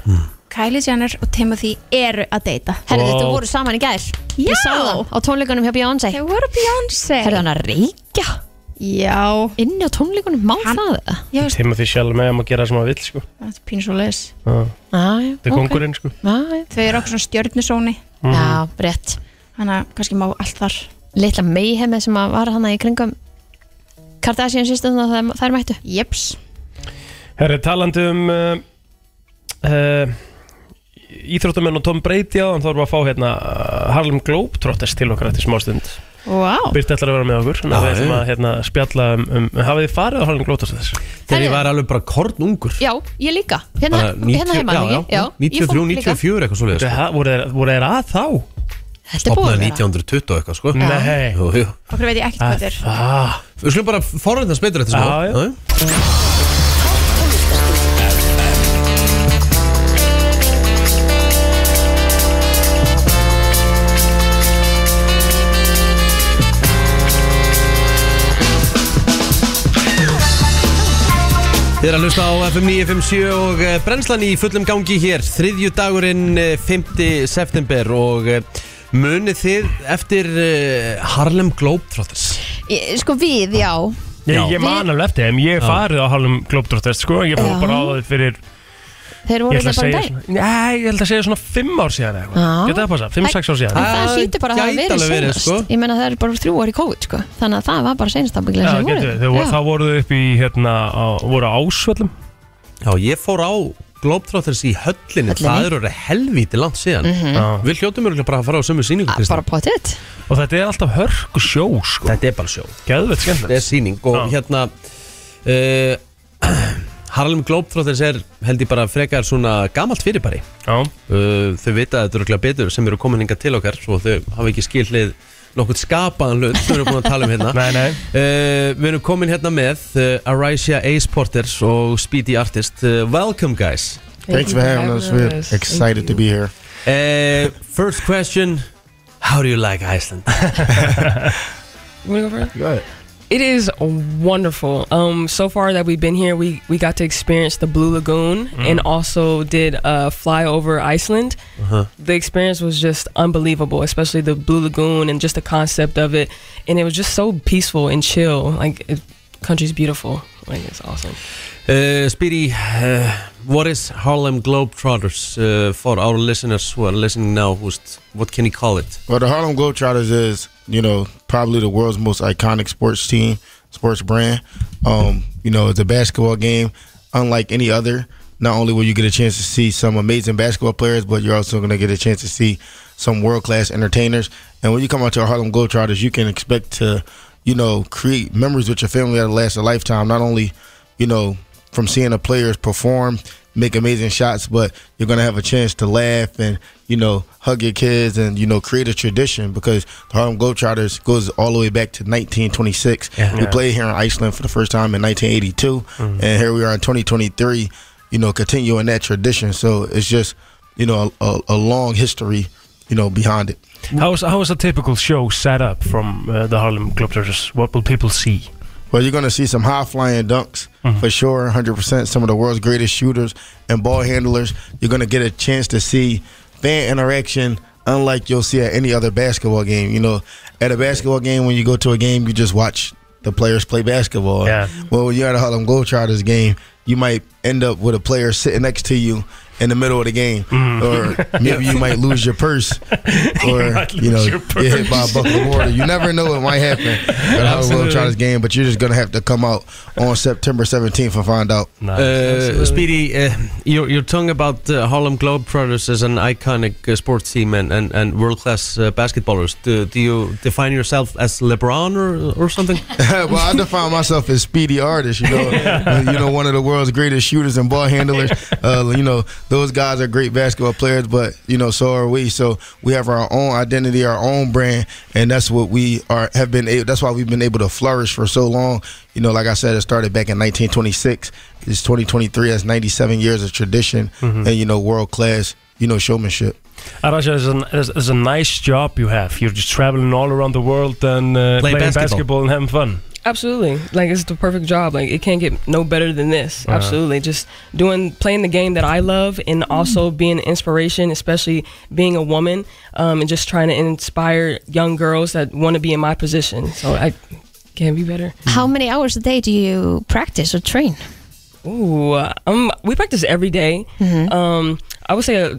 Speaker 4: Hmm.
Speaker 11: Kylie Jenner og Timothy eru að deyta.
Speaker 2: Herri, þetta voru saman í gær
Speaker 11: Já.
Speaker 2: Ég sá það á tónleikunum hjá Beyoncé Þau
Speaker 11: voru Beyoncé
Speaker 2: Herri, hann að reykja
Speaker 11: Já
Speaker 2: Inni á tónleikunum, má það það?
Speaker 11: Já,
Speaker 4: Timothy Chalamet, hann má gera það sem hann vill sko
Speaker 11: það er pínu svo leis.
Speaker 4: Já.
Speaker 2: Þetta
Speaker 4: er kongurinn sko
Speaker 11: Þau eru okkur svona stjörnusóni.
Speaker 4: Mhm.
Speaker 2: Já, rétt
Speaker 11: Þannig að kannski má allt þar
Speaker 2: Litla meihemi sem að var hann í kringum Kardashian system og það- þær mættu
Speaker 11: Jeps
Speaker 4: Herri, talandi um uh, uh, Íþróttamenn og Tom Brady á Þá erum við að fá hérna uh, Harlem Globetrotters til okkar eftir smástund
Speaker 11: Vá
Speaker 4: Byrti ætlar að vera með okkur Þannig að
Speaker 3: Já,
Speaker 4: við ætlum
Speaker 3: já.
Speaker 4: að hérna, spjalla um, um Hafið þið farið á Harlem Globetrotters?
Speaker 2: Þegar ég Herri. var
Speaker 3: alveg bara kornungur
Speaker 2: Já, ég líka Hérna, hérna heima ekki? ég fór líka.
Speaker 3: eitthvað svoleiðis sko.
Speaker 4: Voru þeir- voru þeir að þá?
Speaker 2: Þetta er búið að vera.
Speaker 3: 1920 eitthvað sko
Speaker 2: Já.
Speaker 4: Nei
Speaker 3: Jú, jú
Speaker 11: Okkur veit ég ekkert hvað þetta er.
Speaker 4: Ah.
Speaker 3: Við skulum bara forrönda spytur eftir
Speaker 4: Já, já.
Speaker 3: Þið er að hlusta á FM 957 og eh, brennslan í fullum gangi hér þriðju dagurinn eh, 5. september og eh, munið þið eftir eh, Harlem Globetrotters
Speaker 2: Ég- Sko við, já
Speaker 4: Ég, ég man alveg eftir þeim, ég hef
Speaker 3: Já.
Speaker 4: farið á Harlem Globetrotters sko, ég fór
Speaker 2: Já.
Speaker 4: bara á það fyrir
Speaker 2: Þeir
Speaker 4: Ég
Speaker 2: voru
Speaker 4: ætla
Speaker 2: þetta
Speaker 4: að
Speaker 2: bara um í
Speaker 4: segja
Speaker 2: dag
Speaker 4: svona, Nei, ég held að segja svona fimm ár síðan eða
Speaker 2: Já.
Speaker 4: eitthvað Geta það passa, fimm,
Speaker 2: Æ,
Speaker 4: sex ár síðan
Speaker 2: en Það sýtti bara að það
Speaker 3: Gæti
Speaker 2: verið
Speaker 3: alveg verið,
Speaker 2: senast
Speaker 3: sko.
Speaker 2: Ég meina það eru bara þrjú ár í COVID sko. Þannig að það var bara senast
Speaker 4: Já,
Speaker 2: ábyggilega sem
Speaker 4: getur
Speaker 2: voru
Speaker 4: við, þau voru, þá voru þau upp í hérna, á, voru á ásvöllum
Speaker 3: Já, ég fór á Globetrotters í
Speaker 4: Höllinni.
Speaker 3: höllinni, það er orðið helvíti langt síðan
Speaker 2: Mhm. Ah,
Speaker 3: Já. Við hljótum örgulega bara að fara á sömu sýningu Kristín.
Speaker 2: Bara potið
Speaker 4: Og þetta er alltaf hörku sjó sko
Speaker 3: Þetta er bara sjó
Speaker 4: Geðveikt skemmtilegt.
Speaker 3: Þetta er sýning og hérna uh, Harlem Globetrotters er held ég bara frekar svona gamalt fyrirbæri
Speaker 4: Já
Speaker 3: uh, Þau vita þetta örgulega betur sem eru komin hinga til okkar Svo þau hafa ekki skilhlið nokkurt skapaðan hlut sem við erum búin að tala um hérna
Speaker 4: Nei, nei
Speaker 3: uh, Við erum komin hérna með uh, Arisia Ace Porter og Speedy Artist uh, Welcome guys
Speaker 15: Thanks for having us. We're excited to be here.
Speaker 3: Uh, first question How do you like Iceland?
Speaker 6: Wanna go first? It is wonderful. Um, so far that we've been here, we, we got to experience the Blue Lagoon
Speaker 12: Mm.
Speaker 6: and also did a flyover Iceland.
Speaker 12: Uh-huh.
Speaker 6: The experience was just unbelievable, especially the Blue Lagoon and just the concept of it. And it was just so peaceful and chill. Like, it, country's beautiful. Like, it's awesome.
Speaker 3: Uh, Speedy, uh, what is Harlem Globetrotters uh, for our listeners who are listening now? Who's what can you call it?
Speaker 15: Well, the Harlem Globetrotters is, you know, probably the world's most iconic sports team, sports brand. Um, you know, it's a basketball game unlike any other. Not only will you get a chance to see some amazing basketball players, but you're also going to get a chance to see some world class entertainers. And when you come out to our Harlem Globetrotters, you can expect to, you know, create memories with your family that'll last a lifetime. Not only you know, from seeing the players perform, make amazing shots, but you're going to have a chance to laugh and, you know, hug your kids and, you know, create a tradition because the Harlem Globetrotters goes all the way back to 1926.
Speaker 16: Yeah.
Speaker 15: We
Speaker 16: Yeah.
Speaker 15: played here in Iceland for the first time in 1982,
Speaker 16: Mhm.
Speaker 15: and here we are in 2023, you know, continuing that tradition. So it's just, you know, a, a, a long history, you know, behind it.
Speaker 4: How is, how is a typical show set up from uh, the Harlem Globetrotters? What will people see? Mm-hmm.
Speaker 15: Well, you're going to see some high flying dunks for sure, 100%. Some of the world's greatest shooters and ball handlers. You're going to get a chance to see fan interaction unlike you'll see at any other basketball game. You know, at a basketball game, when you go to a game, you just watch the players play basketball.
Speaker 4: Yeah.
Speaker 15: Well, when you're at a Harlem Globetrotters game, you might end up with a player sitting next to you in the middle of the game,
Speaker 4: Mm. Mm-hmm.
Speaker 15: or maybe you might lose your purse, or
Speaker 12: might
Speaker 15: you know
Speaker 12: lose your
Speaker 15: get hit by a
Speaker 12: purse.
Speaker 15: bucket of water. You never know what might happen. But I would love to try this game, but you're just gonna have to come out on September 17th and find out.
Speaker 3: Uh, Speedy, uh, your, your tongue about uh, Harlem Globetrotters as an iconic uh, sports team and, and, and world class uh, basketballers. Do, do you define yourself as LeBron or, or something?
Speaker 15: well, I define myself as speedy artist. You know, you know, one of the world's greatest shooters and ball handlers. Uh, you know, those guys are great basketball players, but you know, so are we. So we have our own identity, our own brand, and that's what we are have been. Able, that's why we've been able to flourish for so long. You know, like I said, it started back in 1926. It's 2023. That's 97 years of tradition,
Speaker 4: Mhm.
Speaker 15: and you know, world class. You know, showmanship.
Speaker 4: Arasha, it's a, it's, it's a nice job you have. You're just traveling all around the world and uh,
Speaker 6: Play
Speaker 4: playing
Speaker 6: basketball.
Speaker 4: basketball. and having fun.
Speaker 6: Absolutely. Like it's the perfect job. Like it can't get no better than this.
Speaker 4: Yeah.
Speaker 6: Absolutely. Just doing playing the game that I love and also being an inspiration, especially being a woman, um, and just trying to inspire young girls that want to be in my position. So I can't be better.
Speaker 2: How many hours a day do you practice or train?
Speaker 6: Ooh, uh, um, we practice every day.
Speaker 2: Mhm. Mm-hmm.
Speaker 6: Um, I would say uh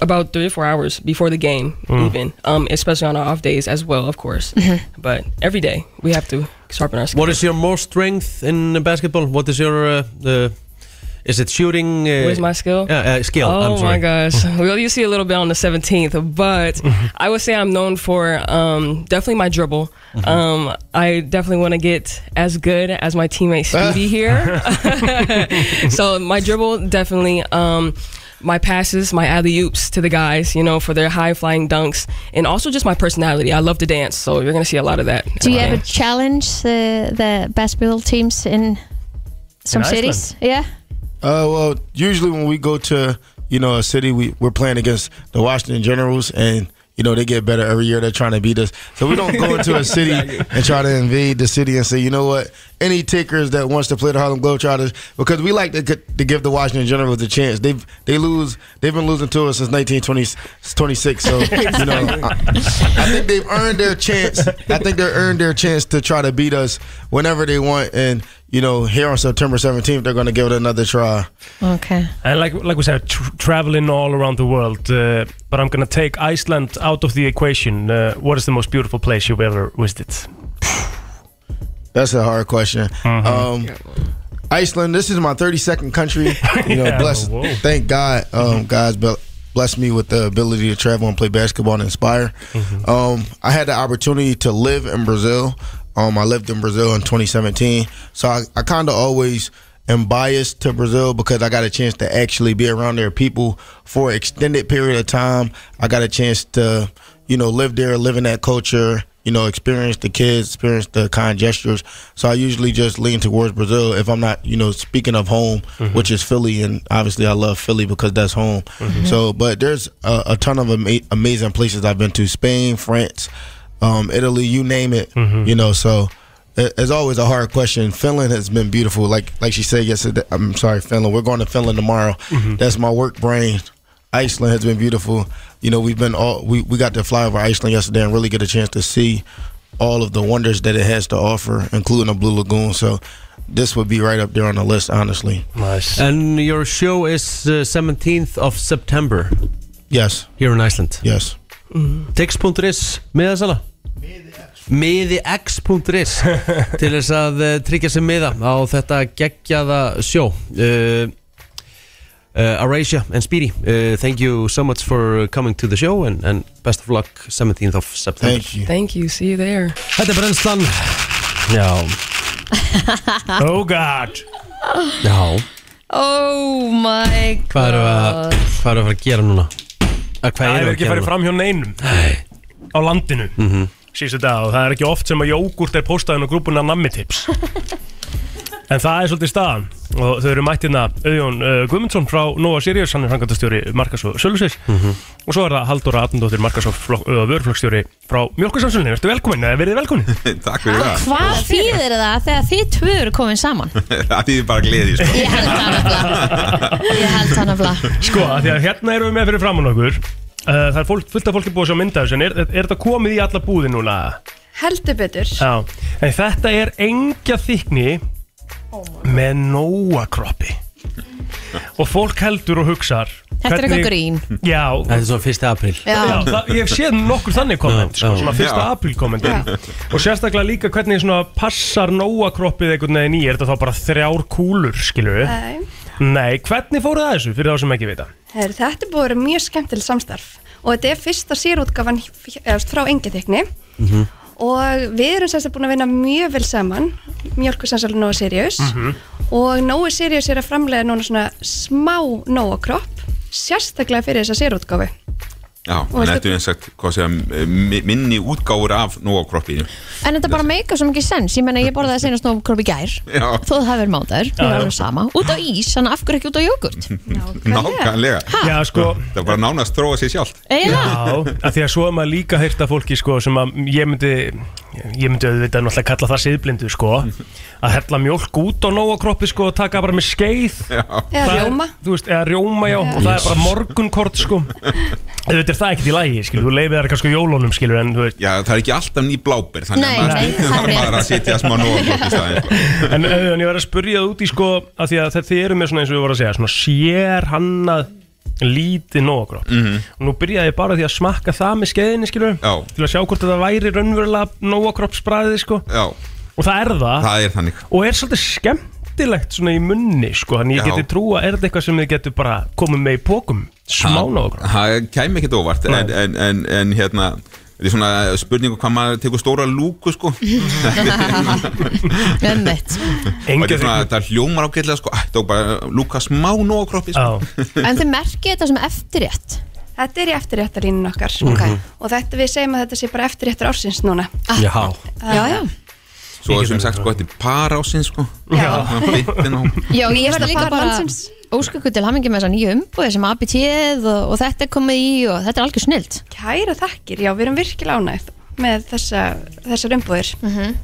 Speaker 6: about three or four hours before the game,
Speaker 4: Mm.
Speaker 6: even, um, especially on our off days as well, of course. But every day we have to sharpen our skills.
Speaker 3: What is your more strength in basketball? What is your uh, the? Is it shooting? Uh,
Speaker 6: Where's my skill?
Speaker 3: Yeah, uh, skill.
Speaker 6: Oh
Speaker 3: I'm
Speaker 6: my
Speaker 3: sorry.
Speaker 6: gosh. well, you see a little bit on the 17th, but
Speaker 3: Mm-hmm.
Speaker 6: I would say I'm known for um, definitely my dribble.
Speaker 3: Mm-hmm.
Speaker 6: Um, I definitely want to get as good as my teammate Speedy here. so my dribble definitely. Um, my passes, my alley oops to the guys, you know, for their high flying dunks, and also just my personality. I love to dance, so you're gonna see a lot of that.
Speaker 2: Do you ever challenge the, the basketball teams in some
Speaker 15: In
Speaker 2: cities? Yeah.
Speaker 15: Uh, well, usually when we go to you know a city, we we're playing against the Washington Generals, and you know they get better every year. They're trying to beat us, so we don't go into a city and try to invade the city and say, you know what, any takers that wants to play the Harlem Globetrotters, because we like to, to give the Washington Generals a chance. They've they lose, they've been losing to us since 1926, so you know I think they've earned their chance. I think they earned their chance to try to beat us whenever they want. And you know, here on September 17th, they're going to give it another try.
Speaker 2: Okay.
Speaker 4: And like like we said, tr traveling all around the world. Uh, but I'm gonna take Iceland out of the equation. Uh, what is the most beautiful place you've ever visited?
Speaker 15: That's a hard question.
Speaker 12: Uh-huh.
Speaker 15: Um, Iceland. This is my 32nd country. You know,
Speaker 12: Yeah,
Speaker 15: bless.
Speaker 12: whoa.
Speaker 15: Thank God. Um, God's be- blessed me with the ability to travel and play basketball and inspire. Um, I had the opportunity to live in Brazil. Um, I lived in Brazil in 2017, so I, I kind of always am biased to Brazil because I got a chance to actually be around their people for an extended period of time. I got a chance to, you know, live there, live in that culture, you know, experience the kids, experience the kind gestures. So I usually just lean towards Brazil if I'm not, you know, speaking of home,
Speaker 12: Mhm.
Speaker 15: Mm-hmm. which is Philly, and obviously I love Philly because that's home.
Speaker 12: Mhm.
Speaker 15: So, but there's a, a ton of ama- amazing places I've been to: Spain, France, um, Italy, you name it. You know, so. it- It's always a hard question. Finland has been beautiful, like like she said yesterday. I'm sorry, Finland. We're going to Finland tomorrow.
Speaker 12: Mhm.
Speaker 15: That's my work brain. Iceland has been beautiful. You know, we've been all we, we got to fly over Iceland yesterday and really get a chance to see all of the wonders that it has to offer, including the Blue Lagoon. So this would be right up there on the list, honestly.
Speaker 4: Nice.
Speaker 3: And your show is uh, 17th of September.
Speaker 15: Yes.
Speaker 3: Here in Iceland.
Speaker 15: Yes.
Speaker 3: Tix.is, miðasala miðix.is til þess að eh, tryggja sér miða á þetta geggjaða sjó uh, uh, Arasia and Speedy uh, thank you so much for coming to the show and, and best of luck 17th of September
Speaker 6: Thank you. See you there.
Speaker 3: Þetta er brennslan Já,
Speaker 4: oh god
Speaker 3: já
Speaker 2: Oh my god.
Speaker 3: Hvað erum við að, hvað erum við að fara að gera núna? Að hvað
Speaker 4: Það
Speaker 3: erum
Speaker 4: er
Speaker 3: við að
Speaker 4: ekki
Speaker 3: gera Mhm.
Speaker 4: farið
Speaker 3: núna?
Speaker 4: fram hjá neinum á landinu mm -hmm. síðustu dag og það er ekki oft sem að jógurt er postaðin á grúpuna nammitips en það er svolítið staðan og þau eru mættina Auðjón uh, Guðmundsson frá Nova Sirius, hann er frangatastjóri Markas og Sölusis
Speaker 3: Mhm.
Speaker 4: og svo er það Halldóra Atendóttir Markas og uh, vörflöksstjóri frá Mjölkusansunni, ertu velkomin, eða verið velkomin
Speaker 16: Takk fyrir það
Speaker 2: Hvað þýðir það þegar þið tvö eru komin saman?
Speaker 16: Það þýðir bara gleði sko.
Speaker 2: Ég held það nefnilega.
Speaker 4: Sko, af því að hérna erum við með fyrir framann okkur uh, Það er fólk, fullt af fólki búið að sjá mynda þessu En er, er þetta komið í alla búði núna?
Speaker 10: Heldur betur.
Speaker 4: Já En
Speaker 2: Oh.
Speaker 4: þetta er engja þykni Með nóa kroppi og fólk heldur og hugsar
Speaker 2: Þetta er eitthvað grín.
Speaker 4: Já Þetta
Speaker 3: er svo fyrsta april
Speaker 2: Já.
Speaker 4: það, Ég hef séð nokkur þannig komment sko, svona fyrsta april komment og sérstaklega líka hvernig svona passar nóakroppið einhvern veginn í er þetta þá bara þrjár kúlur skilur við
Speaker 11: Nei.
Speaker 4: Nei, hvernig fóruð það þessu fyrir þá sem ekki vita
Speaker 11: Her, þetta er búið að vera mjög skemmtileg samstarf og þetta er fyrsta sérútgafan frá engetekni
Speaker 3: Mhm.
Speaker 11: og við erum semst búin að vinna mjög vel saman mjölkusansalinn og Sirius
Speaker 6: Mhm.
Speaker 3: Mhm.
Speaker 11: og Nóa Sirius er að framlega núna svona smá Nóa kropp sérstaklega fyrir þessa sérútgafu
Speaker 16: Já, en þetta er eins og sagt, hvað segja, mi- minni útgáfur af nógakroppinu
Speaker 2: En þetta bara meika svo mikið sens, ég menna ég borðaði senast nógkropp í gær
Speaker 16: Já.
Speaker 2: Þó það hefur mátaður,
Speaker 16: Já,
Speaker 2: ég
Speaker 16: já.
Speaker 2: var alveg sama Út á ís, þannig af hverju ekki út á jógurt
Speaker 16: Nákvæmlega
Speaker 4: Já, sko
Speaker 16: Það bara nánast þróa sér sjálft
Speaker 4: Já, af því að svo er maður líka heyrt af fólki sko, sem að ég myndi ég myndi auðvitað náttúrulega kalla það siðblindu sko, að hella mjólk út á nóakroppi sko, og taka bara með skeið
Speaker 11: Eða
Speaker 4: Það er-
Speaker 11: rjóma.
Speaker 4: Þú veist, eða rjóma já, og það er bara morgunkort sko. auðvitað er það ekkert í lagi skilur, þú leifir það kannski á jólunum skilur, en, þú veist,
Speaker 16: Já, það er ekki alltaf ný bláber Þannig
Speaker 4: Nei,
Speaker 16: að maður
Speaker 4: nei,
Speaker 16: stundum
Speaker 4: það er
Speaker 16: þarf bara
Speaker 4: rétt.
Speaker 16: að setja smá nógakropp í staðinn sko.
Speaker 4: en, eh, en ég verð að spurja það út í sko, að því að þetta þið eru með svona eins og við vorum að segja svona sér hannað lítið nóakropp og nú byrjaði ég bara því að smakka það með skeiðinni skilur
Speaker 16: Mhm. Já.
Speaker 4: til að sjá hvort þetta væri raunverulega nóakroppsbræðið sko
Speaker 16: Já.
Speaker 4: og það er það
Speaker 16: Það er þannig
Speaker 4: og er svolítið skemmtilegt svona í munni sko þannig ég
Speaker 16: Já.
Speaker 4: geti trúa er þetta eitthvað sem þið getur bara komið með í pókum smá nóakropp
Speaker 16: Það kæmi ekkert óvart en, en, en, en hérna Þetta er svona spurningu hvað maður tekur stóra lúku sko
Speaker 2: Emmett
Speaker 16: Og þetta er svona, það hljómar ágætlega sko Það er bara lúka smá nógakroppi sko.
Speaker 2: En þið merkið þetta sem eftirrétt
Speaker 11: Þetta er í eftirréttarlínun okkar
Speaker 16: Mhm.
Speaker 11: og þetta við segjum að þetta sé bara eftirréttar ársins núna
Speaker 16: Já
Speaker 2: Ah,
Speaker 11: Já, já
Speaker 16: Svo sem sagt sko, þetta er par ásinn sko
Speaker 11: Já.
Speaker 16: Bittin á
Speaker 2: Já, ég veist
Speaker 11: Verða
Speaker 2: líka
Speaker 11: par
Speaker 2: bara
Speaker 11: landsins.
Speaker 2: ósköku til hamingi með þessa nýju umbúið sem ABT-ið og, og þetta er komið í og þetta er algjör snilt
Speaker 11: Kæra þakkir, já, við erum virkilega ánægð með þessa, þessar umbúðir
Speaker 2: Mhm.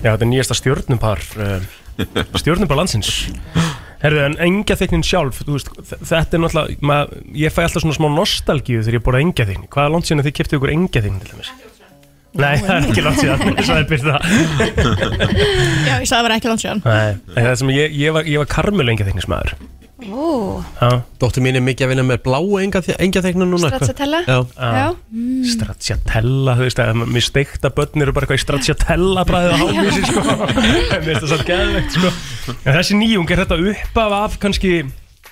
Speaker 4: Já, þetta er nýjasta stjórnupar uh, stjórnupar landsins Herðu, en engja sjálf þú veist, þ- þetta er náttúrulega mað, ég fæ alltaf svona smá nostalgíu þegar ég borða engja þegnin hvað er langt síðan að þið kiptið ykkur engja til dæmis? Nei, það er ekki langt síðan svo er byrða
Speaker 12: Já, ég sagði það var ekki langt síðan
Speaker 4: Nei, en það sem ég, ég var, ég var karmul engja þegnismæður
Speaker 11: Ó,
Speaker 3: Dóttir mín er mikið að vinna með bláu engjaþeknum núna
Speaker 11: Stracciatella?
Speaker 3: Já,
Speaker 4: Ah.
Speaker 11: Já. Mm.
Speaker 4: Stracciatella, þú veist að mér steikta börn eru bara eitthvað í stracciatella bræðið á hálfísi sko Mér finnst það satt geðvegt sko En þessi nýjung er þetta uppaf af kannski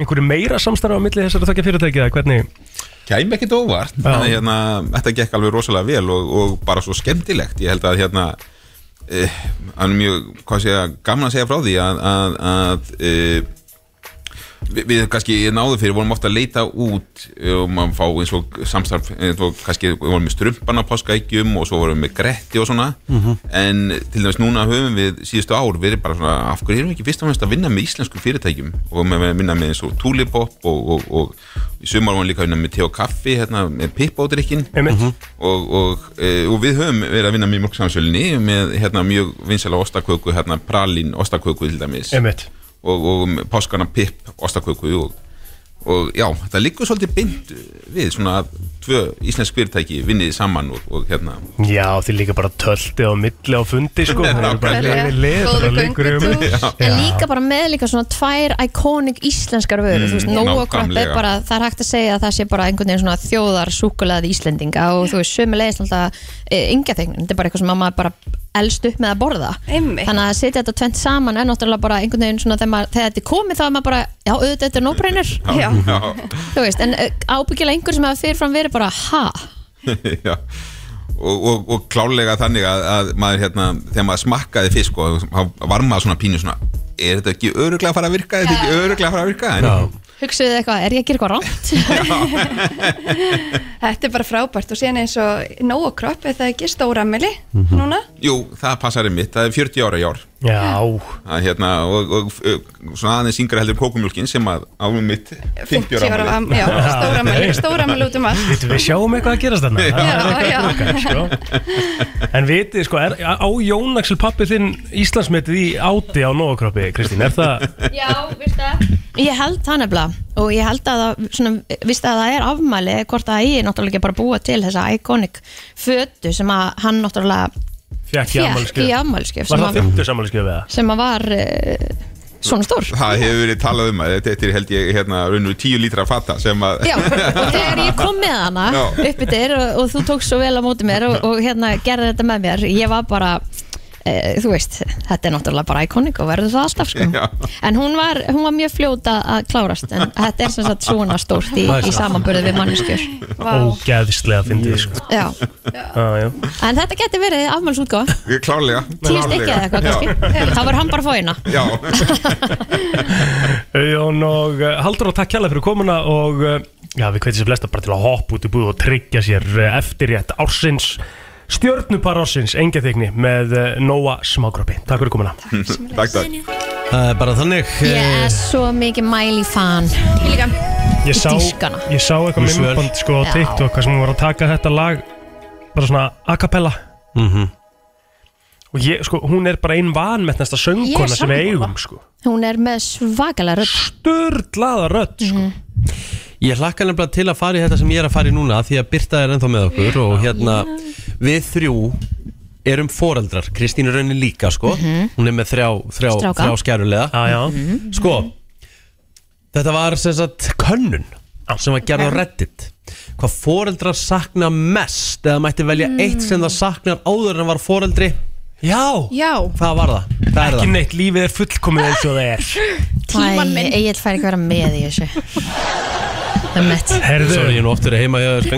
Speaker 4: einhverju meira samstarf á milli þessara þokkja fyrirtækið eða hvernig
Speaker 16: Kæmi ekkert óvart Þannig að hérna, þetta gekk alveg rosalega vel og, og bara svo skemmtilegt Ég held að hérna eh, hann er mjög, hvað segja, gaman að segja frá því að, að, að eh, við, við kannski náðu fyrir vorum ofta að leita út eh, og maður fá eins og samstarf eins og kannski vorum við strumpana páskaækjum og svo vorum við með gretti og svona
Speaker 3: Mhm.
Speaker 16: en til dæmis núna höfum við síðustu ár verið bara svona, af hverju erum við ekki fyrst og fremst að vinna með íslenskum fyrirtækjum og með að vinna með eins og Tulipop og, og, og í sumar varum við líka að vinna með te og kaffi hérna, með pippódrykkin og, og, e, og við höfum verið að vinna með mjög samsölinni með hérna, mjög vinsæla ostaköku, hérna, pralin ostaköku til dæmis
Speaker 4: Einmitt.
Speaker 16: og, og með páskana pipp ostaköku og, og já, það liggur svolítið bind við svona að tvö íslensk fyrirtæki vinnið saman og, og hérna
Speaker 4: Já, þið líka bara töltið á milli á fundi sko Það eru bara
Speaker 16: Nákvæmlega.
Speaker 4: leiðið lið
Speaker 16: Góður
Speaker 4: bara leikur um.
Speaker 16: göngutúr.
Speaker 4: Já.
Speaker 2: En líka bara með líka svona tvær iconic íslenskar vörur,
Speaker 4: Mm,
Speaker 2: þú veist, Nóa kropp er
Speaker 4: nákvæmlega.
Speaker 2: bara, það er hægt að segja að það sé bara einhvern veginn svona þjóðar súkulaði Íslendinga og þú veist, sömu leiðist alltaf yngja þeim, þetta er bara eitthvað sem mamma bara elst upp með að borða Einmitt. þannig að setja þetta tvent saman er náttúrulega bara einhvern veginn svona þegar, maður, þegar þetta er komið þá er maður bara, já, auðvitað þetta er nóbreynir
Speaker 16: já, já.
Speaker 2: þú veist, en e, ábyggilega einhver sem hafa fyrirfram verið bara, ha,
Speaker 16: Já. og, og, og klálega þannig að, að maður hérna, þegar maður smakkaði fisk og þá var maður svona pínu svona er þetta ekki öruglega að fara að virka, er þetta ekki öruglega að fara að virka en,
Speaker 2: hugsuðu þið eitthvað, er ég að gera eitthvað rámt?
Speaker 11: Þetta er bara frábært og síðan eins og Nóa kropp, er það ekki stóramili núna?
Speaker 16: jú, það passar í mitt, það er 40 ára í ár
Speaker 4: Já
Speaker 16: að, hérna, og, og, og svona aðeins yngra heldur kókumjólkin sem að á mitt 50 ára
Speaker 11: ára
Speaker 16: afmæli.
Speaker 11: am- já, stóramæli, stóramæli út um allt
Speaker 4: Vittu, við sjáum eitthvað að gerast þarna Það er eitthvað
Speaker 11: já.
Speaker 4: að ganga, sko. En vitið, sko, er, á Jón Axel pappi þinn Íslandsmetið í áti á nógakroppi, Kristín, er það
Speaker 2: Já, veist það Ég held það nefnilega og ég held að það, svona, víst að það er afmæli hvort að ég er náttúrulega ekki bara að búa til þessa iconic fötu sem að hann náttúrulega
Speaker 4: Fjekk í
Speaker 2: Fékk
Speaker 4: afmælisgjöf
Speaker 2: í afmælisgjöf,
Speaker 4: Var
Speaker 2: sem
Speaker 4: það
Speaker 2: að-
Speaker 4: fymtus afmælisgjöf eða?
Speaker 2: sem að var uh, svona stór
Speaker 16: Það hefur verið talað um að þetta er held ég hérna raunur tíu lítra fata sem að
Speaker 2: Já, og þegar ég kom með hana
Speaker 16: Já.
Speaker 2: uppið þér og, og þú tókst svo vel á móti mér og, og hérna gerði þetta með mér ég var bara, e, þú veist þetta er náttúrulega bara iconic og verður það alltaf sko. en hún var, hún var mjög fljóta að klárast, en þetta er sem sagt svona stórt í, í samanburði við manneskjur
Speaker 4: Ógæðislega fyndið sko.
Speaker 2: Já,
Speaker 4: Já, já.
Speaker 2: en þetta geti verið afmálsútgáfa,
Speaker 16: Ég klárlega
Speaker 2: tíu stykki eða eitthvað kannski þá var hann bara fóina
Speaker 16: Já,
Speaker 4: Jón og uh, Haldur og takk kjalla fyrir komuna og uh, já, við kveitum sér flesta bara til að hoppa út í búð og tryggja sér uh, eftirrétt ársins stjörnupar ársins, engaþykni með uh, Nóa Smákroppi. Takk fyrir komuna.
Speaker 16: Takk, takk.
Speaker 3: Það er bara þannig Eh,
Speaker 2: ég er svo mikið mæli fan ég líka,
Speaker 4: Ég sá,
Speaker 2: dýrkana
Speaker 4: ég sá eitthvað
Speaker 3: Hún svör.
Speaker 4: minnband sko á
Speaker 2: Já.
Speaker 4: TikTok hvað sem hún var að taka þetta lag bara svona a cappella
Speaker 3: Mhm.
Speaker 4: og ég, sko, hún er bara einn vanmetnasta söngkona sem við
Speaker 2: sammála.
Speaker 4: eigum sko.
Speaker 2: hún er með svakalega rödd
Speaker 4: störlaða rödd
Speaker 2: sko.
Speaker 3: Ég hlakka nefnilega til að fara í þetta sem ég er að fara í núna Því að Birta er ennþá með okkur Og hérna, við þrjú erum foreldrar Kristín er raunin líka, sko
Speaker 1: Mhm.
Speaker 3: Hún er með þrjá, þrjá,
Speaker 1: Stráka.
Speaker 3: þrjá skærulega
Speaker 4: ah,
Speaker 1: Mhm.
Speaker 3: Sko, þetta var sem sagt könnun Sem var gerð á Reddit Hvað foreldrar sakna mest Eða mætti velja
Speaker 1: Mm.
Speaker 3: eitt sem það saknar áður en var foreldri Já,
Speaker 12: Já.
Speaker 3: hvað var það? það er
Speaker 4: Ekki
Speaker 3: það.
Speaker 4: neitt, lífið er fullkomið eins og það er
Speaker 2: Tíman minn Egil fær ekki að vera með í þessu Það er mitt
Speaker 4: Herðu.
Speaker 3: Svo er ég nú oft verið heima hjá þér sko,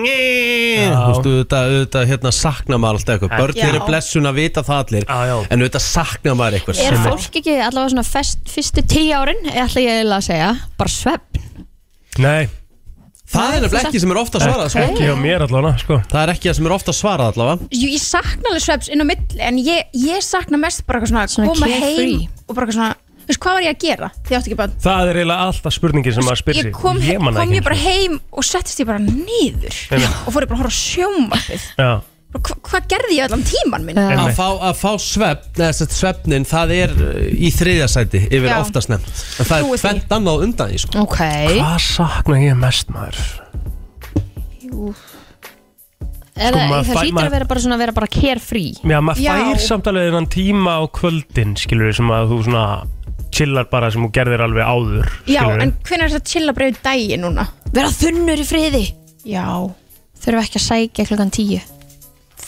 Speaker 3: Þú veist, auðvitað, auðvitað hérna, sakna maður alltaf eitthvað Börn
Speaker 2: Já.
Speaker 3: eru blessun að vita það allir já, já. En auðvitað sakna maður eitthvað
Speaker 2: Er fólk ekki allavega svona fest, fyrstu tíu árin ætla ég eiginlega að segja, bara svefn
Speaker 4: Nei
Speaker 3: Það er nefnilega ekki sem er ofta svarað sko.
Speaker 4: Ekki hjá mér allavega sko.
Speaker 3: Það er ekki það sem er ofta svarað allavega
Speaker 12: Jú, ég sakna alveg sveps inn á milli en ég, ég sakna mest bara eitthvað svona,
Speaker 2: Svona
Speaker 12: koma
Speaker 2: carefree.
Speaker 12: heim og bara eitthvað svona, þú veist, hvað var ég að gera? Því átti ekki bara,
Speaker 4: Það er eiginlega alltaf spurningin sem maður spyr sig
Speaker 12: ég kom,
Speaker 4: ég man það
Speaker 12: kom
Speaker 4: ekki
Speaker 12: ég bara
Speaker 4: einu sinni.
Speaker 12: heim og settist ég bara niður
Speaker 4: Einmitt.
Speaker 12: og fór ég bara að horfa á sjómarfið
Speaker 4: Já.
Speaker 12: Hva, hvað gerði ég allan tíman minn?
Speaker 3: Að fá, að fá svefn, eða sett svefnin Það er uh, í þriðjasæti yfir
Speaker 12: Já.
Speaker 3: oftast nefnt En það
Speaker 12: Trúi
Speaker 3: er
Speaker 12: því.
Speaker 3: fendt annað á undan því sko.
Speaker 2: Ok
Speaker 4: Hvað sakna ég mest maður?
Speaker 2: Jú
Speaker 4: Sko,
Speaker 2: Eða,
Speaker 4: maður
Speaker 2: Það
Speaker 4: fær-
Speaker 2: hlýtur
Speaker 4: maður-
Speaker 2: að vera bara svona vera bara carefree
Speaker 4: Já, maður
Speaker 2: Já.
Speaker 4: fær samt alveg þennan tíma á kvöldin skilur við sem að þú svona chillar bara sem þú gerðir alveg áður
Speaker 12: Já,
Speaker 4: skilurðu.
Speaker 12: en hvernig er þetta chill að breyðu dagi núna?
Speaker 2: Vera þunnur í friði
Speaker 12: Já,
Speaker 2: Þurfa ekki að sækja klukkan tíu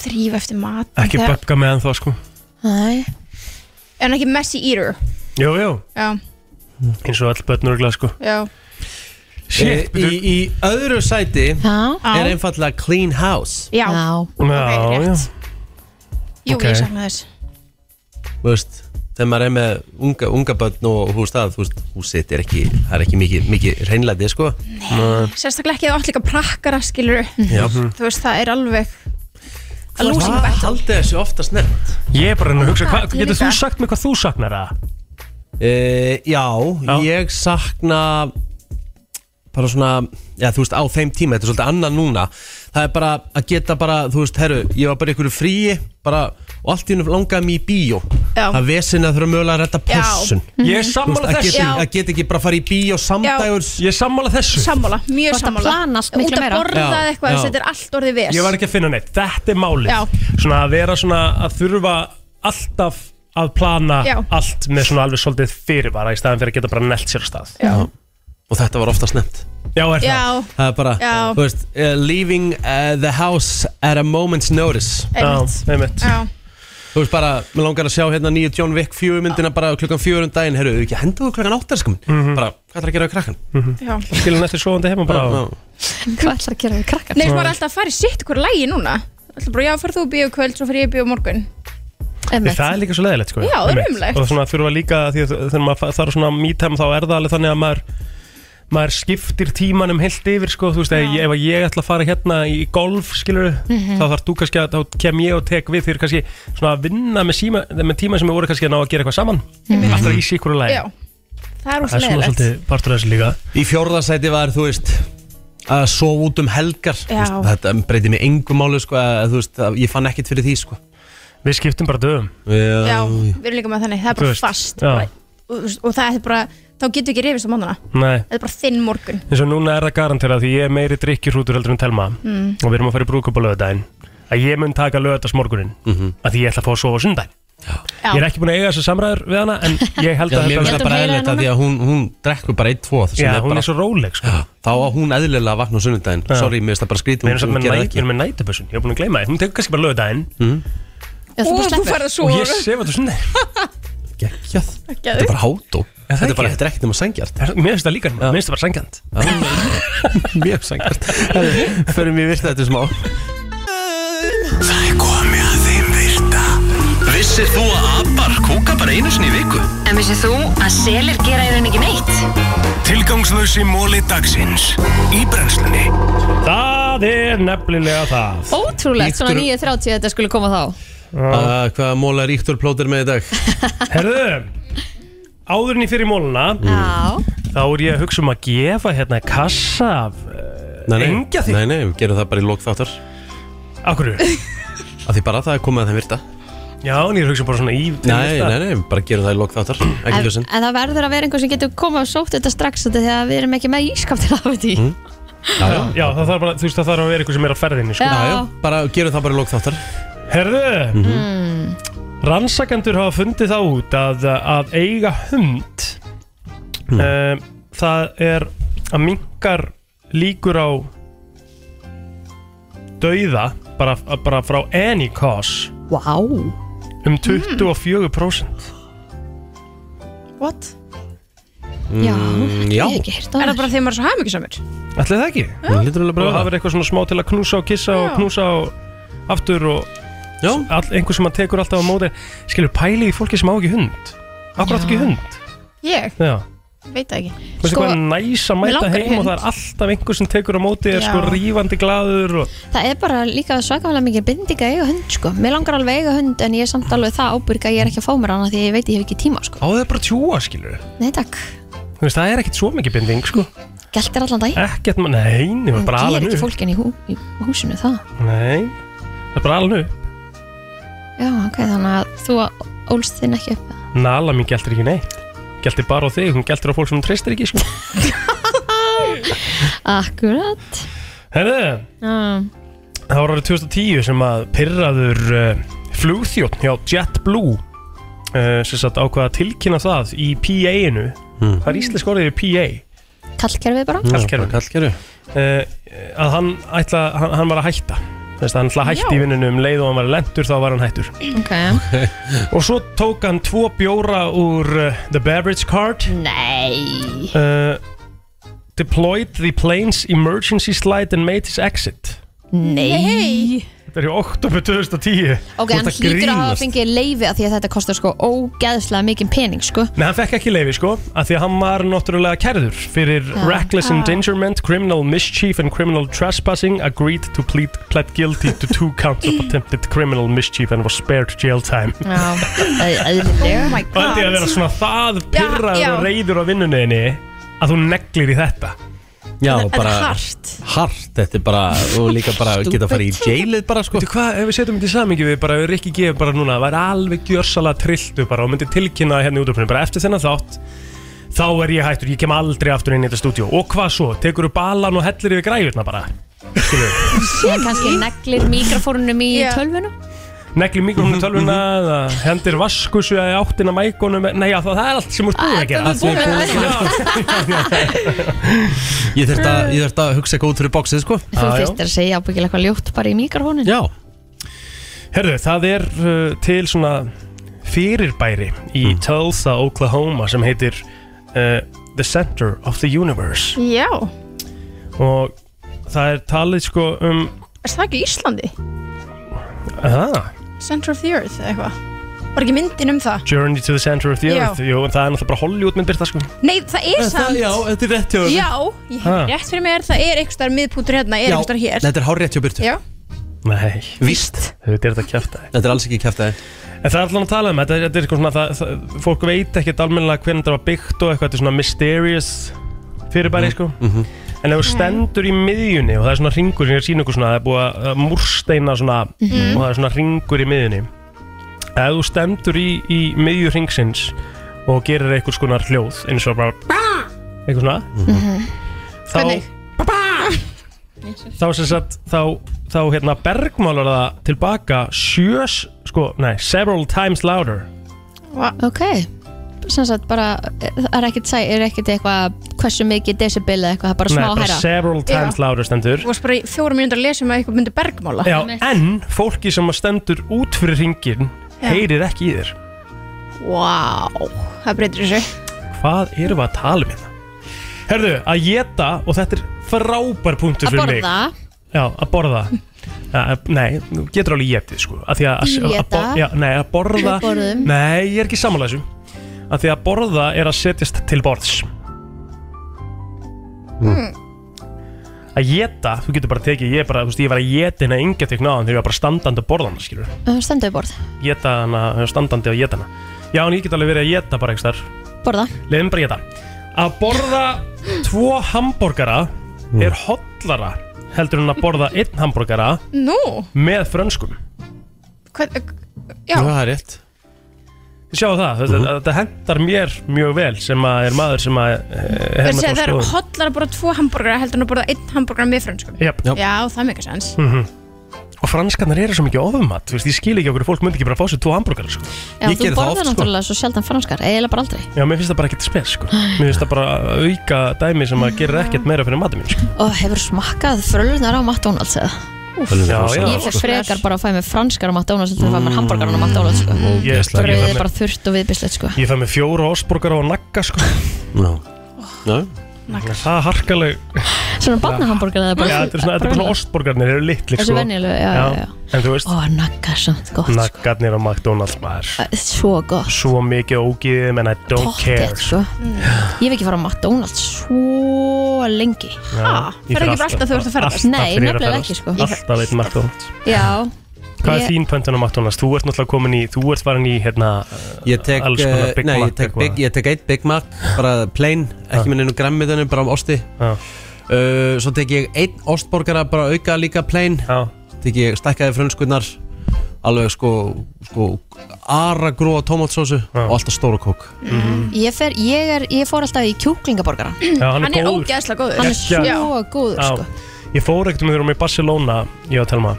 Speaker 12: þrýfa eftir mat
Speaker 4: Ekki böfka með hann þá sko
Speaker 2: Nei
Speaker 12: En ekki messy eater
Speaker 4: Jú, jú,
Speaker 12: Já,
Speaker 4: eins og all börnur og sko
Speaker 12: já
Speaker 3: Eh,
Speaker 4: Shit,
Speaker 3: í, í öðru sæti
Speaker 2: Já.
Speaker 3: er einfallega clean house
Speaker 12: Já,
Speaker 3: Já, já.
Speaker 12: jú,
Speaker 3: Ok.
Speaker 12: ég sakna þess
Speaker 3: þú veist, þegar maður er með unga, unga börn og húst að, þú veist, húsitt er ekki, það er ekki mikið, mikið reynlæti, sko. Nei.
Speaker 12: Sérstaklega ekki það átt líka prakkara skilur
Speaker 4: Mhm.
Speaker 3: Já.
Speaker 12: Þú veist, það er alveg að losing
Speaker 3: Hvað
Speaker 12: battle
Speaker 3: haldið þessu oftast nefnt?
Speaker 4: Ég er bara að hugsa, hva,
Speaker 12: Ég
Speaker 4: getur
Speaker 12: líka.
Speaker 4: þú sagt mér hvað þú saknar það?
Speaker 3: Uh, já, ég sakna bara svona, já, þú veist, á þeim tíma, þetta er svolítið annað núna. Það er bara að geta bara, þú veist, herru, ég var bara í einhverju fríi, bara, og allt í hennu langaði mér í bíó.
Speaker 12: Já.
Speaker 3: Það vesin að þurfa mögulega að retta
Speaker 12: Já.
Speaker 3: pössun.
Speaker 4: Ég er sammála
Speaker 3: Þú veist, að
Speaker 4: þessu.
Speaker 3: geta-
Speaker 4: Já.
Speaker 3: Að geta ekki bara að fara í bíó samdægurs.
Speaker 4: Ég er sammála þessu
Speaker 12: Sammála, mjög
Speaker 2: Þú ert að
Speaker 12: sammála
Speaker 2: plana allt
Speaker 12: Út
Speaker 2: miklu
Speaker 12: að
Speaker 2: meira.
Speaker 12: borða
Speaker 4: Já,
Speaker 12: eða eitthvað,
Speaker 4: já.
Speaker 12: þess að þetta er allt orðið ves
Speaker 4: Ég var ekki að finna neitt, þetta er málið
Speaker 12: Já.
Speaker 4: Svona að vera svona að þurfa alltaf að plana
Speaker 12: Já.
Speaker 4: allt með svona alveg svolítið fyrirvara í staðan fyrir að geta bara nelt sér á stað
Speaker 12: Já.
Speaker 3: Og þetta var oftast nefnt.
Speaker 4: Já, er
Speaker 12: Já,
Speaker 4: það?
Speaker 3: Það er bara,
Speaker 12: Já.
Speaker 3: þú veist, uh, leaving uh, the house at a moment's notice
Speaker 12: Einmitt.
Speaker 4: einmitt
Speaker 12: já
Speaker 3: Þú veist bara, mér langar að sjá hérna nýju John Wick fjögumyndina bara klukkan fjögur um daginn Herru, ekki hendur þú klukkan áttar sko minn
Speaker 4: Mhm.
Speaker 3: Bara, hvað er að gera við krakkan?
Speaker 12: Já.
Speaker 4: Skilja hann eftir svoandi heima bara
Speaker 3: Já,
Speaker 2: Hvað ætlar að gera við krakkar?
Speaker 12: Nei, þú var alltaf að fara í sitt hverju lægi núna Það er bara, já, farð þú bíu kvöld, svo fyrir ég bíu morgun
Speaker 4: Nei, Það er líka svo leðilegt sko
Speaker 12: Já, það er
Speaker 4: Einmitt.
Speaker 12: ömurlegt.
Speaker 4: Og svona þurfa líka því að þegar maður fa- þarf svona mítæm þá er það alveg þannig að maður maður skiptir tímanum heilt yfir sko, þú veist, ef ég- ef ég ætla að fara hérna í golf, skilur
Speaker 1: Mhm.
Speaker 4: þá þarf þú kannski að, þá kem ég og tek við þér kannski svona að vinna með, síma, með tíma sem ég voru kannski að ná að gera eitthvað saman
Speaker 1: Einmitt.
Speaker 4: alltaf í síkur og
Speaker 12: Mhm.
Speaker 4: læg
Speaker 12: Já, það er
Speaker 4: Það er
Speaker 12: úslega
Speaker 4: svona
Speaker 12: leðilegt
Speaker 4: svolítið partur af þessu líka
Speaker 3: Í fjórðasæti var, þú veist, að sofa út um helgar Þú
Speaker 12: Já.
Speaker 3: veist, Þetta breyti mig engum máli sko, að, þú veist, að ég fann ekkit fyrir því sko
Speaker 4: Við skiptum bara dögum
Speaker 3: Já,
Speaker 12: Já, við erum líka með þannig, það er
Speaker 3: Þú
Speaker 12: bara
Speaker 3: veist,
Speaker 12: fast
Speaker 4: já.
Speaker 12: bara, og, þú veist, og það er bara, þá getur ekki reyfist á mánuna
Speaker 4: Nei,
Speaker 12: Það er bara þinn morgun
Speaker 4: eins og núna er það garanterað því ég er meiri drikkjurhrútur heldur en Telma
Speaker 12: Mm.
Speaker 11: Mhm.
Speaker 3: Mhm.
Speaker 4: og við erum að fara í brúkup á lögadaginn að ég mun taka lögadags morgunin að því ég ætla að fá að sofa á sundaginn Ég er ekki búin að eiga þessar samræður við hana En ég held
Speaker 3: Já,
Speaker 4: að
Speaker 3: mér finnst það bara eðlilegt að því að hún, hún drekkur bara 1-2
Speaker 4: Já, hún er svo róleg sko.
Speaker 3: Þá á hún eðlilega að vakna á sunnudaginn
Speaker 4: Já.
Speaker 3: Sorry, mér finnst það bara skrítið
Speaker 4: Við erum samt
Speaker 3: hún
Speaker 4: með
Speaker 3: gerir það
Speaker 4: næ-
Speaker 3: ekki.
Speaker 4: við
Speaker 3: Mhm.
Speaker 4: erum með nætabössun, ég er búin að gleyma því Hún tekur kannski bara lögudaginn
Speaker 12: Já, þú bara
Speaker 10: Og þú
Speaker 12: sleppur.
Speaker 10: færð að
Speaker 4: Og ég sef að þú sinni
Speaker 3: Þetta er bara hátó Þetta er bara, þetta er ekkert nema sengjart
Speaker 4: Mér finnst það líka, mér finnst það bara sengjant
Speaker 3: Mjög sengjart Förum við virta þetta smá
Speaker 1: Það er komið að þeim virta Vissir þú að abar kúka bara einu sinni í viku?
Speaker 5: En vissið þú að selir gera í rauninni ekki neitt?
Speaker 1: Tilgangslösi móli dagsins Í brennslunni
Speaker 4: Það er nefnilega það
Speaker 2: Ótrúlegt, svona
Speaker 3: Ítur-
Speaker 2: 9.30 þetta skulle koma þá
Speaker 3: Uh, Hvaða móla er Íktur plótir með í dag?
Speaker 4: Herðu, áðurinn í fyrir móluna Þá er ég að hugsa um að gefa hérna kassa af
Speaker 3: Nei, nei,
Speaker 4: Engja þig.
Speaker 3: nei, nei, við gerum það bara í lók þáttar
Speaker 4: Akkur
Speaker 3: Af því bara það er komið að þeim virta
Speaker 4: Já, en ég er að hugsa bara svona í
Speaker 3: Nei, nei, nei, bara gerum það í lók þáttar Ekki
Speaker 2: en,
Speaker 3: ljósin
Speaker 2: en það verður að vera einhver sem getur koma og sótt þetta strax þetta þegar við erum ekki með ískap til að hafa þetta í
Speaker 4: Já, já. það þarf bara, þú veist, það þarf að vera eitthvað sem er á ferðinni sko.
Speaker 2: Já. Já, já,
Speaker 4: bara gerum það bara í lók þáttar Mhm. Herðu, rannsakendur hafa fundið það út að, að eiga hund mm. Það er að minkar líkur á dauða bara, bara frá any cause
Speaker 2: wow.
Speaker 4: um 24%
Speaker 12: What?
Speaker 4: Já, Mm, já.
Speaker 12: Ég hef ekki heyrt á Er það bara því að maður er svo hamingisamur?
Speaker 4: Ætli það ekki?
Speaker 3: Líturlega
Speaker 4: bara Það verður eitthvað svona smá til að knúsa og kissa og knúsa og aftur og all, einhver sem að tekur alltaf á móti Skilur, pæli í fólki sem á ekki hund Akkur átt ekki hund
Speaker 12: Ég?
Speaker 4: Já
Speaker 12: Veit það ekki
Speaker 4: Veistu hvað er næs að
Speaker 12: mig
Speaker 4: mæta
Speaker 12: langar í
Speaker 4: heim og
Speaker 12: hund.
Speaker 4: það er alltaf einhver sem tekur á móti er
Speaker 2: Já.
Speaker 4: sko rífandi glaður og
Speaker 2: Það er bara líka svakalega mikið binding að eiga hund sko. Mér langar alveg að eiga hund en ég er samt alveg það ábyrg að ég er ekki að fá mér hana því að ég veit ég hef ekki tíma sko.
Speaker 4: á það er bara tjúa skilur
Speaker 2: Nei takk,
Speaker 4: Þú veist, það er ekkert svo mikið binding sko
Speaker 2: gælt er allan dag
Speaker 4: Ekkert, ma- nei, það er Eh, bara
Speaker 2: Það er
Speaker 4: alveg
Speaker 2: ekki
Speaker 4: nú
Speaker 2: fólkin í, hú, í húsinu það
Speaker 4: Nei, það er bara alveg nú
Speaker 2: Já, ok, þannig að þú ólst þinn ekki upp
Speaker 4: Nala mín gæltir ekki neitt Gæltir bara á þig, hún gæltir á fólk sem hún treystir ekki sko
Speaker 2: Akkurat
Speaker 4: Herðu,
Speaker 2: um,
Speaker 4: Það var árið 2010 sem að pyrraður uh, flugþjótt hjá JetBlue uh, sem satt ákvaða að tilkynna það í PA-inu
Speaker 3: Mm.
Speaker 4: Það er íslensk orðið yfir PA
Speaker 2: Kallkerfið bara
Speaker 4: Kallkerfi.
Speaker 3: Kallkerfi.
Speaker 4: uh, að hann, ætla, hann, hann var að hætta Þess að hann ætla að hætta
Speaker 2: Já.
Speaker 4: í vinnunum um leið og hann var lentur þá var hann hættur
Speaker 2: Ok
Speaker 4: Og svo tók hann tvo bjóra úr uh, The Beverage Card
Speaker 2: Nei
Speaker 4: uh, Deployed the plane's emergency slide and made his exit
Speaker 2: Nei
Speaker 4: Þetta er í oktober 2010
Speaker 2: Ok,
Speaker 4: Þú ert
Speaker 2: hann
Speaker 4: að
Speaker 2: hlýtur að hafa
Speaker 4: grínast.
Speaker 2: fengið leifi af því að þetta kostar sko ógeðslega mikið pening sko
Speaker 4: Nei, hann fekk ekki leiði sko, af því að hann var náttúrulega kærður fyrir
Speaker 2: Já.
Speaker 4: reckless
Speaker 2: Já.
Speaker 4: endangerment, criminal mischief and criminal trespassing, agreed to plead, plead guilty to two counts of attempted criminal mischief and was spared jail time.
Speaker 2: Já, eðlilega Oh my
Speaker 4: Og þetta er að vera svona það pyrraður
Speaker 12: já.
Speaker 4: og reyður á vinnunniðinni að þú neglir í þetta.
Speaker 3: Já,
Speaker 4: Þetta er
Speaker 3: bara
Speaker 12: hart
Speaker 3: Hart, þetta er bara Og líka bara geta að fara í jailið bara sko
Speaker 4: Veitu hvað, ef við setjum þetta í samingi við bara, ef Rikki gefur bara núna, það væri alveg gjörsalega trilltu bara og myndi tilkynna það hérna í útöpunum, bara eftir þennan þátt þá er ég hættur, ég kem aldrei aftur inn í þetta stúdíu og hvað svo, tekur þú balan og hellir yfir græjurna bara
Speaker 2: Sér kannski neglir mikrofónunum í yeah. tölvuna
Speaker 4: negli mikrofónu tölvuna eða hendir vaskusu eða í áttina mækonum, nei já það, það er allt sem úr búið að gera
Speaker 3: Allt sem þú ert búin að gera. Ég þurft að, ég þurft að hugsa eitthvað út fyrir bóksið sko
Speaker 2: Þú fyrst er að segja ábyggilega eitthvað ljótt bara í mikrofónun
Speaker 3: Já
Speaker 4: Herðu, það er uh, til svona fyrirbæri í
Speaker 3: Hmm.
Speaker 4: Tulsa, Oklahoma sem heitir uh, The Center of the Universe
Speaker 12: Já
Speaker 4: og það er talið sko um
Speaker 12: Er það ekki í Íslandi?
Speaker 4: aha,
Speaker 12: Center of the Earth eða eitthvað Var ekki myndin um það?
Speaker 4: Journey to the Center of the
Speaker 12: Já.
Speaker 4: Earth Jú, en það er náttúrulega bara Hollywood mynd byrta sko
Speaker 12: Nei, það er samt
Speaker 3: þetta er rétt
Speaker 12: Já, ég hef
Speaker 3: Ha.
Speaker 12: rétt fyrir mér, það er eitthvað starf miðpútur hérna, er eitthvað starf hér
Speaker 3: þetta er hár rétt hjá Byrtu
Speaker 12: Já,
Speaker 4: Nei,
Speaker 3: víst
Speaker 4: Þetta er þetta kjæftæði
Speaker 3: Þetta er alls ekki kjæftæði
Speaker 4: En það er allan að tala um þetta, þetta er eitthvað svona, það, það, fólk veit ekkert almennilega hvernig þetta var byggt og eitthvað, þetta er svona mysterious fyrirbæri
Speaker 3: Mhm.
Speaker 4: sko.
Speaker 15: Mm-hmm.
Speaker 4: En ef þú stendur í miðjunni og það er svona ringur sem ég er að sína ykkur svona, það er búið að að múrsteina svona
Speaker 8: Mhm.
Speaker 4: og það er svona ringur í miðjunni. Ef þú stendur í, í miðju ringsins og gerir eitthvað svona hljóð eins og bara eitthvað svona,
Speaker 3: Mhm.
Speaker 2: Mhm.
Speaker 4: þá...
Speaker 12: Hvernig?
Speaker 4: þá sem sagt þá, þá hérna bergmálar það tilbaka sjö s- sko, nei, several times louder
Speaker 2: Ok Sem sagt bara, það er ekkert, sæ- er ekkert eitthvað hversu mikið decibel eða eitthvað, það er bara smá
Speaker 4: Nei, bara
Speaker 2: hærra
Speaker 4: several times louder stendur
Speaker 11: Þú varst bara í fjórum mínútur að lesa um að eitthvað myndi bergmála
Speaker 4: Já, en fólki sem að stendur út fyrir ringin
Speaker 11: Já.
Speaker 4: heyrir ekki í þér
Speaker 11: Vá, það breytir þessu
Speaker 4: Hvað erum við að tala um hérna? Herðu, að geta og þetta er frábær punktur
Speaker 11: Að
Speaker 4: fyrir mig
Speaker 11: borða.
Speaker 4: Já, að borða Uh, nei, þú getur alveg getið sko að því að, að, að,
Speaker 2: Éta.
Speaker 4: já, nei, að borða
Speaker 2: Við borðum.
Speaker 4: Nei, ég er ekki samanlega þessu að því að borða er að setjast til borðs Mhm.
Speaker 11: Mm.
Speaker 4: að geta, þú getur bara tekið ég, er bara, þú veist, ég var að geta hérna yngja tekna á hann þegar ég var bara standandi að borða hann skilur
Speaker 2: Uh, Stendu við borð,
Speaker 4: geta hana, standandi og geta hana já, en ég get alveg verið að geta bara ekstar
Speaker 2: borða
Speaker 4: leiðum bara geta að borða tvo hambúrgara er hotlara heldur en að borða einn hambúrgara
Speaker 11: Nú,
Speaker 4: með frönskum
Speaker 11: hvað, já,
Speaker 4: er rétt Sjáu það, þetta, þetta hendar mér mjög vel sem að er maður sem að eh,
Speaker 11: það
Speaker 4: er hérna
Speaker 11: er, það er hotlar að borða tvo hambúrgara heldur en að borða einn hambúrgara með frönskum
Speaker 4: Jáp. Jáp.
Speaker 11: Já, það er mikið sens
Speaker 4: -hmm. Og franskarnar eru svo mikið ofumat Þú veist, ég skil ekki okkur fólk myndi ekki bara fá sér tvo hambúrgar sko.
Speaker 2: Já, þú borðar náttúrulega svo sjaldan franskar, eiginlega bara aldrei
Speaker 4: sko. Já, mér finnst það bara ekkert spes sko. Mér finnst það bara auka dæmi sem að gera ekkert meira fyrir matum minn sko.
Speaker 2: Og hefur smakkað frölunar á McDonalds eða? Úff.
Speaker 4: Frölurnar á
Speaker 2: Ég
Speaker 4: McDonald's,
Speaker 2: fer
Speaker 4: sko.
Speaker 2: frekar bara að fæ mér franskar á McDonalds heldur en að fæ mér hamburgaran á McDonalds sko.
Speaker 4: Mm, Ég-
Speaker 2: Brauðið
Speaker 4: ég-
Speaker 2: Mm. er bara þurrt og viðbislegt sko.
Speaker 4: Ég fæ með fjóra osburgar á nakka sko. no. No. Það er harkaleg
Speaker 2: Svona barnahamborgara eða bara-
Speaker 4: Já, þetta er svona, þetta er bara svona
Speaker 2: Brauðið.
Speaker 4: ostborgarnir eru litli
Speaker 2: Þessi venjulegu, já, já, já.
Speaker 4: En þú veist
Speaker 2: Ó, naggar samt gott sko.
Speaker 4: Naggarnir á McDonalds maður
Speaker 2: Það er Svo gott
Speaker 4: Svo mikið ógið menn I don't care
Speaker 2: Pottþétt, sko. Ég hef ekki farið á McDonalds svo lengi
Speaker 4: Já, ég
Speaker 2: ferðu
Speaker 4: fer
Speaker 2: ekki bara alltaf þegar þú ert að ferðast?
Speaker 4: alltaf
Speaker 2: Nei,
Speaker 4: þegar ég er að
Speaker 2: nefnilega
Speaker 4: ferðast.
Speaker 2: ekki, sko.
Speaker 4: Alltaf einn McDonalds
Speaker 2: Já
Speaker 4: Hvað
Speaker 2: Ég-
Speaker 4: er þín pöntun á McDonalds? Þú ert náttúrulega komin í, þú ert farin í hérna
Speaker 3: Ég tek,
Speaker 4: alls konar
Speaker 3: eh,
Speaker 4: Big
Speaker 3: nei,
Speaker 4: Mac
Speaker 3: ég tek,
Speaker 4: eitthvað.
Speaker 3: big, ég tek eitt Big Mac bara plain, ekki með neinu græmmiðunum bara um osti
Speaker 4: uh,
Speaker 3: svo tek ég einn ostborgara bara auka líka plain
Speaker 4: Já.
Speaker 3: tek ég stækkaði frönskunnar alveg sko, sko ara gróa tómatsósu og alltaf stóra kók
Speaker 2: Ég, fer, ég, er, ég fór alltaf í kjúklingaborgaran
Speaker 4: hann er Hann er góður.
Speaker 11: ógeðslega góður.
Speaker 2: Hann er
Speaker 4: Geggjaður.
Speaker 2: svo góður
Speaker 4: Já.
Speaker 2: sko.
Speaker 4: Ég fór ekkert með þér um í Barcelona ég og Telma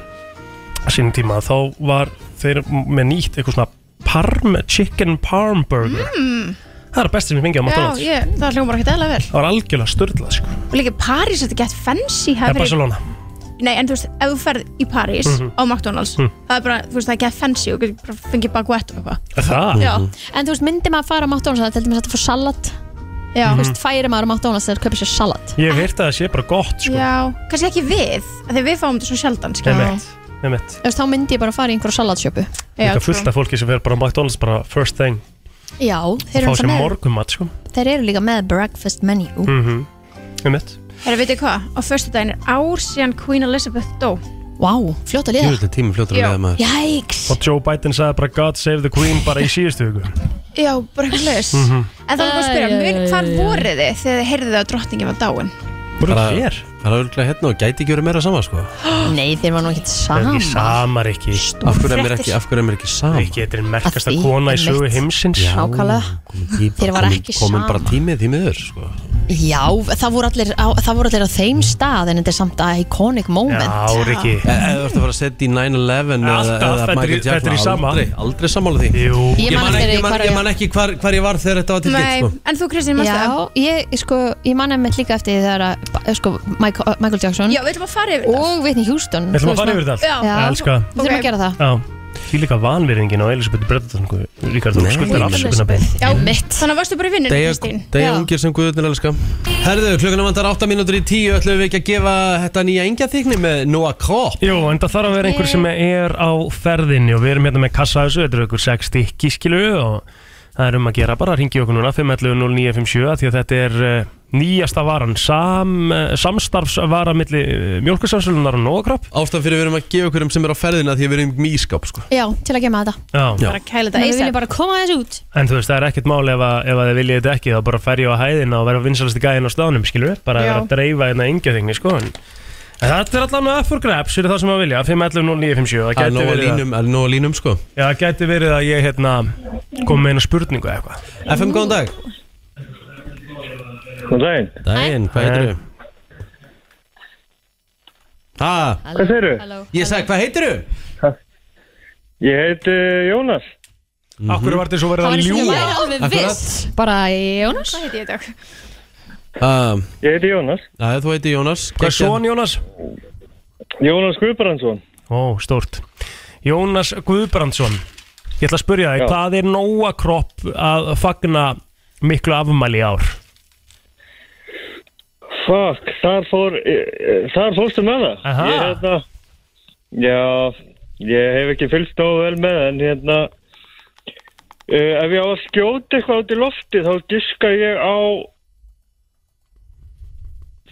Speaker 4: að sínum tíma þá var þeir með nýtt eitthvað svona parm, chicken parm burger
Speaker 11: mm.
Speaker 4: Það er það besta sem ég fengi
Speaker 11: Já,
Speaker 4: á Hm. McDonalds
Speaker 11: ég, það hljómar ekkert eðla vel
Speaker 4: Það var algjörlega störðlað sko.
Speaker 11: Og líka París, þetta gett fancy
Speaker 4: Það
Speaker 11: það
Speaker 4: er Barcelona
Speaker 11: Nei, en þú veist, ef þú ferð í París
Speaker 4: Mhm.
Speaker 11: á McDonalds
Speaker 4: Mm.
Speaker 11: Það er bara, þú veist, það er gett fancy og þú getur bara fengið baguette og eitthvað
Speaker 4: Er það?
Speaker 11: Já.
Speaker 2: En þú veist, myndi maður að fara á McDonalds Það er til dæmis að þetta fór salat Já. Þú
Speaker 4: Mhm.
Speaker 2: veist, færi maður á McDonalds þegar kaupir sér salat
Speaker 4: Ég hef heyrt að það sé bara gott sko.
Speaker 11: Já, kannski ekki við af Þegar við fáum þetta svo sjaldan sko. skilur við.
Speaker 4: Einmitt, einmitt.
Speaker 2: Þú veist, Þá myndi ég bara fara í einhverja salatsjöpu
Speaker 4: Líka fullt af fólki sem fer bara á McDonalds bara first thing
Speaker 2: Já, þeir eru,
Speaker 4: Fá sér
Speaker 2: með,
Speaker 4: morgumat sko.
Speaker 2: þeir eru líka með breakfast menu
Speaker 4: mm -hmm. Einmitt
Speaker 11: Herra, veitir hvað? Á förstu daginn er ár síðan Queen Elizabeth dó
Speaker 2: Vá, fljóta liða.
Speaker 3: Jú, þetta er tími fljótur að
Speaker 11: Já.
Speaker 3: leiða maður
Speaker 2: Jæks
Speaker 4: Og Joe Biden sagði bara God save the Queen bara í síðustu viku
Speaker 11: Já, bara eitthvað leis
Speaker 4: Mhm.
Speaker 11: En þá erum við að spyrja,
Speaker 2: Æ, æ,
Speaker 11: mun,
Speaker 2: æ,
Speaker 11: hvar
Speaker 2: æ.
Speaker 11: voruð þið þegar þið heyrðuð að drottningin var dáin?
Speaker 4: Bara
Speaker 3: hér Bara örgulega hérna og gæti ekki verið meira sama sko
Speaker 2: Nei, þeir var nú ekkert sama
Speaker 4: Samar ekki
Speaker 3: Af hverju er mér ekki, af hverju er mér ekki sama?
Speaker 4: Rikki, þetta er merkasta kona í sögu heimsins
Speaker 3: Já,
Speaker 2: Nákvæmlega.
Speaker 3: komin-
Speaker 2: Þeir var
Speaker 3: komin-
Speaker 2: ekki
Speaker 3: Komin bara
Speaker 2: saman.
Speaker 3: tímið því miður sko
Speaker 2: Já, það voru, allir á, það voru allir á þeim stað en þetta er samt að iconic moment
Speaker 4: Rikki
Speaker 3: Eða eða þú ert að fara að setja í 9-11 eða-
Speaker 4: Alltaf,
Speaker 3: eða
Speaker 4: þetta er í-
Speaker 3: Michael Jackson,
Speaker 4: þetta er í sama.
Speaker 3: Aldrei, aldrei sammála því
Speaker 4: Jú
Speaker 2: Ég man eftir
Speaker 3: man ekki,
Speaker 2: því
Speaker 3: ég man,
Speaker 2: hvar
Speaker 3: ég
Speaker 2: ég-
Speaker 3: man ekki hvar, hvar ég var þegar þetta var til
Speaker 11: Nei,
Speaker 3: gett sko.
Speaker 11: en þú Kristín, manstu
Speaker 2: Já,
Speaker 11: það?
Speaker 2: ég, sko, ég manna mitt líka eftir því þegar að, ba- sko, Michael, Michael Jackson
Speaker 11: Já, við ætlum að fara yfir
Speaker 2: það Og Whitney Houston
Speaker 4: Við ætlum að
Speaker 2: þú
Speaker 4: fara
Speaker 2: veist
Speaker 4: yfir
Speaker 2: maður-
Speaker 4: þetta allt.
Speaker 2: Já,
Speaker 4: Ég elska það.
Speaker 2: Við þurfum að gera það
Speaker 4: Já Því líka vanverðingin á Elisabeth Bredaton Ríkard, þú
Speaker 3: Nei.
Speaker 4: skuldar afsökunarbegin
Speaker 11: Já, þannig að varstu bara í vinnunni, Kristín
Speaker 3: Degja ungir sem guðurnir elska Herðu, klukkuna vantar 8 mínútur í 10 ætlum við ekki að gefa þetta nýja engjathykni með Noah Kropp
Speaker 4: Jú, en það þarf að vera einhver sem er á ferðinni og við erum hérna með kassa af þessu, þetta eru ykkur 6 stykki skilu og það er um að gera bara, ringi okkur núna 511-0957 af því að þetta er uh, nýjasta varan, sam, uh, samstarfsvara milli uh, mjölkursamsölunar og nógakropp
Speaker 3: Ástæðan fyrir við erum að gefa okkur um sem er á ferðina því að við erum í ískap sko.
Speaker 2: Já, til að gema þetta
Speaker 4: Já.
Speaker 11: kæla
Speaker 2: Þannig að Við viljum bara koma þessu út
Speaker 4: En þú veist, það er ekkert máli ef að, ef að þið viljið þetta ekki þá bara fer ég á hæðina og vera vinsalasti gæðin á staðnum, skilur við, bara
Speaker 11: Já.
Speaker 4: vera að dreifa hérna yngja þegni, sko en, en þetta er allan að for grabs fyrir það sem að vilja 511-0957, það
Speaker 3: Það er
Speaker 4: gæti
Speaker 3: nóg að
Speaker 4: verið að-
Speaker 3: línum, það er nóg að línum sko.
Speaker 4: Já, það gæti verið að ég hérna kom með eina spurningu eða eitthvað
Speaker 3: FM, góðan dag
Speaker 17: Góðan daginn
Speaker 3: Daginn, hvað heitir þau? Ha?
Speaker 17: Hvað segirðu?
Speaker 3: Ég sagði, hvað heitir þau?
Speaker 17: Ég heiti Jónas
Speaker 3: Mhm.
Speaker 4: Akkur var þetta svo verið
Speaker 2: Það var
Speaker 4: að
Speaker 2: eins og ég
Speaker 4: ljúga
Speaker 2: væri alveg viss Bara Jónas Hvað heiti ég í dag?
Speaker 18: Um,
Speaker 17: Ég heiti Jónas
Speaker 18: Æ, þú heiti Jónas
Speaker 4: Hvað er son Jónas?
Speaker 17: Jónas Guðbrandsson
Speaker 4: Ó, stórt Jónas Guðbrandsson Ég ætla að spyrja þig,
Speaker 17: Já.
Speaker 4: hvað er nóa kropp að fagna miklu afmæli í ár?
Speaker 17: Fuck, þar fór eh, Þar fórstu með það
Speaker 4: Aha.
Speaker 17: Ég hérna Já Ég hef ekki fylgst á vel með En hérna uh, Ef ég á að skjóta eitthvað út í lofti Þá giska ég á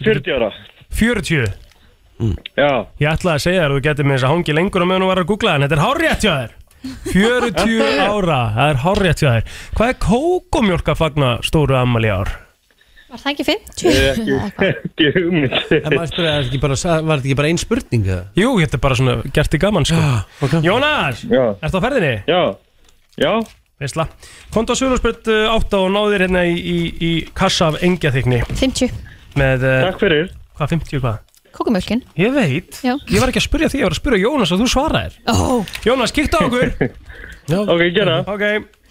Speaker 17: 40 ára
Speaker 4: 40
Speaker 18: Mm.
Speaker 17: Já
Speaker 4: Ég ætla að segja þér að þú getur með þess að hangi lengur og meðan þú var að googla en þetta er hárrétt hjá þér 40 ára, það er hárrétt hjá þér Hvað er kókomjólk að fagna stóru afmæli í ár?
Speaker 2: Var það ekki 50?
Speaker 17: ekki hugmynd
Speaker 18: En maður spyrir, er þetta ekki bara, var þetta ekki bara ein spurning eða?
Speaker 4: Jú, þetta er bara svona gert í gaman sko. Jónas, ertu á ferðinni?
Speaker 17: Já, já
Speaker 4: Veistla, komdu á Sjölusbjörn 8 og náðir hérna í, í, í kassa af engjathykni
Speaker 2: 50
Speaker 4: með, eh,
Speaker 17: Takk fyrir
Speaker 4: Hvað, 50 hvað?
Speaker 2: Kókumjölkin
Speaker 4: Ég veit,
Speaker 2: Já.
Speaker 4: ég var ekki að spyrja því, ég var að spyrja Jónas og þú svaraðir
Speaker 2: Ó,
Speaker 4: Jónas, kíktu á okkur
Speaker 17: Ok, gera
Speaker 4: Ok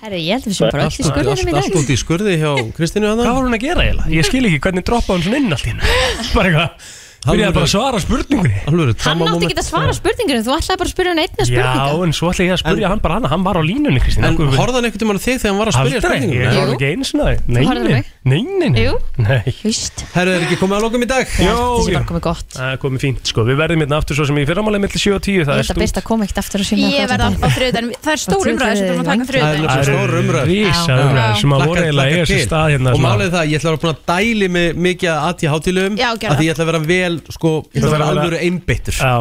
Speaker 2: herri, ég held að við séum bara öll í skurðinum í dag
Speaker 18: út í skurði hjá Kristínu hann
Speaker 4: Hvað var hún að gera eiginlega? Ég skil ekki hvernig droppa hún svona inn allt í hennu Bara eitthvað Byrjaði bara að svara spurningunni
Speaker 18: Alvöru,
Speaker 2: Hann átti ekki að svara spurningunum, þú ætlaði bara að spyrja hann einna
Speaker 4: Já,
Speaker 2: spurningu
Speaker 4: en svo ætla ég að spyrja hann bara hana Hann var á línunni, Kristín
Speaker 18: En horfði hann einhvern tímann á þig þegar hann var að spyrja
Speaker 4: Aldrei,
Speaker 18: spurninguna?
Speaker 4: ég
Speaker 18: Jú.
Speaker 4: horfði ekki einu sinna
Speaker 2: Þú horfðir á
Speaker 4: Nei,
Speaker 2: mig.
Speaker 4: nei, nei, nei
Speaker 2: Jú.
Speaker 4: Nei
Speaker 2: Víst
Speaker 18: Herru, er ekki komið að lokum í dag?
Speaker 4: Jó,
Speaker 2: Þessi
Speaker 4: jú.
Speaker 2: var komið gott
Speaker 4: Það er komið fínt, sko Við verðum hérna aftur svo sem í fyrramálið millir 7 og 10
Speaker 2: Ég
Speaker 4: Það er
Speaker 2: held að
Speaker 4: sko. stútt
Speaker 2: Birta kom ekkert aftur að sína
Speaker 12: Ég verða á þriðdæðin Það er stór umræð sem þú erum að taka þriðdæðin
Speaker 18: Það er stór umræð
Speaker 4: Rísa umræður sem að voru eiginlega eiga sér stað hérna
Speaker 18: Og
Speaker 4: svona.
Speaker 18: málið er það, ég ætla að vera búin að dæli mig mikið að aðtíð hátilum
Speaker 12: Já, gerðu
Speaker 18: Því ég ætla að vera vel, sko, ég ætla að vera alvöru einbyttur
Speaker 4: Já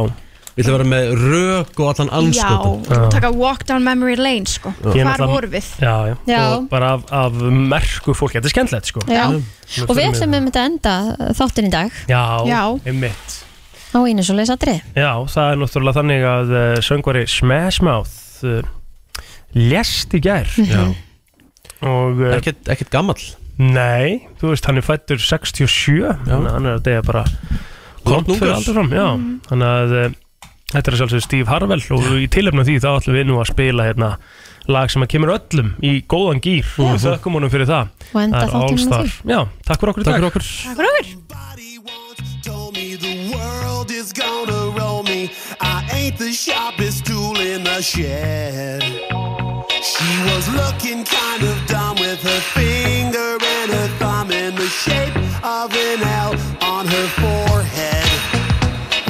Speaker 18: Ég ætla að vera með rök og allan
Speaker 12: Já,
Speaker 18: anskotum
Speaker 12: þú taka walk down memory lane sko
Speaker 4: Ég er
Speaker 12: Hvar
Speaker 4: náttúrulega-
Speaker 12: vorum við?
Speaker 4: Já, já,
Speaker 2: Já.
Speaker 4: og bara af, af merku fólki, þetta er skemmtilegt sko
Speaker 2: Já.
Speaker 4: Við
Speaker 2: Og við
Speaker 4: förum
Speaker 2: ætlum
Speaker 4: yfir-
Speaker 2: um þetta enda þáttin í dag
Speaker 4: Já,
Speaker 2: Já.
Speaker 4: einmitt
Speaker 2: á einu svo leiðsatri
Speaker 4: Já, það er náttúrulega þannig að uh, söngvari Smash Mouth uh, lest í gær
Speaker 18: Já.
Speaker 4: og uh,
Speaker 18: Ekkert, ekkert gamall
Speaker 4: Nei, þú veist, hann er fættur 67 þannig að hann er að deyja bara langt fyrir
Speaker 18: ungur.
Speaker 4: aldur fram já,
Speaker 2: Mm.
Speaker 18: Mhm.
Speaker 4: þannig að uh, þetta er sjálfsög Steve Harvell og í tilefna því þá ætlum við nú að spila hérna lag sem að kemur öllum í góðan gýr og við þökkum honum fyrir það
Speaker 2: Og enda
Speaker 4: Það er
Speaker 2: þáttinn
Speaker 4: All
Speaker 2: með
Speaker 4: Star.
Speaker 2: því.
Speaker 4: Já, takk fyrir okkur í dag Takk fyrir okkur
Speaker 12: Takk fyrir okkur
Speaker 1: The world is gonna roll me. I ain't the sharpest tool in the shed. She was looking kind of dumb with her feet.